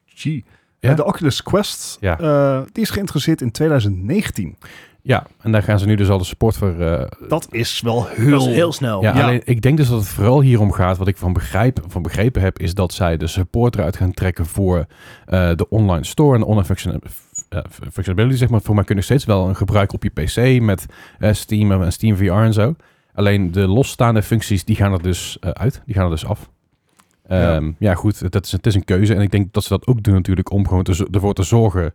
C: gee.
A: Ja?
C: Eh, de Oculus Quest,
A: Ja.
C: eh, die is geïnteresseerd in 2019.
A: Ja, en daar gaan ze nu dus al de support voor eh,
C: Dat is wel
B: Dat
C: heel...
B: is heel snel.
A: Ja,
C: Ja.
A: alleen ik denk dus dat het vooral hier om gaat. Wat ik van, begrijp, van begrepen heb, is dat zij de support eruit gaan trekken voor eh, de online store en de online functiona- f- eh, f- functionality. Zeg maar. Voor mij kun je nog steeds wel een gebruik op je PC met eh, Steam en en Steam VR en zo. Alleen de losstaande functies, die gaan er dus eh, uit. Die gaan er dus af.
C: Ja.
A: Ehm, ja. goed, dat is, het is een keuze. En ik denk dat ze dat ook doen natuurlijk om gewoon te zo- ervoor te zorgen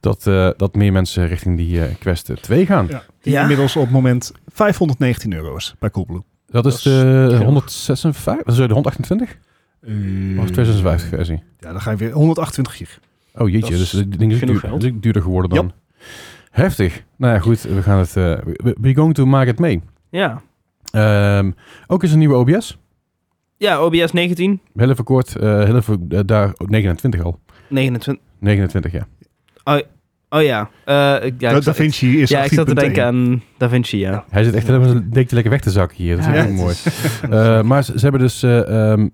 A: dat, eh, dat meer mensen richting die eh, Quest 2 gaan.
C: Die
B: Ja.
C: inmiddels op het moment 519 euro is bij Coolblue.
A: Dat is
B: Dat is
A: de
B: genoeg.
A: 156, sorry, de 128? Of 256 versie.
C: Eh, Ja, dan ga je weer 128 gig.
A: Oh jeetje,
B: Dat
A: dus
B: is
A: het ding is
B: genoeg
A: duur,
B: geld.
A: het is duurder geworden dan. Heftig. Nou ja, goed, we gaan het. eh, we we're going to maak het mee.
B: Ja.
A: Ehm, ook is een nieuwe OBS.
B: Ja, OBS 19.
A: Heel even kort, eh, heel even, eh, daar oh, 29 al.
B: 29.
A: 29, ja.
B: Oh ja. Eh, ik- ja,
C: da,
B: ik
C: da
B: zat- ik-
C: Vinci is
B: ja, ik zat te
C: 18.1.
B: denken aan Da Vinci, ja.
A: Hij zit echt helemaal zijn dikke lekker weg te zakken hier. Dat is
B: Ja,
A: heel
B: het
A: mooi. Eh, maar ze, ze hebben dus eh, ehm,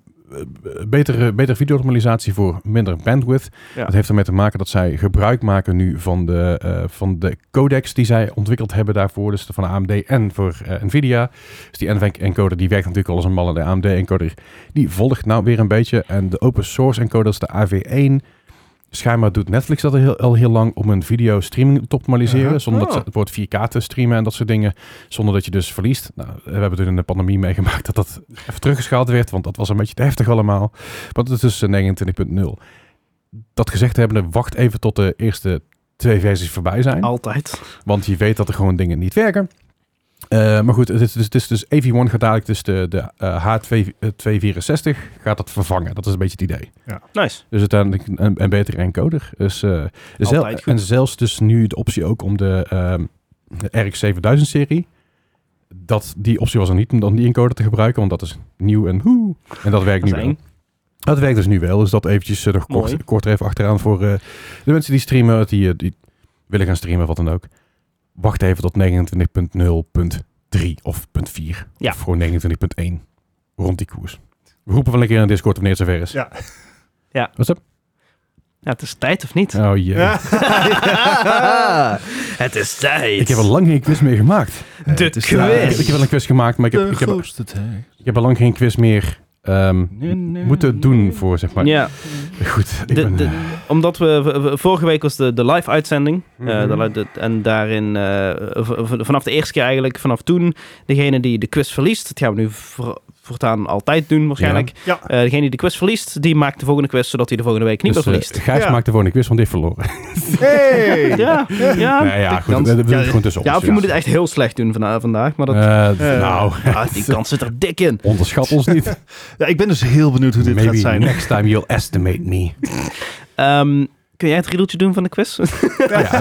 A: betere, betere videooptimalisatie voor minder bandwidth.
B: Ja.
A: Dat heeft ermee te maken dat zij gebruik maken nu van de, eh, van de codecs die zij ontwikkeld hebben daarvoor. Dus van de AMD en voor eh, NVIDIA. Dus die NVENC-encoder die werkt natuurlijk al als een malle. De AMD-encoder die volgt nou weer een beetje. En de open source encoders, de AV1... Schijnbaar doet Netflix dat al heel, al heel lang om een video streaming te optimaliseren.
C: Aha.
A: Zonder dat
B: Oh.
A: ze het woord 4K te streamen en dat soort dingen zonder dat je dus verliest. Nou, we hebben toen in de pandemie meegemaakt dat dat even teruggeschaald werd, want dat was een beetje te heftig allemaal. Maar dat is dus eh, 29.0. Dat gezegd hebbende, wacht even tot de eerste twee versies voorbij zijn,
C: Oh.
B: Altijd.
A: want je weet dat er gewoon dingen niet werken. Eh, maar goed, het is, dus- het is dus EV1 gaat dadelijk dus de, de H264 eh, gaat dat vervangen. Dat is een beetje het idee.
B: Nice.
A: Dus uiteindelijk een, een betere encoder. Dus, eh, zel-
B: goed.
A: en zelfs dus nu de optie ook om de, ehm, de RX7000-serie. Dat, die optie was er niet om dan die encoder te gebruiken, want dat is nieuw en hoe. En dat werkt
B: Dat is
A: nu
B: eng.
A: wel. Dat werkt dus nu wel. Dus dat eventjes eh, nog
B: Mooi.
A: kort, kort er even achteraan voor eh, de mensen die streamen, die, eh, die willen gaan streamen, wat dan ook. Wacht even tot 29.0.1 3 of punt 4.
B: Ja.
A: Of gewoon 29.1. Rond die koers. We roepen wel een keer in Discord wanneer het zover is.
C: Ja.
B: Ja.
A: Wat is dat?
B: Ja, het is tijd of niet?
A: Oh jee.
C: Ja.
B: het is tijd.
A: Ik heb al lang geen quiz meer gemaakt.
B: De
C: Het is
B: quiz.
A: Ja, eh, ik,
C: tijd.
A: heb- ik heb wel een quiz gemaakt, maar ik heb, ik heb, ik heb al lang geen quiz meer ehm, moeten doen voor, zeg maar.
B: ja,
A: Goed, ik
B: de-
A: ben...
B: de-
A: eh,
B: omdat we v- v- vorige week was de, de live uitzending eh,
A: Mhm.
B: de li- de- en daarin eh, v- v- vanaf de eerste keer eigenlijk vanaf toen degene die de quiz verliest, dat gaan we nu voor- voortaan altijd doen waarschijnlijk.
C: Ja.
B: Eh, degene die de quiz verliest, die maakt de volgende quiz zodat hij de volgende week niet
A: dus,
B: meer
A: eh,
B: verliest.
A: Gijs
C: Ja.
A: maakt de volgende quiz, want die heeft verloren.
C: Hey!
B: ja,
C: Ah.
B: ja.
A: Nou ja, goed,
B: kans-
A: dat wil
C: ja,
A: ik gewoon tussen
B: ja,
A: ons.
B: of je moet het echt heel slecht doen vana- vandaag, maar dat,
A: Eh,
C: Eh.
A: Nou,
B: ah, die kans zit er dik in.
A: onderschat ons niet.
C: Ja, ik ben dus heel benieuwd hoe dit
A: Maybe
C: gaat zijn.
A: next time you'll estimate me.
B: Ehm, kun jij het riedeltje doen van de quiz?
A: Ja,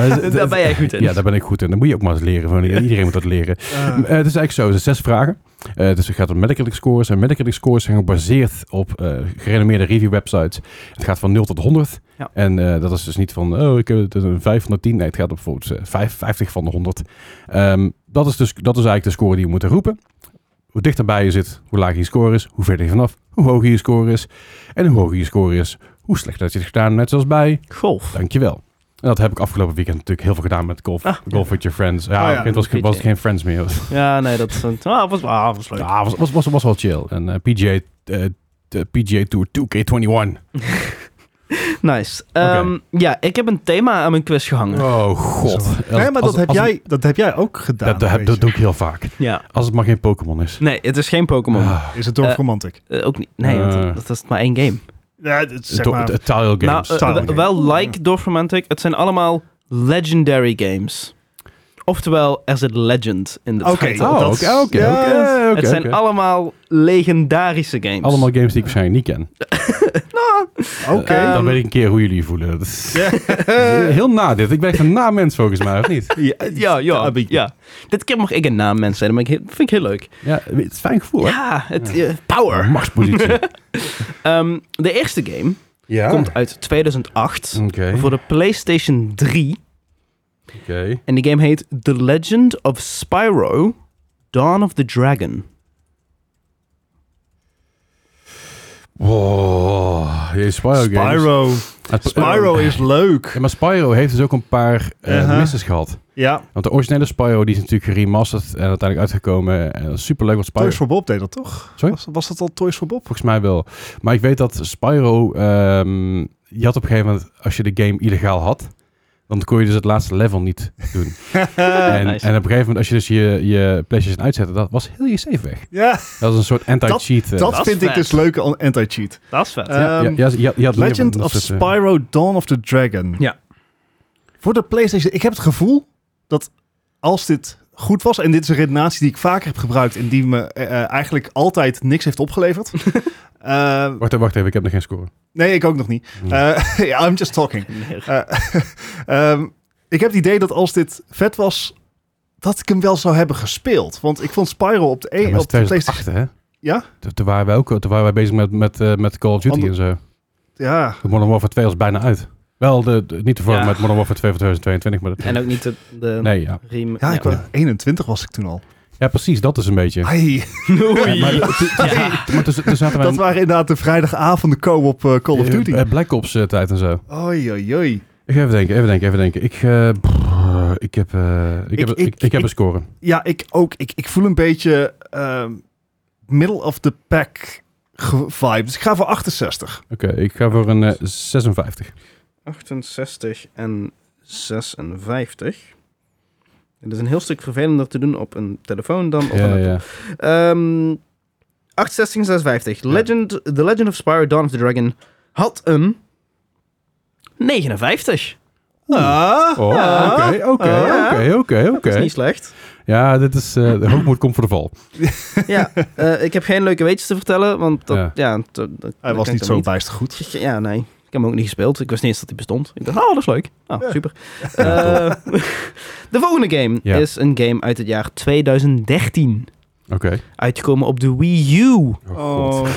A: dat-
B: Daar ben jij goed in.
A: Eh, Ja, daar ben ik goed in. Dat moet je ook maar eens leren. want Iedereen moet dat leren.
C: Eh,
A: Eh, het is eigenlijk zo, het zijn zes vragen. Eh, dus het gaat om Metacritic scores. En Metacritic scores zijn gebaseerd op eh, gerenommeerde review websites. Het gaat van 0 tot 100.
B: Ja.
A: En eh, dat is dus niet van, oh, ik heb het een 5 van de 10. Nee, het gaat op bijvoorbeeld eh, vijf- 50 van de 100. Ehm, dat, is dus, dat is eigenlijk de score die we moeten roepen. Hoe dichterbij je zit, hoe lager je score is, hoe verder je vanaf, hoe hoger je score is. En hoe hoger je score is, hoe slechter dat je het gedaan, net zoals bij
B: Golf.
A: Dankjewel. En dat heb ik afgelopen weekend natuurlijk heel veel gedaan met golf.
B: Ah.
A: golf with your friends. Ja,
C: ja.
A: op een gegeven moment was, was het geen friends meer.
B: Ja, nee, dat dat- ah, was, ah, was leuk.
A: Ja, was, was, was, was wel chill. En eh, PGA, eh, de PGA Tour 2K21.
B: Nice. Ehm, Ja, ik heb een thema aan mijn quiz gehangen.
A: Oh god.
C: Zo.
A: Als-
C: nee, maar
A: als-
C: dat heb,
A: als-
C: jij, dat heb jij ook gedaan.
A: Dat, dat, heb-
C: weet
A: dat
C: je.
A: doe ik heel vaak.
B: Ja.
A: Als het maar geen Pokémon is.
B: Nee, het is geen Pokémon.
A: Ah,
C: Is het dorp
B: Eh,
C: romantic?
B: Eh, ook niet. Nee, want
A: Eh.
B: dat, dat is maar één game.
C: Ja, dat- zeg
A: do-
C: maar-
A: de Tile Games.
B: nou, eh,
C: style
B: wel-
C: game.
B: wel like Dorf Romantic. Het zijn allemaal legendary games. Oftewel, er zit legend in de
C: Oké.
B: titel.
C: Oh,
A: oh,
C: dat-
A: oké, oké,
C: ja,
A: oké, oké,
B: het zijn
A: oké.
B: allemaal legendarische games.
A: Allemaal games die ik waarschijnlijk niet ken.
B: Nou,
C: Oké.
A: Eh, dan
B: Ehm.
A: weet ik een keer hoe jullie je voelen. Dat is eh,
C: Ja.
A: heel na dit. Ik ben echt een na mens volgens mij, of niet?
B: Ja, ja, ja,
C: een beetje.
B: ja. Dit keer mag ik een naam mensen zijn, maar ik he- vind ik heel leuk.
A: Ja, het is een fijn gevoel, hè?
B: Ja, het, eh, power.
A: Machtspositie.
B: Ehm, de eerste game
A: ja.
B: komt uit 2008
A: Ah. Oké.
B: voor de PlayStation 3.
A: Oké.
B: En die game heet The Legend of Spyro Dawn of the Dragon.
A: Wow, je Spyro, games.
C: Spyro.
A: Het-
C: Spyro is
A: Ja,
C: leuk.
A: maar Spyro heeft dus ook een paar eh,
C: Uh-huh.
A: misses gehad.
C: Ja,
A: Want de originele Spyro die is natuurlijk geremasterd en uiteindelijk uitgekomen. En dat is superleuk, want Spyro...
C: Toys for Bob deed dat toch?
A: Sorry?
C: Was, was dat al Toys for Bob?
A: Volgens mij wel. Maar ik weet dat Spyro... ehm, je had op een gegeven moment, als je de game illegaal had... Dan kon je dus het laatste level niet doen. en,
B: Eh, nice.
A: en op een gegeven moment, als je dus je, je PlayStation uitzette, dat was heel je save weg.
C: ja,
A: Dat was een soort anti-cheat. eh,
C: dat
B: dat
C: vind
B: is
C: ik
B: vet.
C: dus leuke an- anti-cheat.
B: Dat is vet.
A: ja,
C: Ehm,
A: ja, je had- je had meer van
C: Legend
A: dat
C: of
A: soort, eh,
C: Spyro Dawn of the Dragon.
B: Ja.
C: Voor de PlayStation. Ik heb het gevoel dat als dit goed was, en dit is een redenatie die ik vaker heb gebruikt en die me eh, eh, eigenlijk altijd niks heeft opgeleverd. Eh,
A: Wacht even, wacht even, ik heb nog geen score.
C: nee, ik ook nog niet.
A: Hmm.
C: Eh, ja, I'm just talking. Eh, ehm, ik heb het idee dat als dit vet was, dat ik hem wel zou hebben gespeeld. Want ik vond Spyro op de,
A: Ja,
C: e-
A: maar
C: op de
A: het is
C: PlayStation...
A: 2008, hè?
C: Ja?
A: Toen- Toen waren wij ook toen waren wij bezig met, met, eh, met Call of Duty
C: Ander-
A: en zo.
C: Ja,
A: De Modern Warfare 2 was bijna uit. Wel, de, de- niet te vormen
B: Ja.
A: met Modern Warfare 2 van 2022, maar dat...
B: En ook niet de, de
A: Nee, ja.
B: riem.
C: ja, ik was 21 was ik toen al.
A: Ja, precies, dat is een beetje.
C: Ai,
A: Ja, maar toen- toen- maar toen- toen zaten wij...
C: dat waren inderdaad de vrijdagavonden co-op eh, Call of
A: eh,
C: Duty.
A: eh, Black Ops eh, tijd en zo.
C: Oei, oei, oei.
A: Ik ga even denken, even denken, even denken. Ik, eh, brrr, ik, heb, eh, ik, heb,
C: Ik-
A: ik,
C: ik-
A: ik, heb een score.
C: Ja, ik ook. Ik, ik voel een beetje ehm, middle of the pack ge- vibe. Dus ik ga voor 68.
A: Oké, ik ga voor een eh, 56.
B: 68 en 56. Het is een heel stuk vervelender te doen op een telefoon dan op
A: Ja,
B: een...
A: ja.
B: Ehm 68 en 56. Legend, The Legend of Spyro Dawn of the Dragon had een 59.
C: Ah.
A: Oh, oké, oké, oké,
B: Ja.
A: oké,
B: Dat is
A: oké.
B: niet slecht.
A: Ja, dit is... eh, de hoogmoed komt voor de val.
B: ja, eh, ik heb geen leuke weetjes te vertellen, want dat, ja.
A: Ja.
B: dat- dat- dat
C: Hij
B: kan
C: was
B: ik
C: niet
B: dan
C: zo bijster goed.
B: Ja, nee. Ik heb hem ook niet gespeeld. Ik wist niet eens dat hij bestond. Ik dacht, oh, dat is leuk. Nou,
C: Ja.
B: super.
A: Ja,
B: Eh, de volgende game
A: Ja.
B: is een game uit het jaar 2013.
A: Oké.
B: Uitgekomen op de Wii U.
A: Oh, god.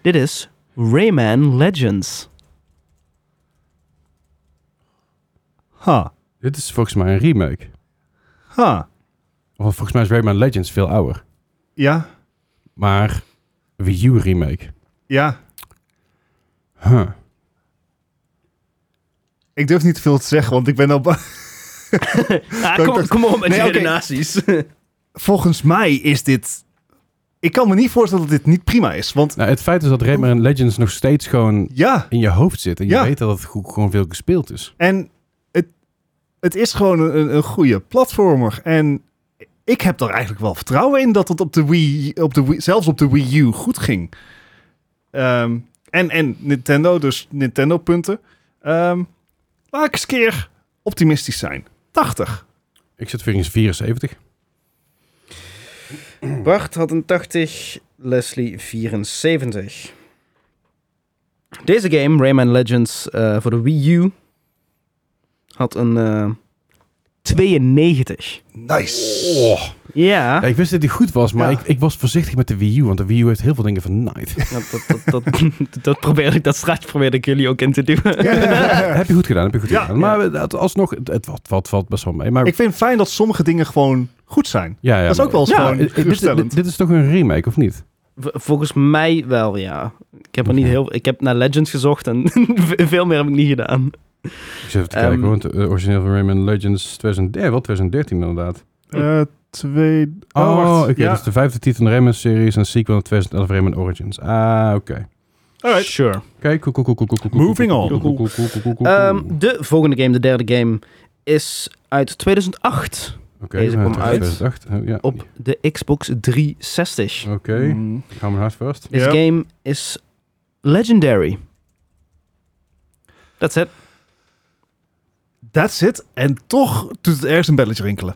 B: Dit is Rayman Legends.
C: Ha,
A: Dit is volgens mij een remake.
C: ha.
A: Want volgens mij is Rayman Legends veel ouder.
C: Ja,
A: Maar Wii U remake.
C: ja.
A: Huh.
C: Ik durf niet te veel te zeggen, want ik ben al bang.
B: Ah, kom,
C: dacht-
B: kom op met
C: Nee,
B: die
C: oké.
B: redenaties.
C: Volgens mij is dit... Ik kan me niet voorstellen dat dit niet prima is, want
A: Nou, het feit is dat Rayman Legends nog steeds gewoon
C: ja...
A: in je hoofd zit. En je
C: Ja.
A: weet dat het go- gewoon veel gespeeld is.
C: En het, het is gewoon een, een goede platformer. En ik heb er eigenlijk wel vertrouwen in dat het op de Wii, op de Wii zelfs op de Wii U goed ging. Ehm, en, en Nintendo, dus Nintendo punten. Ehm, laat ik eens een keer optimistisch zijn. 80.
A: Ik zit weer in 74.
C: Ah.
B: Bart had een 80, Leslie 74. Deze game, Rayman Legends eh, voor de Wii U, had een eh, 92.
C: Nice.
B: Ja,
A: Ja, ik wist dat die goed was, maar
C: Ja.
A: ik, ik was voorzichtig met de Wii U. Want de Wii U heeft heel veel dingen vernaaid.
B: dat, Nou, dat, dat, dat, dat probeerde ik, dat straatje probeerde ik jullie ook in te duwen.
A: heb je goed gedaan, heb je goed
C: Ja.
A: gedaan. Maar het, alsnog, het, het valt, valt, valt best wel mee. Maar,
C: Ik vind het fijn dat sommige dingen gewoon goed zijn.
A: ja, ja,
C: dat is ook wel eens
A: Ja, eh,
C: gewoon
A: dit- dit,
C: geruststellend.
A: dit- dit is toch een remake, of niet?
B: V- Volgens mij wel, ja. Ik heb er niet heel, ik heb naar Legends gezocht en veel meer heb ik niet gedaan.
A: Ik zit even te
B: Ehm,
A: kijken, want het eh, origineel van Rayman Legends 2013, wel 2013 inderdaad.
C: Eh, twee...
A: Oh,
C: wacht.
A: oké,
C: ja.
A: dus de vijfde titel van de Rayman-series en sequel in 2011 Rayman Origins. Ah, oké.
C: Alright.
B: Sure.
A: Oké, cool, cool, cool, cool, cool, cool, cool,
C: Moving
A: cool,
C: on.
A: cool, cool, cool, cool, cool, cool, cool.
B: Ehm, de volgende game, de derde game, is uit 2008
A: Oké,
B: deze
A: eh,
B: kwam uit
A: 2008, eh, ja.
B: op de Xbox 360.
A: Oké,
C: Mm.
A: ik hou mijn hart vast.
B: This
C: Ja.
B: game is legendary. That's it.
C: That's it. En toch doet het ergens een belletje rinkelen.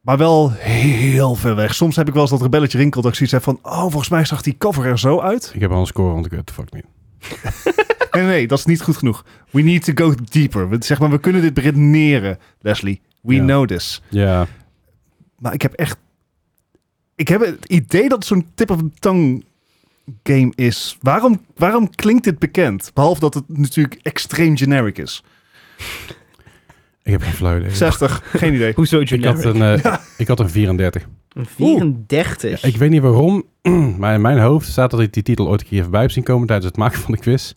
C: Maar wel heel ver weg. Soms heb ik wel eens dat er een belletje rinkelt dat ik zoiets heb van... Oh, volgens mij zag die cover er zo uit.
A: Ik heb al een score, want ik weet het fuck niet.
C: Nee, nee, nee, dat is niet goed genoeg. We need to go deeper. We, zeg maar, we kunnen dit beredeneren, Leslie. We
A: Ja.
C: know this.
A: Ja,
C: Maar ik heb echt... Ik heb het idee dat het zo'n tip-of-the-tongue game is. Waarom, waarom klinkt dit bekend? Behalve dat het natuurlijk extreem generic is.
A: ik heb geen flauw idee.
C: 60, geen idee.
B: Hoezo
A: Ik had een, eh, ik had een 34.
B: Een 34.
A: Ik weet niet waarom, maar in mijn hoofd staat dat ik die titel ooit een keer voorbij heb zien komen tijdens het maken van de quiz.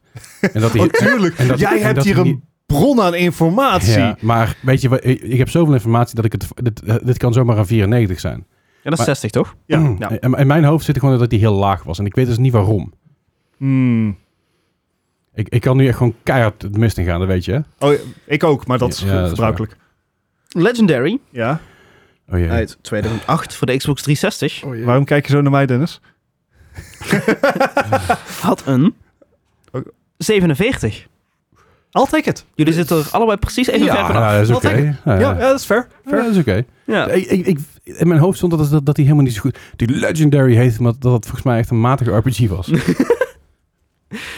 A: En dat die,
C: Natuurlijk.
A: en dat-
C: Jij
A: en
C: hebt
A: dat
C: hier
A: die-
C: een bron aan informatie.
A: Ja, maar weet je, wat, ik ik heb zoveel informatie dat ik het... Dit, dit kan zomaar een 94 zijn.
B: Ja, dat is
A: Maar-
B: 60, toch?
C: Ja. nou,
A: Mm.
B: ja.
A: En, in mijn hoofd zit gewoon dat die heel laag was. En ik weet dus niet waarom.
C: Hmm.
A: Ik, ik kan nu echt gewoon keihard het mist in gaan, dat weet je. hè?
C: Oh, ik ook, maar dat is
A: Ja, ja, dat is
C: gebruikelijk.
B: Legendary
C: ja.
A: Oh jee.
B: uit 2008 voor de Xbox 360
A: Oh,
C: Waarom kijk je zo naar mij, Dennis?
B: had een
C: Oké.
B: 47.
C: I'll take it.
B: Jullie zitten er allebei precies even ver
A: Ja,
B: vanaf.
A: nou, dat is
C: Wel
A: oké.
C: lekker.
A: Ja,
C: Ja,
A: ja.
C: dat is fair.
A: Ja, dat is oké.
B: Ja.
A: Ik- ik- ik- In mijn hoofd stond dat, dat, dat die helemaal niet zo goed... Die Legendary heet, maar dat het volgens mij echt een matige RPG was. Nou,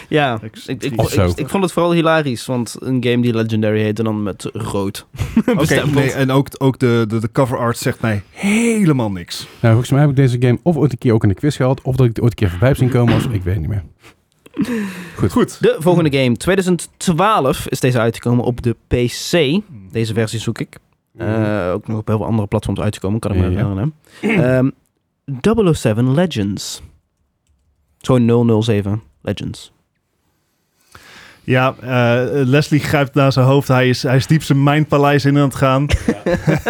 B: ja. Dus Ik, ik,
A: Of zo.
B: ik- ik vond het vooral hilarisch, want een game die Legendary heet en dan met rood Dus bestempeld.
C: nee, en ook, ook de, de, de cover art zegt mij helemaal niks.
A: nou, volgens mij heb ik deze game of ooit een keer ook in de quiz gehad... of dat ik het ooit een keer voorbij heb zien komen. Of, ik weet niet meer.
C: Goed.
B: De volgende game, 2012, is deze uitgekomen op de PC. Deze versie zoek ik. Eh, ook nog op heel veel andere platforms uitgekomen, kan ik me
A: Ja.
B: herinneren. Ehm 007 Legends. Gewoon 007 Legends.
C: Ja, eh, Leslie grijpt naar zijn hoofd. Hij is, hij is diep zijn mindpaleis in aan het gaan.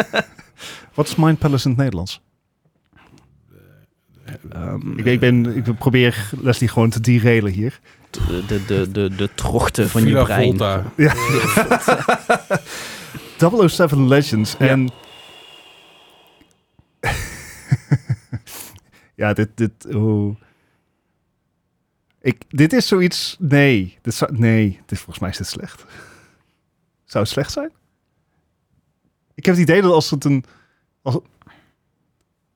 C: Wat is mindpalace in het Nederlands?
B: Ehm,
C: Ik, ik, ben, ik probeer Leslie gewoon te derelen hier.
B: De, de, de, de, de trochten van je brein.
A: Volta.
C: 007 Legends.
B: Ja.
C: En. ja, dit. dit oh. Ik, dit is zoiets. Nee, dit zou, nee dit, volgens mij is dit slecht. Zou het slecht zijn? Ik heb het idee dat als het een. Als,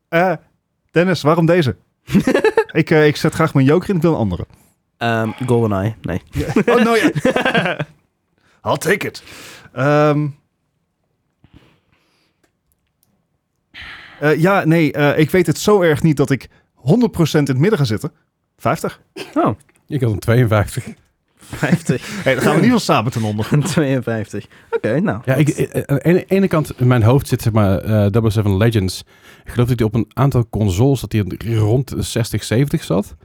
C: Eh, Dennis, waarom deze? ik, eh, ik zet graag mijn joker in, ik wil een andere.
B: Ehm, GoldenEye, nee.
C: Oh, nou ja. I'll take it. Ehm. Eh, ja, nee, eh, ik weet het zo erg niet dat ik 100% in het midden ga zitten. 50?
B: Oh,
A: Ik had een 52.
B: 50
C: Hey, dan gaan we niet wel samen ten onder.
B: en 52. Oké, nou.
A: Ja, ik, eh, aan de ene- ene kant, in mijn hoofd zit zeg maar eh 007 Legends. Ik geloof dat hij op een aantal consoles dat hij rond de 60, 70 zat.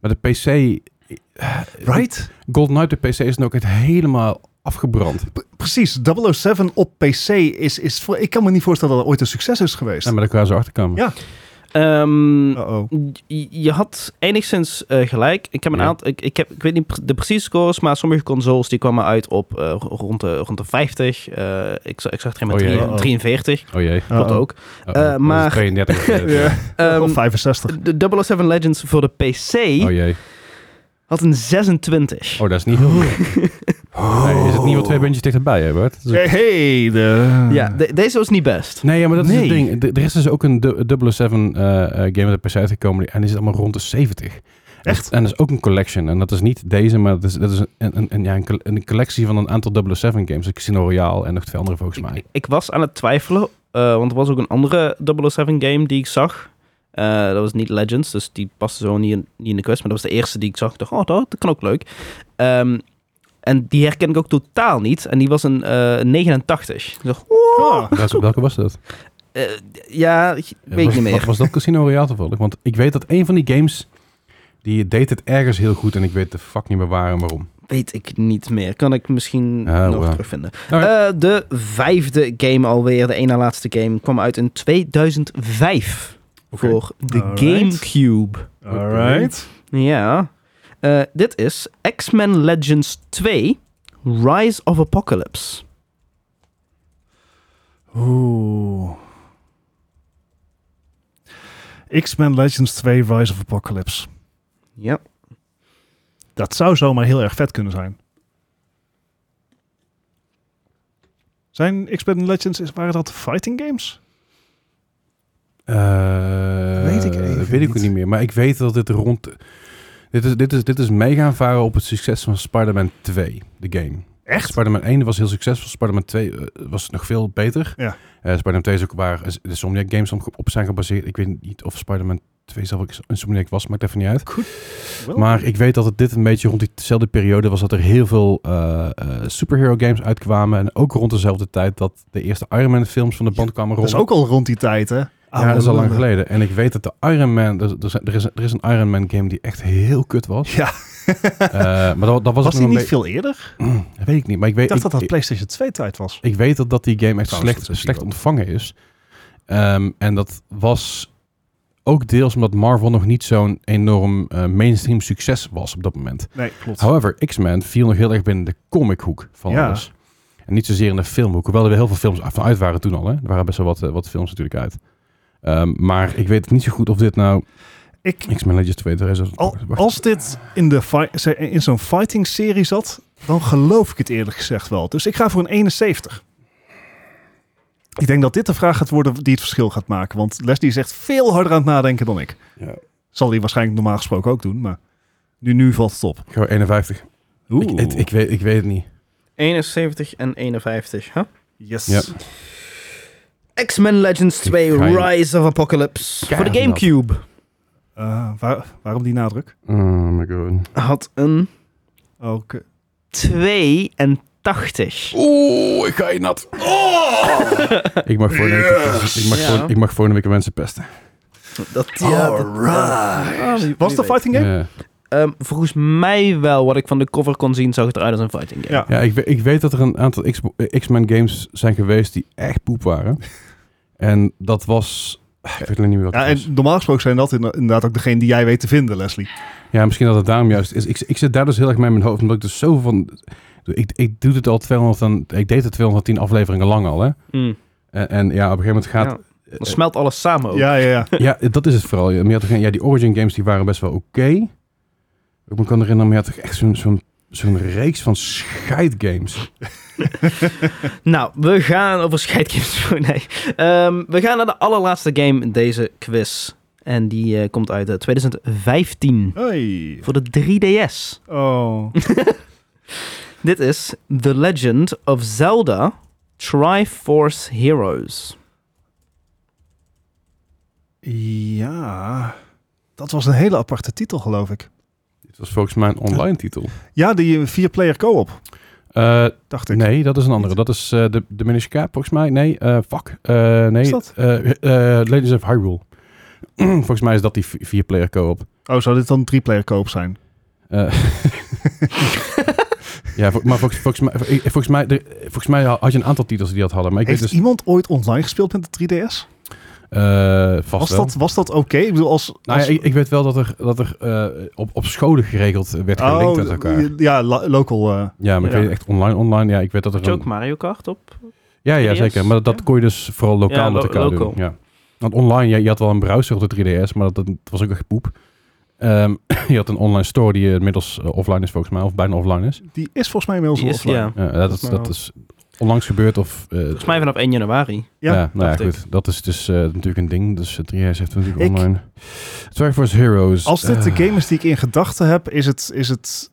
A: Maar de PC... eh,
C: Right?
A: GoldenEye op de PC is dan ook echt helemaal afgebrand.
C: Precies. 007 op PC is, is... voor- Ik kan me niet voorstellen dat dat ooit een succes is geweest.
A: Ja, maar daar kwamen ze achter komen.
C: Ja. Mm,
B: Ehm,
C: Uh-oh.
B: je- je had enigszins eh, gelijk. Ik heb een
A: Ja.
B: aantal. Ik, ik, heb, ik weet niet pre- de precieze scores, maar sommige consoles die kwamen uit op eh, rond, de, rond de 50. Eh, ik, za- ik zag er een met
A: Oh, jee.
B: drie-
C: Oh, oh.
B: 43.
A: Oh jee.
B: Klopt
C: Uh-oh.
B: ook.
A: Oh, dat is
B: maar-
A: 32. eh,
C: Eh, Ja.
B: Ehm,
C: Of 65.
B: de 007 Legends voor de PC
A: Oh jee.
B: had een 26.
A: Oh, dat is niet heel goed. Nee, is het niet wat
C: Oh.
A: twee puntjes dichterbij, hè, Bart? Dat is-
C: Hey, hey, de...
B: Ja, de- deze was niet best.
A: Nee, ja, maar dat is het
C: Nee.
A: ding. De- er is dus ook een du- 007 eh eh, game met de PC uitgekomen die- en die zit allemaal rond de 70.
C: Echt?
A: En dat is ook een collection. En dat is niet deze, maar dat is, dat is een, een, een, ja, een, col- een collectie van een aantal 007 games. De Casino Royale en nog twee andere volgens mij.
B: Ik, ik was aan het twijfelen, eh, want er was ook een andere 007 game die ik zag. Eh, dat was niet Legends, dus die paste zo niet in, niet in de quest. Maar dat was de eerste die ik zag. Ik dacht, oh, dat, dat kan ook leuk. Ehm, en die herken ik ook totaal niet. En die was een eh, 89. Ik dacht, wow.
C: Ah.
A: Welke- Welke was dat?
B: Eh, ja, ik weet
A: was,
B: niet
A: wat
B: meer.
A: was dat Casino Royale toevallig? Want ik weet dat een van die games, die deed het ergens heel goed en ik weet de fuck niet meer waar en waarom.
B: Weet ik niet meer. Kan ik misschien
A: Ah,
B: nog
A: wow.
B: terugvinden.
A: Alright.
B: Eh, de vijfde game alweer, de ene laatste game, kwam uit in 2005 voor de
C: Alright.
B: Gamecube.
C: Alright.
B: Ja. Eh, dit is X-Men Legends 2 Rise of Apocalypse.
C: Oeh. X-Men Legends 2 Rise of Apocalypse.
B: Ja.
C: Dat zou zomaar heel erg vet kunnen zijn. Zijn X-Men Legends, is- waren dat fighting games?
A: Eh,
C: Weet ik even
A: weet ik ook
C: niet.
A: niet meer. Maar ik weet dat dit rond... Dit is, dit is, dit is mee gaan varen op het succes van Spider-Man 2, de game.
C: Echt?
A: Spider-Man 1 was heel succesvol. Spider-Man 2 eh, was nog veel beter.
C: Ja.
A: Eh, Spider-Man 2 is ook waar eh, de Somniac games om- op zijn gebaseerd. Ik weet niet of Spider-Man 2 zelf ook een Somniac was, maakt even niet uit.
C: Wel.
A: Maar ik weet dat het dit een beetje rond diezelfde periode was dat er heel veel eh, eh, superhero games uitkwamen. En ook rond dezelfde tijd dat de eerste Iron Man films van de band kwamen
C: dat is
A: rollen.
C: ook al rond die tijd, hè?
A: Ja, dat is al lang geleden. En ik weet dat de Iron Man... Er, er zijn- er is, er is een Iron Man game die echt heel kut was.
C: Ja.
A: Eh, maar dat, dat was,
C: was
A: ook
C: die
A: nog
C: niet
A: een
C: veel eerder?
A: beetje- Dat weet ik niet. Maar ik weet,
C: Ik dacht dat dat
A: ik-
C: PlayStation 2 tijd was.
A: ik weet dat, dat die game echt
C: Trouwens, dat is
A: slecht,
C: misschien
A: slecht
C: wel.
A: ontvangen is. Ehm, en dat was ook deels omdat Marvel nog niet zo'n enorm eh, mainstream succes was op dat moment.
C: Nee, klopt.
A: However, X-Men viel nog heel erg binnen de comichoek van
C: Ja.
A: alles. En niet zozeer in de filmhoek. Hoewel er weer heel veel films af- van uit waren toen al. Hè? Er waren best wel wat, eh, wat films natuurlijk uit. Ehm, maar ik weet niet zo goed of dit nou
C: Ik,
A: X-Men Legends 2 is. of-
C: al,
A: wacht.
C: als dit in, de fi- ze- in zo'n fighting serie zat, dan geloof ik het eerlijk gezegd wel. Dus ik ga voor een 71. Ik denk dat dit de vraag gaat worden die het verschil gaat maken. Want Leslie is echt veel harder aan het nadenken dan ik.
A: Ja.
C: Zal hij waarschijnlijk normaal gesproken ook doen, maar nu, nu valt het op.
A: Gewoon 51. Ik, ik, ik weet, ik weet het niet.
B: 71 en 51, hè?
C: yes.
A: Ja.
B: X-Men Legends 2
A: ga je-
B: Rise of Apocalypse voor
A: Keihard
B: de Gamecube
C: Eh, waar- waarom die nadruk?
A: Oh my god.
B: had een
C: Oké.
B: 82.
A: Oeh, ik ga je nat. ik mag voor ik mag,
B: Ja.
A: voor, ik mag volgende week mensen pesten.
B: Dat, ja, dat- ja. Ah, wie-
C: Was
B: wie
C: het een
B: weet.
C: fighting game?
A: Ja.
B: Ehm, volgens mij wel. Wat ik van de cover kon zien, zag het eruit als een fighting game.
C: Ja.
A: Ja, ik, we- ik weet dat er een aantal X- X-Men games zijn geweest die echt poep waren. en dat was... Ik weet alleen niet meer wat
C: Ja,
A: het was.
C: en normaal gesproken zijn dat inderdaad inderdaad ook degene die jij weet te vinden, Leslie.
A: Ja, misschien dat het daarom juist is. Ik, ik zit daar dus heel erg mee in mijn hoofd, omdat ik dus zo van... Ik, ik doe dit al 200... en- Ik deed het 210 afleveringen lang al, hè.
B: Mm.
A: En, en ja, op een gegeven moment gaat...
B: Ja. Dan smelt alles
A: Oh.
B: samen ook.
C: Ja, ja, ja.
A: Ja, dat is het vooral. Ja, maar je had toch geen- ja, die Origin games die waren best wel oké. Ik me kan herinneren, maar je had toch echt zo'n zo'n zo'n reeks van scheidgames.
B: Nou, we gaan over scheidgames. Nee. Ehm, we gaan naar de allerlaatste game in deze quiz. En die eh, komt uit eh, 2015
C: Hey.
B: voor de 3DS.
C: Oh.
B: Dit is The Legend of Zelda Triforce Heroes.
C: Ja, dat was een hele aparte titel, geloof ik.
A: Dit Dat is volgens mij een online titel.
C: Ja, die eh, vier-player co-op,
A: Eh,
C: dacht ik.
A: nee, dat is een andere. Dat is eh, de, de Minish Cap, volgens mij. Nee, eh, fuck. Eh, nee,
C: Is dat?
A: eh, eh, Ladies of Hyrule. volgens mij is dat die vi- vier-player co-op.
C: Oh, zou dit dan drie-player co-op zijn?
A: Eh, ja, vo- maar volgens, volgens, mij, ik- volgens, mij, de- volgens mij had je een aantal titels die dat hadden. Maar ik
C: Heeft
A: weet dus...
C: iemand ooit online gespeeld met de 3DS?
A: eh, vast
C: Was
A: wel.
C: dat, was dat oké? Ik bedoel, als...
A: Nou, ja,
C: als-
A: ik, ik weet wel dat er, dat er eh, op, op scholen geregeld werd
C: Oh,
A: gelinkt met elkaar.
C: ja, lo- local... eh,
A: Ja, maar ik
B: Ja.
A: weet echt online, online. Ja, ik weet dat er
B: Had je ook
A: een,
B: Mario Kart op?
A: ja, ja,
B: 3DS?
A: zeker. Maar dat
B: Ja.
A: kon je dus vooral lokaal
B: Ja,
A: met
B: lo-
A: elkaar
B: local.
A: doen. Ja. Want online, je, je had wel een browser op de 3DS, maar dat, dat was ook echt poep. Ehm, je had een online store die inmiddels eh, offline is volgens mij, of bijna offline is.
C: die is volgens mij inmiddels
B: Die
C: wel
B: is-
C: offline.
B: ja.
A: Ja, dat, is,
C: Maar-
A: dat is onlangs gebeurd of... eh,
B: Volgens mij vanaf 1 januari.
A: ja,
C: Ja,
A: nou ja,
B: dacht ik.
A: goed. Dat is dus eh, natuurlijk een ding. Dus eh, 3DS heeft natuurlijk
C: Ik-
A: online... Triforce Heroes.
C: Als dit
A: eh,
C: de game is die ik in gedachten heb, is het, is het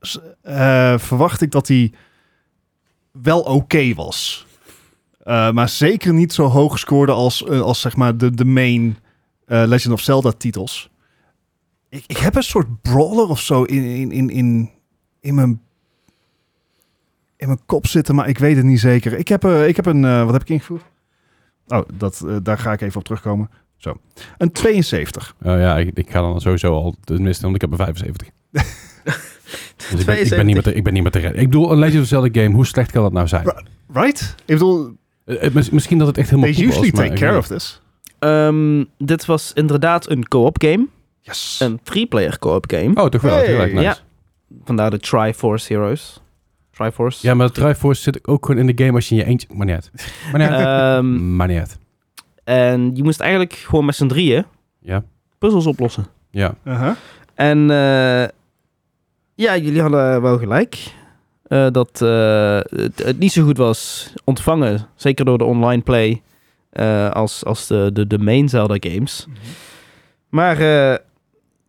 C: s- eh, verwacht ik dat die wel oké was. Eh, maar zeker niet zo hoog scoorde als, eh, als zeg maar de, de main eh, Legend of Zelda titels. Ik, ik heb een soort brawler of zo in, in, in, in, in mijn in mijn kop zitten, maar ik weet het niet zeker. Ik heb, eh, ik heb een... eh, wat heb ik ingevoerd? Oh, dat, eh, daar ga ik even op terugkomen. Zo. Een 72.
A: Oh ja, ik, ik ga dan sowieso al tenminste, want ik heb een 75. dus ik ben, ik, ben niet met de, ik ben niet met de red. Ik bedoel, een Legend of Zelda game, hoe slecht kan dat nou zijn?
C: Bro, Right? Ik bedoel,
A: Eh, eh, mis- misschien dat het echt helemaal
C: they
A: poep was.
C: usually
A: maar
C: take
A: ik
C: care
A: weet
C: of this.
B: Ehm, dit was inderdaad een co-op game.
C: Yes.
B: Een three-player co-op game.
A: niet. Oh, toch wel.
C: Hey.
A: heel erg nice.
B: Ja.
A: Ja.
B: Vandaar de Triforce Heroes. Triforce.
A: maar de Triforce zit ook gewoon in de game als je in je eentje... Maar niet uit. Maar niet uit.
B: Ehm,
A: Maar niet uit.
B: en je moest eigenlijk gewoon met z'n drieën
A: Ja.
B: puzzels oplossen.
A: Ja.
C: Uh-huh.
B: En eh, ja, jullie hadden wel gelijk. eh, dat eh, het, het niet zo goed was ontvangen. Zeker door de online play. eh, als als de, de, de main Zelda games. Maar eh,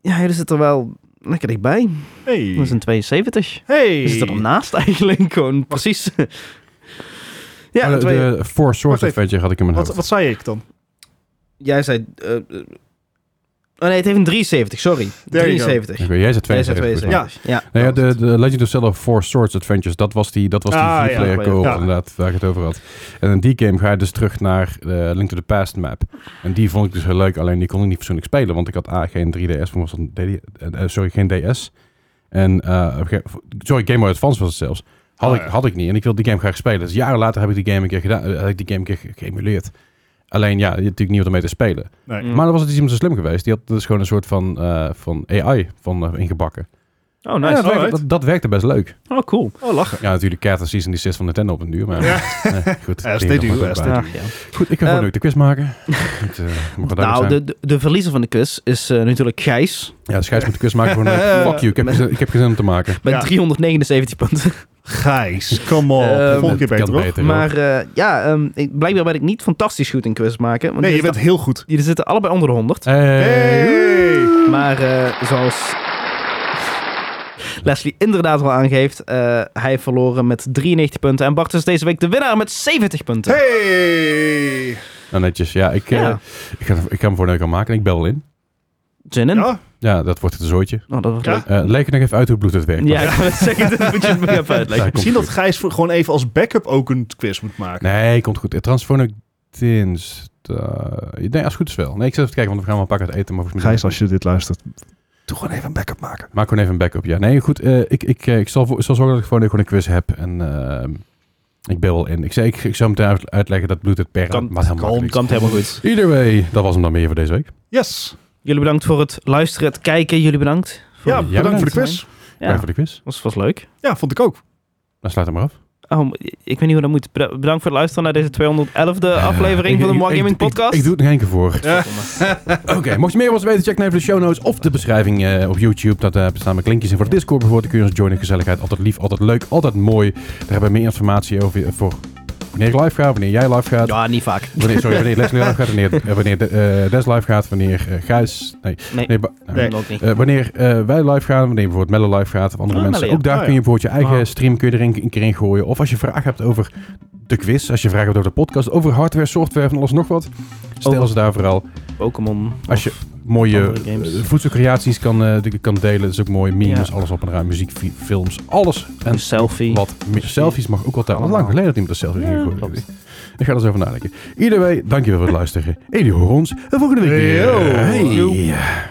B: ja, jullie zitten er wel lekker dichtbij.
C: Hey.
B: Dat is een 72.
C: Hey.
B: Is het er naast eigenlijk? Gewoon precies. ja,
A: Maar de,
B: twee-
A: de Four Swords
C: Wacht even.
A: Adventure had ik in mijn
C: Wat,
A: hoofd.
C: wat zei ik dan?
B: jij zei. eh, eh, oh nee, het heeft een 73, sorry.
C: go.
B: 73.
A: Oké, Jij zei
B: Jij zei
A: 72. volgens mij.
B: 72. Ja.
A: Nou ja, de, de Legend of Zelda Four Swords Adventures, dat was die, dat was die
C: Ah, ja.
A: player co-op
C: Ja.
A: inderdaad, waar ik het over had. En in die game ga je dus terug naar de Link to the Past map. En die vond ik dus heel leuk, alleen die kon ik niet persoonlijk spelen, want ik had A, geen 3DS, voor was een DD, eh, eh, sorry, geen DS. En, eh, op een gegeven- sorry, Game Boy Advance was het zelfs. Had,
C: Oh,
A: ik,
C: ja.
A: had ik niet en ik wilde die game graag spelen. Dus jaren later heb ik die game een keer gedaan, eh, heb ik die game een keer ge- geëmuleerd. Alleen ja, je hebt natuurlijk niet wat ermee te spelen.
C: Nee.
B: Mm.
A: Maar dan was het iets iemand zo slim geweest. Die had dus gewoon een soort van, eh, van AI van, eh, ingebakken.
B: Oh,
A: Ja,
B: nice.
A: dat, werkte,
C: alright.
A: dat, dat werkte best leuk.
B: Oh, cool.
C: Oh, lachen.
A: Ja, natuurlijk Cat en Season die 6 van Nintendo op een duur, maar
C: Ja.
A: eh, goed.
C: As
A: die
C: they
A: hoort
C: do,
A: ook
C: as
A: bij.
C: they
B: Ja, ja.
A: Goed, ik ga gewoon
B: Eh,
A: leuk de quiz maken. Het, eh, mag wel duidelijk
B: Nou,
A: zijn.
B: de, de, de verliezer van de quiz is eh, natuurlijk Gijs.
A: Ja, de scheids moet de quiz maken voor een fuck you, ik heb,
B: Met-
A: gezin, ik heb gezin om te maken.
B: Met
C: Ja.
B: 379 punten.
C: Gijs, come on.
B: Ehm,
C: Volgende keer
A: Het
C: beter,
A: Eh, kan
C: hoor.
A: beter,
B: maar eh, ja, ehm, ik, blijkbaar ben ik niet fantastisch goed in quiz maken. Want
C: Nee, je
B: jullie,
C: bent heel goed.
B: sta- jullie zitten allebei onder de 100.
A: hoor. Hey.
C: Hey.
B: Maar eh, zoals Leslie inderdaad al aangeeft, eh hij verloren met 93 punten. En Bart is deze week de winnaar met 70 punten.
C: Hey.
A: Nou, netjes. Ja, ik, eh,
B: Ja.
A: ik, ga, ik ga hem voor een gaan maken en ik bel wel in.
B: Zin in?
C: Ja,
A: Ja, dat wordt het een zooitje.
B: Oh, dat was
C: Ja.
B: leuk.
A: Eh leg er nog even uit hoe bloed het werkt.
B: Ja, ik wou net zeggen, dat moet je me even uitleggen.
A: Komt
C: misschien
A: goed.
C: dat Gijs voor- gewoon even als backup ook een quiz moet maken.
A: Nee, komt goed. Transphonic dinsdag... Nee, als het goed is wel. Nee, ik zit even te kijken, want we gaan wel een paar keer uit eten. Maar volgens mij-
C: als je dit luistert, doe gewoon even een backup maken.
A: Maak gewoon even een backup. Ja, nee, goed. eh, ik, ik, eh, ik zal, voor- zal zorgen dat ik gewoon, gewoon een quiz heb. En ehm, ik bel wel in. Ik, zei, ik, ik zou meteen uit- uitleggen dat bloed het per
B: Kan-
A: maar heel
C: kan-
A: makkelijk.
B: Komt helemaal goed.
A: Either way, dat was hem dan meer voor deze week.
C: Yes.
B: Jullie bedankt voor het luisteren, het kijken. Jullie bedankt. Voor-
C: Ja,
A: Jij
C: bedankt voor de
B: bedankt.
C: quiz.
A: Bedankt
B: Ja,
A: voor de quiz.
B: was, was leuk.
C: Ja, vond ik ook.
A: Dan sluit hem maar af.
B: Oh, ik weet niet hoe dat moet. Beda- Bedankt voor het luisteren naar deze 211e aflevering
A: Eh,
B: van de
A: ik-
B: One
A: ik-
B: Gaming
A: ik- ik-
B: Podcast.
A: Ik, doe het nog één keer voor.
C: Ja.
A: Oké, mocht je meer van ons weten, check dan even de show notes of de beschrijving eh, op YouTube. Daar eh, staan mijn linkjes in voor de Discord bijvoorbeeld. Dan kun je ons joinen. Gezelligheid, altijd lief, altijd leuk, altijd mooi. Daar hebben we meer informatie over eh, voor wanneer ik live ga, wanneer jij live gaat.
B: Ja, niet vaak.
A: Wanneer, sorry, wanneer Leslie live gaat, wanneer, eh, wanneer de- eh, Des live gaat, wanneer eh, Gijs... Nee,
B: Nee.
A: nee, ba- nou,
C: Nee.
B: Nog niet.
A: eh, wanneer eh, wij live gaan, wanneer bijvoorbeeld Melle live gaat of andere
B: Ah,
A: mensen.
B: Melle, ja.
A: Ook daar
C: Ah,
A: kun je bijvoorbeeld je eigen
B: Ah.
A: stream kun je er een, een keer in gooien. Of als je vragen hebt over de quiz, als je vragen hebt over de podcast, over hardware, software en alles nog wat. Stel
B: Over-
A: ze daar vooral.
B: Pokémon.
A: Als je mooie
B: andere games.
A: eh, voedselcreaties kan, eh, de- kan delen, dat is ook mooi. Memes,
B: Ja.
A: alles op en raam, muziek, fi- films, alles.
B: een
A: En
B: selfie.
A: wat meer selfies mag ook altijd. Al lang geleden dat iemand een selfie
B: Ja,
A: ging gooien.
B: klopt.
A: Ik ga er zo over nadenken. Iedereen, dankjewel voor het luisteren. En jullie horen ons de volgende week weer.
C: Yo.
A: Hey.